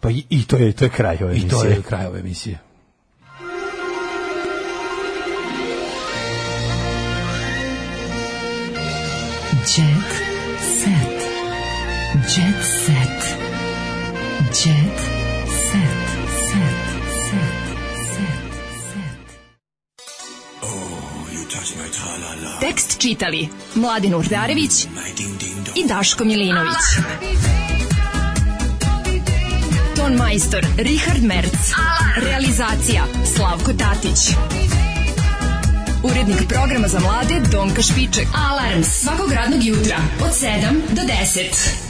S6: Pa i, i to je, to je kraj ove
S7: I to
S6: emisije.
S7: je kraj ove emisije.
S13: Jet set. Jet set. Jet set. Set. Set. Set.
S17: Tekst čitali Mladin Urdarević i Daško Milinović. Ton majstor Richard Merc. Realizacija Slavko Tatić. Urednik programa za mlade Donka Špiček. Alarms svakog radnog jutra od 7 do 10.